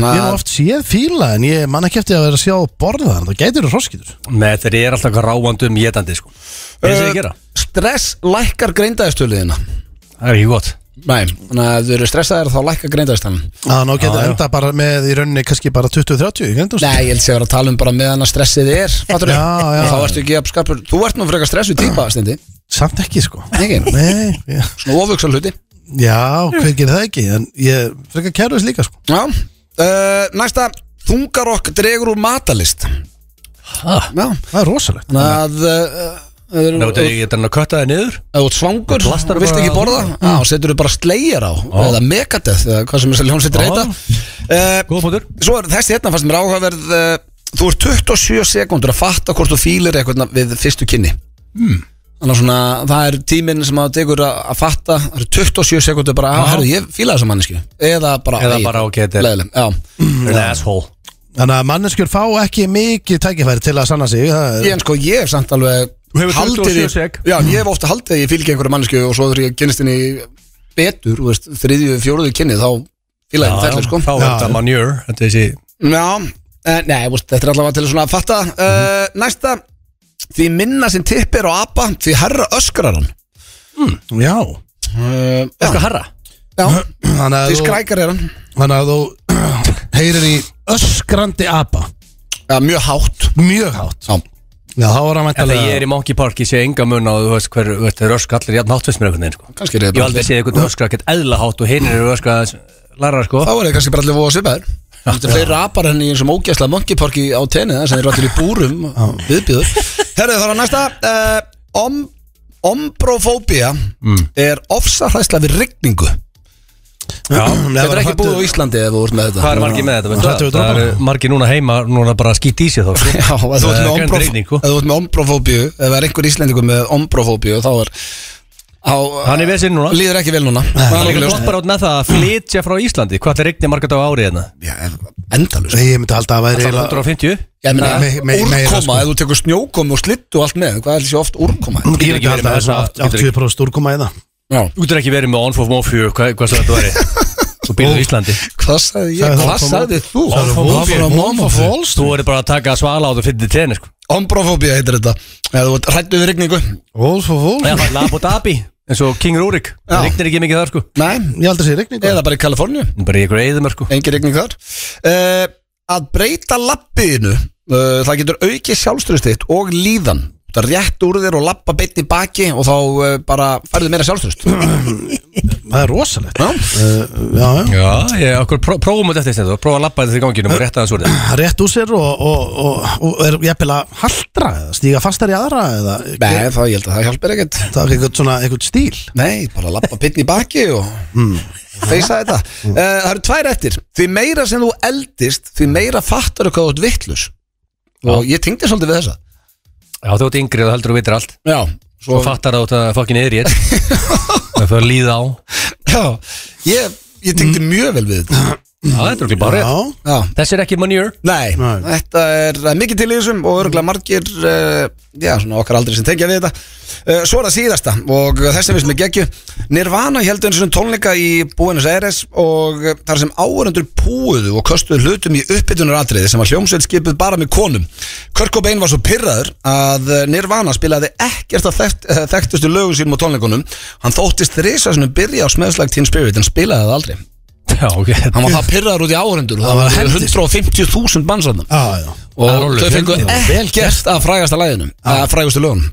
Ég hef oft séð fíla en ég man ekki eftir að vera að sjá borða þannig Það gætir eru hroskitur Með þetta er alltaf eitthvað ráandi um jetandi sko Veist það gera? Uh, Stress lækkar greindaðistöluðina Það er ekki gott Nei, þannig að ef þau eru stressaðir þá lækkar greindaðistöluðin Það ná getur enda bara með í rauninni kannski bara 20-30 í grindast. Nei, ég held sér að vera að tala um bara meðan að stressið er Fattur Já, já. Þá ertu ekki að skarpur Þú ert nú frekar stressu típa, Stendi Samt ekki sko Ekki, Nei, já, svona ofugsa hluti já hver gerir það ekki En ég frekar kæru þess líka sko Já, uh, næsta Þungarokk dregur úr matalist Það Já, Það er rosalegt þannig að uh, uh, ef er þú- ekki þetta að kötta það niður Ef þú ert svangur Þú plastar og vilt bara- ekki borða Já, setur þú bara slegjar á Eða megadeth, eða hvað sem þess að ljón setur Já. heita uh, Góða fótur Svo er þessi hérna fannst mér áhugaverð uh, Þú ert 27 sekundur að fatta hvort þú fílir eitthvað við fyrstu kynni mm. Þannig að svona, það er tíminn sem að tekur að, að fatta Það eru 27 sekundur bara, að, herru, ég fíla þessa mannesku sko. Eða bara, Eða "Æ, bara, sko. ok, þetta er- leiðileg." Já, An asshole Þannig að manneskjur fá ekki mikið tækifæri til að sanna sig Það er ég en sko, ég hef samt alveg Þú hefur haldið 27 í- sek. Já, ég hef ofta haldið að ég fíl ekki einhverja mannesku og svo þegar ég kynist henni betur, þú veist, þriðju, fjóruðu kynni þá fíla ég henni fellur, sko Þá er þetta manjur Þetta er þessi Já, eh, nei, þú veist, þetta er allavega til svona að fatta uh, Næsta Því minna sem tipp er á apa Því herra öskrar hann Já uh, Mm. Já, Hvað harra? já Þannig að því þú, skrækar er hann þannig að þú heyrir í öskrandi apa Já, mjög hátt Mjög hátt Já, Já, þá er hann Þegar ég væntanlega er í Monkey Park, ég sé enga mun á þú veist hver, þú veist, þeir öskra allir jafn hátt finnst mér einhvern veginn sko. kannski er Ég þetta hef aldrei séð einhvern öskra ekkert eðla hátt og hinn eru öskra læra sko Þá er þetta kannski bara allir voða svipaður Þetta er fleiri apar henni eins og ógæsla monkeyporki á tennið sem eru allir í búrum viðbjöður Herðu þá er næsta uh, om, Ombrofóbía er ofsahræsla við rigningu Þetta er ekki búið á Íslandi ef þú ert með þetta Hvað er margir með þetta? Hrættu veistu við Það Það eru margir núna heima, núna bara skýt í sig þá sko. Já, ef þú ert með Það er grennd ombrofó- rigning, ef sko. þú ert með ombrofóbíu ef það er einhver íslendingur með ombrofóbíu þá er á, Hann er vesinn núna líður ekki vel núna Það er Það er alveg ekki ljóst. gott bara út með það að flytja frá Íslandi Hvað það regnir margir dag á ári hérna? Já, endalust Nei, Ég myndi halda að væri eiginlega- 150? Ég meina, Nei, me- me- meira, úrkoma, sko. ef þú tekur snjókomi og slittu og allt með hvað er þessi oft úrkoma Ég myndi getur ekki verið halda að með þessa- það getur er ekki- 80% úrkoma í það Já, Þú getur ekki verið með on for mofju, hvað, hvað sem þetta væri Þú býrðu í Íslandi hvað Sagði sagði ég? það Hvað kom- sagði þú? Sagði Wolf- Wolf of Wall Þú verður bara að taka svala á þú fyrir tréni sko Ombrofóbía heitir þetta ef þú ert hræddur við rigningu Wolf of Wall Já, það er Labo Dhabi, eins og King Rúrik Já. Það regnir ekki mikið þar sko Nei, Ég held að sé rigning eða bara í Kaliforníu Bara í ykkur eðumörku engin rigning þar uh, Að breyta lappiðinu uh, Það getur aukið sjálfströðstitt og líðan Það rétt úr þér og lappa beitt í baki og þá uh, bara færðu meira sjálfströðst Það er rosalegt Já. Uh, Já, já Já, ég, okkur pró prófum þetta eftir þetta Prófa að lappa þetta í ganginum og rétta þessu úr þetta Hann rétt úr sér og, og, og, og er jafnvel að haltra eða stíga fastar í aðra eða Nei, þá ég held að það hjálpir ekkert það er eitthvað svona eitthvað stíl Nei, bara lappa beitt í baki og feysa þetta uh, Það eru tvær eftir Því meira sem þú eldist, því meira fattar hvað þú ert vittlus Og ég tengdi svolítið við þessa Já, þú ert yngri og heldur og vitir allt Já, Svo fattar þú þetta fokkin yfir ég Það fyrir að líða á já, ég, ég tengdi mjög vel við þetta Já, þetta er okkur bara rétt Já, Já Þessi er ekki manjur Nei, Nei. þetta er það er mikið til í þessum og örgulega margir uh, já, svona okkar aldrei sem tengja við þetta uh, Svo er það síðasta og þessum við sem er geggju Nirvana heldur eins og tónleika í Buenos Aires og eh, þar sem áhörundur púuðu og köstuðu hlutum í uppbytunaratriði sem var hljómsveit skipuð bara með konum Kurt Cobain var svo pyrraður að eh, Nirvana spilaði ekkert að þekkt, eh, þekktustu lögum sínum á tónleikunum Hann þóttist risa sinni byrja á smeðslag Teen Spirit en spilaði það aldrei Já, ok Hann var það pyrraður út í áhörundur og það var 150.000 mannsarnar já, já og þau fengu ekkert að frægasta læginu að frægastu lögun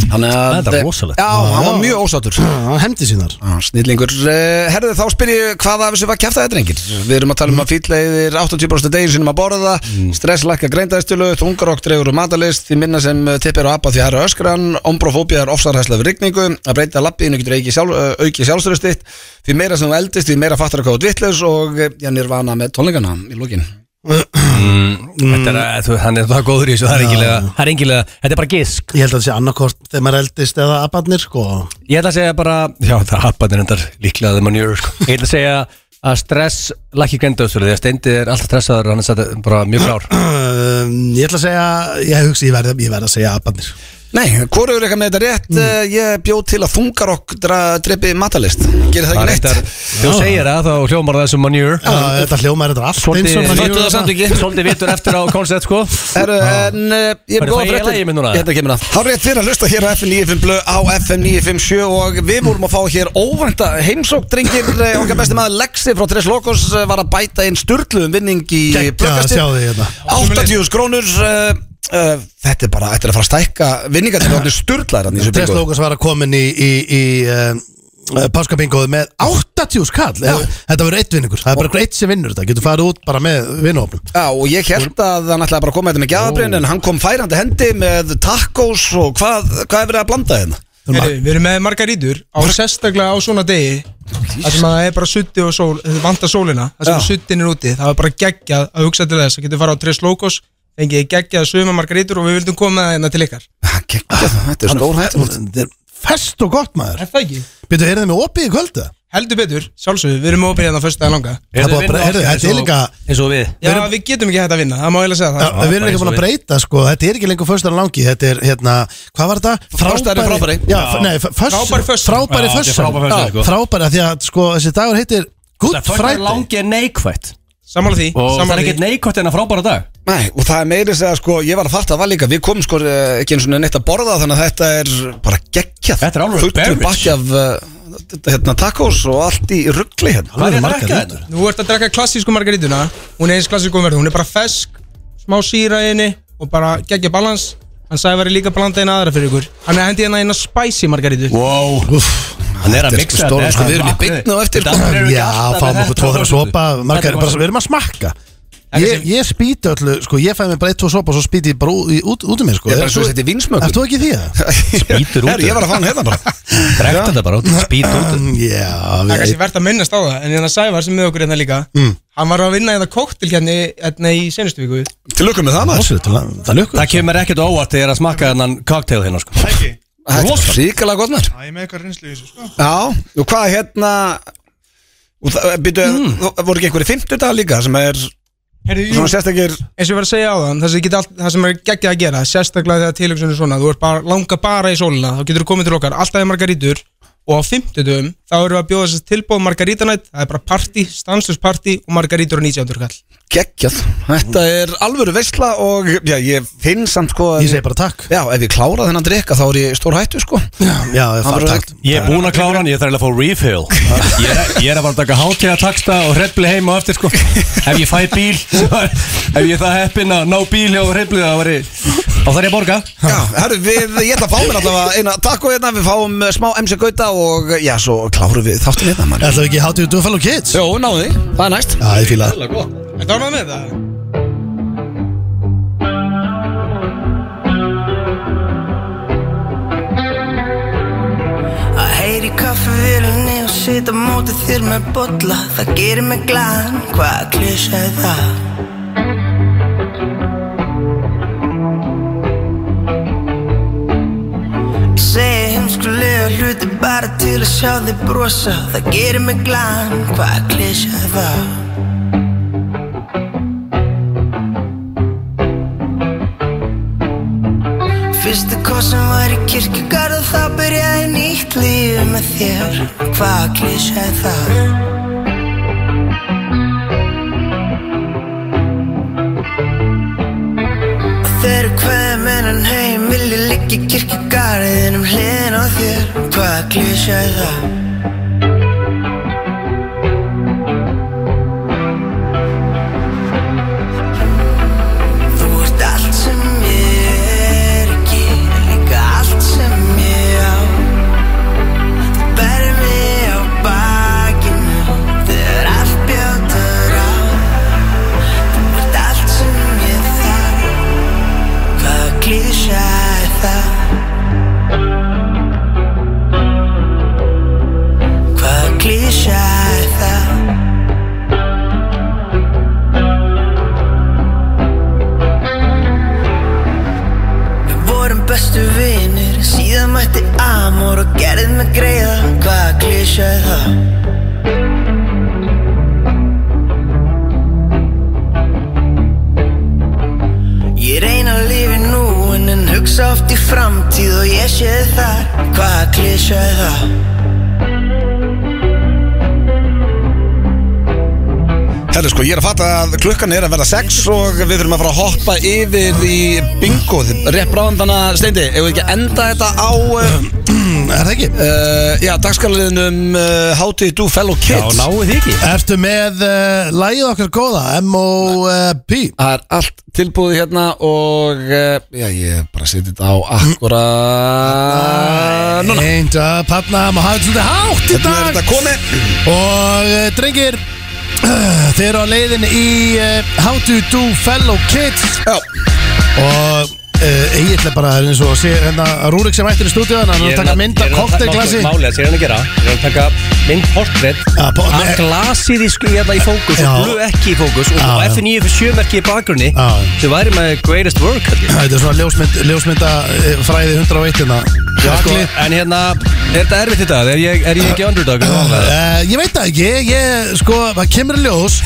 Þannig að Þetta er rosalegt. Já, hann var mjög ósáttur Hann hefndi sínar Snillingur, eh, herðu þá spyr ég hvað af þessu var kæft aðeins drengir Við erum að tala um að fýtlegir 80% degin sinum að borða Mm. Stress lækka greindaðistölu, þungarokk dregur og matalist Því minna sem eh, tippir á appa því hæra öskran Ombrofóbía er ofsarhæsla við rigningu Að breyta lappiðinu getur aukið sjálf, eh, aukið sjálfstöðustitt Því meira sem þú eldist, því meira fattar að hvað vitlaus Og eh, já, nirvana með tónleikana í lókin Mm, Þetta er, að- þú, hann er það góður í þessu, það er engilega, það er engilega, þetta er bara gisk. Ég held að það sé annarkort þegar maður eldist eða abatnir sko Ég ætla að segja bara, já það er happaðin endar líklega þegar mann jör. Ég ætla að segja að stress lakki grendauðstölu, því að steindi er alltaf stressaður, hann er satt bara mjög klár. um, Ég ætla að segja, ég hugsi, ég verð, ég verð að segja Mm. abatnir Nei, hvort er eitthvað með þetta rétt Eh, Ég bjóð til að þungarokk dra- drepi matalist Gerir það ekki Ah. Það er neitt reyndar, þú segir það, þá hljómar það sem manjur Þetta hljómar þetta allt eins og Svolítið manure. Föttu það samt ekki. Svolítið vittur eftir á koncept sko Herru, en uh, ég er Hvernig góða fæ ég lagið mitt fréttir núna? Hérna kemur það Þá er rétt fyrir að hlusta hér á FM 95 blö á FM 957 og við vorum að fá hér óvænta heimsók drengir eh, okkar besti maður Lexi frá Tres Locos eh, var að bæta inn styrluðum vinning í Gekkja að blöggastinn. sjá þig hérna 80 skrónur uh, uh, Þetta er bara, þetta er að fara að stækka vinningar til orðin styrlaðar hann í þessu Tess bingo Lókas var að komin í, í, í um, páskabingoðu með 80 skall Þetta verður eitt vinningur, það er bara eitt sem vinnur þetta Getur farið út bara með vinnhófnum Já, og ég held að hann ætlaði bara að koma þetta með gjafabrinn en hann kom færandi hendi með tacos og hvað, hvað er verið að blanda hérna? þeim? Heyrðu, Við erum með margarítur á sérstaklega á svona degi Það sem að það er bara sutti og sól Vanda sólina, það sem Já. suttin er úti Það er bara geggjað að hugsa til þess Það getur fara á Tres Locos Fengið geggjað sögum margarítur og við vildum koma það hérna til ykkar Þetta er stór hættum Þetta er fest og gott maður Er það ekki? Býttu, heyrðu þið með opið í kvöldu? Heldur betur, sjálfsögðu, við erum opið hérna fyrst að langa Það er búið að bre- heyrðu, þetta er líka Eins og við Já, við getum ekki hægt að vinna, það má eiginlega segja það Já, við erum bara ekki eins búin og að við. breyta sko, þetta er ekki lengur föstar langi Þetta er hérna, hvað var þetta? Föstudagurinn frábæri. Já, f- nei, f- föst- Frábæri föstudagur. Frábæri Já, þetta er föstar frábæri föstudagur, sko. Frábæri, af því að sko, þessi dagur heitir Good Það er Friday langi en neikvætt Sammála því, Og það er sammála því ekkert neikvætt en að frábæra dag Nei, og það er meiri að sko, ég var að fatta að var líka, við komum sko eh, ekki eins og neitt að borða þannig að þetta er bara geggjað Þetta er alveg Fullur beverage. bakki af eh, þetta, hérna, tacos og allt í ruggli hérna Hvað er margar margar vinnur. þetta? Nú ert að drekka klassísku margarítuna Hún er eins klassísku um verður, hún er bara fesk Smá síra í henni og bara geggja balans Hann sagði að vera líka að blanda eina aðra fyrir ykkur Hann er hendið hérna eina spicy margarítu Wow Hann er að mixa stóra, sko, við erum í beinni á eftir, sko. Já, fáum okkur tvo þeirra sopa margar, bara, Við erum að smakka Ég, ég spýti öllu, sko, ég fæði mig bara eitt tvo sopa og svo spýti ég bara ú- í- út, út um mig, sko Ég er bara Ert svo þú- þetta í vínsmökkur. Ert þú ekki í því að? Spýtur út Herru, ég var að fá hann hérna bara Drekta þetta bara út Spýt út Það Já, er við, kannski verðt að minnast á það, en þannig að Sævar sem er með okkur hérna líka Hann var að vinna hérna koktil hérna, í- hérna í senustu viku Til lukkum með það maður Ásveit, það það lukkur Það kemur ekkert á óvart þegar að smakka þennan cocktail hérna sko Ekki, Þetta er ríkilega gott mér það er með eitthvað reynslu í þessu sko Já, og hvað hérna og það, byrju, mm. voru ekki einhverju 50 dagar líka sem er Herri, jú, svona sérstakir eins og ég var að segja á það, það sem, geta allt, það sem er geggjað að gera Sérstaklega þegar tilöksun er svona, þú ert bara langa bara í sólina Þá getur þú komið til okkar, alltaf er margarítur Og á fimmtudum, þá erum við að bjóða þess tilbúð margarítanætt Það er bara party, stanslusparty og margarítur og 19. kall geggjað Þetta er alvöru veisla og já, ég finn samt sko að- Ég segi bara takk Já, ef ég klára þennan drikka þá er ég stór hættu sko Já, ég Hann fara verður- takk Ég er búinn að klára hann, ég þarf eiginlega að fá refill Ég er, ég er að bara taka hátíða taksta og hreppli heim og eftir sko Ef ég fæ bíl, ef ég er það heppinn að ná bíl hjá hreppli þá væri- þá þarf ég að borga Já, herru, við, ég ætla að fá mér allavega eina takk og hérna, við fáum eh, smá MC Gauta og eh, já, svo klárum við þáttum hérna, mann. Er það ekki hátíðu duðfæl og kids? Jó, náðu því, það er næst. Já, ég fíla það Er það ánægð með það? Að heyri kaffivélinni og sita á móti þér með bolla Það gerir mig glæðan, hvað klísa er það? Ég segi heimskulega hluti bara til að sjá þig brosa Það gerir mig glæðan, hvað klísa er það? Fyrstu kosin var í kirkjugarð og þá byrjaði nýtt líf með þér Hvað klísja er það? Og Þeir eru hverjum enn heim vilja liggja í kirkjugarðinum hliðin á þér Hvað klísja er það? Þú ert allt sem ég er ekki Líka allt sem framúr og gerðið mig greiða Hvaða klísja er það? Ég reyna að lifi núin en hugsa oft í framtíð og ég sé þig þar Hvaða klísja er það? Herri sko, ég er að fatta að klukkan er að verða 6 og við þurfum að fara að hoppa yfir í bingoð Rétt bráðan þannig að steindi, ef við ekki að enda þetta á Er það ekki? já, dagskarliðinum uh, How to do fellow kids Já, náið þið ekki Ertu með uh, lægið okkar góða, M.O.P. Það er allt tilbúið hérna og uh, já, ég bara seti þetta á akkura Núna Eint að panna, maður hafði svolítið hátt í dag Þetta er þetta komið Og uh, drengir, uh, þeir eru á leiðin í uh, How to do fellow kids Já Og uh, eiginlega bara það er eins og sé, hérna, Rúrik sem ættir í stúdíu Hann er að taka mynd af kokteilglasi Málið að sér hann að gera Ég er að taka mynd portrétt Að glasið í sko hérna í fókus Já. Og blöð ekki í fókus Og Já, og já. F9 fyrir sjömerki í bakgrunni Þau væri með greatest work held ég. Þetta er svona ljósmynd, ljósmynda eh, fræði 101 hérna. Já, sko, Allir- En hérna, er þetta erfitt þetta? Er ég, er ég ekki underdog? Uh, ég veit það ekki, ég, sko, það kemur í ljós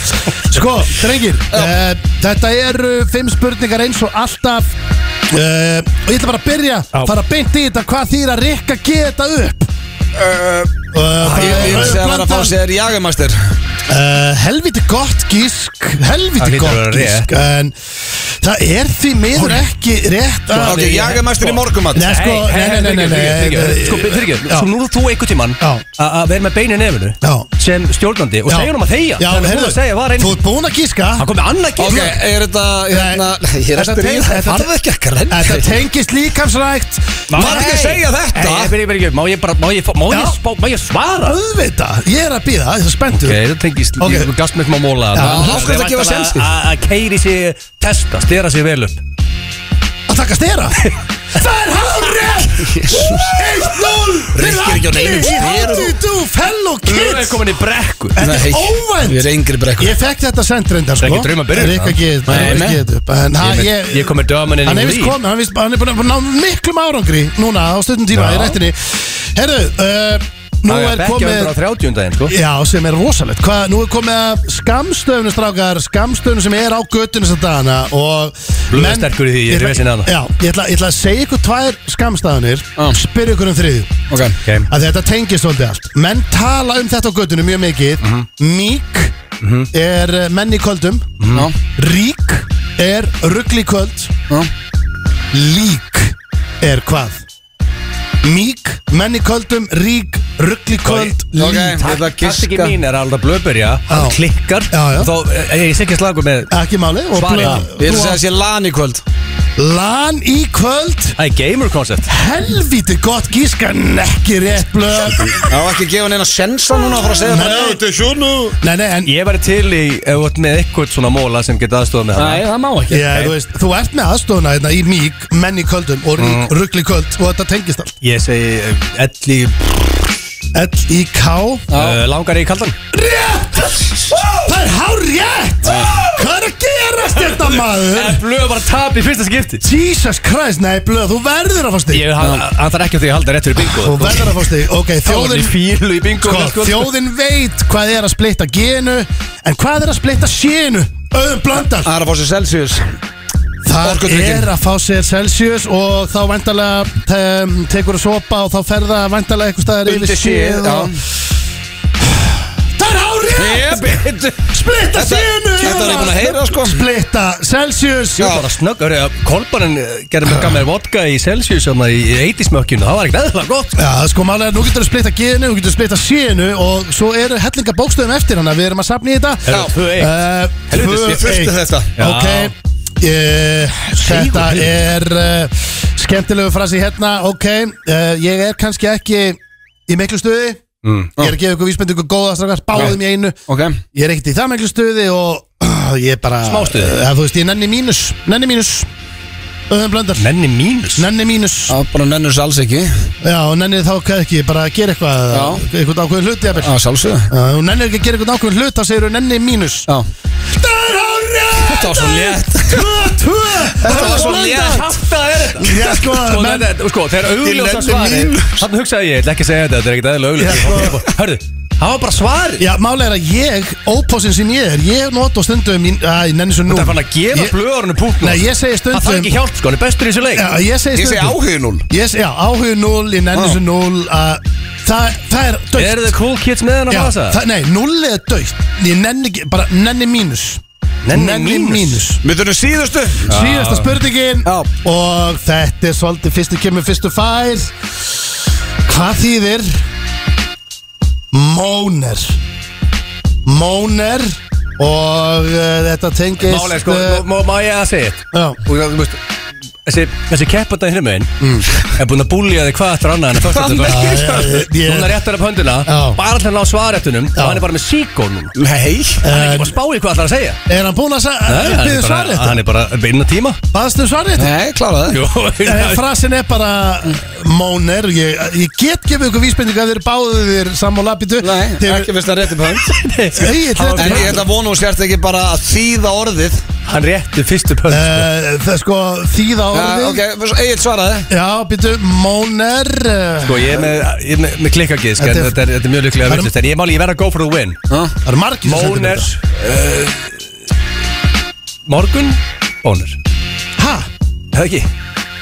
Sko, drengir, uh, þetta eru fimm spurningar eins og alltaf uh, Og ég ætla bara að byrja, fara beint í þetta, hvað þýr að rikka geta upp Eh, Ég Eh, ég myndi segja að vera að fá sér jagamastur Uh, helviti gott gísk Það helviti hlýtur að vera gott gísk rétt. en það er því miður ekki rétt að- Ok, jagamæstur í morgumat Nei, sko, nei, nei, nei, nei, nei, nei Sko, fyrir ekki, Já. sko, nú er þú einhvern tímann Að vera með beinu nefnu Sem stjórnandi og Já. segja honum að þegja Já, Þannig að heyrðu, þú segja var einn Þú ert búinn að gíska Það komið annað gísk Ok, er þetta, hérna, ég er að Þetta spyrja tengist- það þetta- Farðu ekki að grenja Þetta tengist líkamsrækt Var ekki að segja þetta? Nei, byrja, byrja, má ég bara, má ég, fá- má Já. ég, spá, má ég svara? Auðvita, ég er að býða, það er Ok, spenntur það tengist, Ok. ég gafst mér smá móla Já, af hverju það gefa sénsinn? Að keiri sig, testa, stera sig vel upp Að taka stera Það er hárið 1-0 Ríkir ekki á neinum How do styrum. you do fellow Þú er kids komin í brekku Þetta Nei, er óvænt Ég er yngri brekkur Ég fekk þetta sent reyndar Það sko er ekki drauma að Það byrja er ekki að geða Það er Nei, nei. ekki að geða upp En hann, Ég ég með- Ég komið dömanin Hann er vist komið, hann, er víst- hann er búin að ná miklum árangri Núna á stundum tíma Já. í rættinni Herðu, uh, nú Það er er ekki komið 130 daginn, sko Já, sem er rosalegt Hva, Nú er komið að skamstöfnu strákar Skamstöfnu sem er á göttinu sem dagana Og Blöð menn- er sterkur í hérna. því, ég er ætla- vesinn að hana. Já, ég ætla, ég ætla að segja ykkur tvær skamstæðanir Spyrja ykkur um þriðju Ok okay. Að þetta tengist svolítið allt Menn tala um þetta á göttinu mjög mikið Mík er eh, menn í kvöldum Já. Rík er ruggl í kvöld Lík er hvað? Mík, menn í kvöldum, rík, ruggl í kvöld, lík Ok, ég ætla að Taktikinn giska mín er alveg að blöðbyrja Já. Klikkar Já, já. og Þá, eh, ég sé ekki slagur með Ekki máli og Svarið. blöð- Ég er að segja að sé lan í kvöld Lan í kvöld Það er gamer concept Helviti gott gískan Ekki rétt blöð Það var ekki að gefa neina sensa núna að fara að segja Nei, það þetta er sjónu Nei, nei, en Ég væri til í, ef þú ert með eitthvað svona móla sem geta aðstofað með það Nei, það má ekki Já, þú veist, þú ert með aðstofuna hérna í mík, menn í kvöldum og rík, mm. ruggli kvöld og þetta tengist allt Ég segi eh, elli L-I-K uh, langar í kaldan Rétt! Það er hár rétt! Hvað er að gerast þetta maður? Blöð bara tap í fyrsta skipti Jesus Christ, nei blöð, þú verður að fá stig Ég, hann, hann þarf ekki að því að halda rétt fyrir bingo Þú verður að fá stig, ok, Þjóðin í þjóðin fílu í bingo hérna, Sko, þjóðin veit hvað er að splitta genu En hvað er að splitta sénu? Öðum blandar Það er að fá sér Celsius Það Orkudrykkinn. er að fá sér Celsius og þá vantarlega um, tekur að sopa og þá fer það vantarlega eitthvað staðar yfir Undir séð séð, já. og... Það er hárið! Splitta Þetta- sénu! þetta var ég búinn að heyra, sko. Splitta Celsius! Ég var bara snögg, það er að Kolbanin gerði með gamlega vodka í Celsius þarna í 80 smökkjunu, það var ekkert eðla gott Já, sko málega, nú getur þú splitta genu, nú getur þú splitta sénu og svo eru hellinga bókstöðum eftir hann að við erum að sapna í þetta. Herra, 2-1. Uh, Helvítis, ég þurfti þetta. Ok, uh, þetta er uh, skemmtilegu frasi hérna, ok, uh, ég er kannski ekki í miklu stuði, Mm. ég er að gefa ykkur vísbendingu góða strafgar, báðum í einu, Ok ég er ekkert í það miklu stuði og uh, ég er bara... Smá stuði. Eh, þú veist, ég nenni mínus, nenni mínus, öðum blöndar, Nenni mínus nenni mínus. Já, bara nennur þessu alls ekki Já, Já, og nennið þá hvað ekki, bara að gera eitthvað Já. eitthvað ákveðin hlut, jafnvel sjálfsögðu Já, Þú nennið ekki að gera eitthvað ákveðin hlut, þá segir þú nennið mínus Já Það er hárið! Þetta var svo létt Þetta var svo létt Þetta er þetta Já, sko, Sko, menn- þetta, þetta- sko, þegar augljósa Ég lendi svari mínu. Þannig hugsaði ég, ég ætla ekki að segja þetta, þetta er ekkert eðla augljósa Hörðu, það var bara svari Já, málega er að ég, ópósin sem ég er Ég nota á stundum, í- æ, ég nenni svo nú Þetta er fann að gefa Ég- blöðarnu punkt Nei, ég segi stundum Það þarf ekki hjálp, sko, hann er bestur í þessu leik Já, ég segi Ég segi stundum áhugi núl Ég segi, já, áhugin 0, ég nenni Já. svo 0 Það það er dögt Eru þið cool kids með hann að fasa? það, Nei, 0 er dögt Ég nenni, ekki- bara nenni mínus Nenni mínus? Við þurfum síðustu Ah. Síðasta spurningin Og þetta er svolítið fyrstu kemur fyrstu fær Hvað þýðir Móner Móner Og uh, þetta tengist Málega, sko, eh, má- má- má ég að segja þetta? Já, Og það, þú veist, Þessi, þessi keppanda hinn meginn er búin að búlja þig hvað eftir annað en að föstu Hvað meinar þú? Mm. Ég- Núna réttar upp höndina, Já. bara til að ná svarettunum og hann er bara með síkó núna Nei Hann er ekki bara að spá í hvað ætlar að segja er hann búinn að Nei, hann byrja er svar bara- þetta? hann er bara að vinna tíma Baðstu svar þetta? Eh, Nei, kláraði Jó, Frasin er bara Móner Ég, ég get gefið ykkur vísbendingu að þeir báðu þér sammála býtu Nei, Þeir- ekki fyrst að rétti pönt Egill, þetta En ég ætla að vona og sért ekki bara að þýða orðið hann rétti fyrstu pönd Eh, Það er sko þýða Já, orðið Ok, Egil svaraði Já, býtu, Móner eh, Sko ég er með, ég er með, með klikkagisk en Þetta er- þetta er, þetta er mjög líklega Það er- villist En ég máli, ég verð að go for the win Það eru margir sem sendir Móner þetta. uh, Morgun Bóner Ha? Það ekki,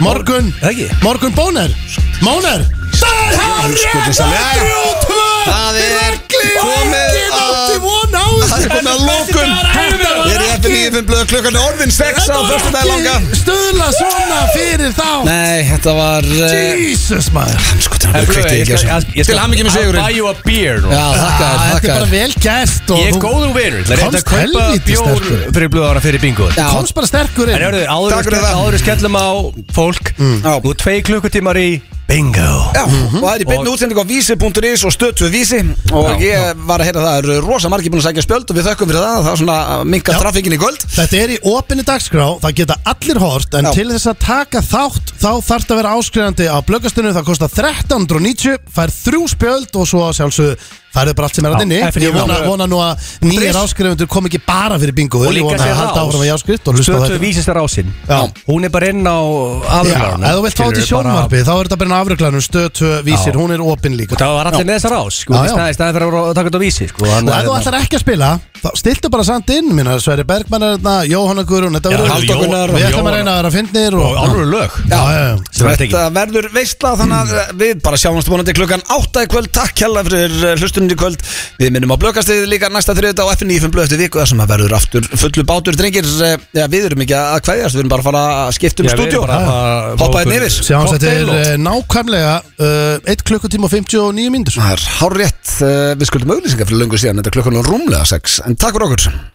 Morgun það ekki Morgun Bóner Móner Það er hann sko, rétt að þrjóttvö Það er komið Engin átti að von á Það er komið að lókun Ég er í eftir nýjum fimm blöð klukkan er orðin 6 á fyrstu dag langa Stöðla svona fyrir þá Nei, þetta var eh, Jesus maður Skotin, hann kveikti ekki þessu. Til hamingju með sigurinn. I'll buy you a beer nú Já, þakka Ah, Þetta þér, er þakka bara þér vel gert og Ég er þú góður vinur Það er komst þetta að kaupa helvítið bjór sterkur. fyrir blöðara fyrir bingo Já. Komst bara sterkur En inn hörðu, áður Takk við fyrir skell- það. Mm. áður við skellum á fólk Já. Nú er tvei klukkutímar í bingo Já, og það er í beinni útsending á vísi.is og stötu vísi og ég var að heyra það eru rosa margir búin að sækja spjöld og við þökkum fyrir það það er svona að minka trafikkin í kvöld Þetta er í opinni dagskrá, það geta allir hort en Já. til þess að taka þátt þá þarf það að vera áskrifandi á blöggastunum það kostar 1390, fær þrjú spjöld og svo að sjálfsög færðu bara allt sem er að Já, inni FNI. Ég vona, vona nú að nýjar áskrifundur kom ekki bara fyrir bingo Og ég líka vona sér að halda áfram að ég áskrift og hlusta á Stöðtöð þetta vísistar ásinn Já. Hún er bara inn á Já, aflöflarna ef þú vilt fá þetta í sjónvarpi þá er þetta bara enn afröklanum stötu vísir, Já. hún er opin líka Og það var allir með þessar ás sko, Já, í já. staði, staði fyrir að vera að taka þetta á vísi sko, Og ef þú ætlar ekki að spila, þá stiltu bara samt inn minna, Sverri Bergmann er þarna, Jóhanna Guðrún Þetta Já, verður Halldór Við Gunnar ætlum og að Jóhanna. reyna að vera að fyndnir Og alveg lög Já, já, já Sem þetta Mm. ekki Þetta verður veistla þannig að við bara sjáumst vonandi klukkan 8 í kvöld Takk hella fyrir eh, hlustuninni í kvöld Við minnum á blökastegið líka næsta þriðut á FNI fimm blöð eftir viku þar sem að verður aftur fullu bátur drengir eh, Já, við erum ekki að kveðjast, við erum bara að fara að skipta um Já, við erum stúdjó bara að fara- Poppa okkur- einn yfir Sjáum þetta Cocktail er eh, nákvæmlega uh, 1 klukkutíma og 59 mínútur Það er hárétt, eh, við skuldum auðlýsingar fyrir löngu síðan, þetta er klukkan rúmlega 6 En takk fyrir okkur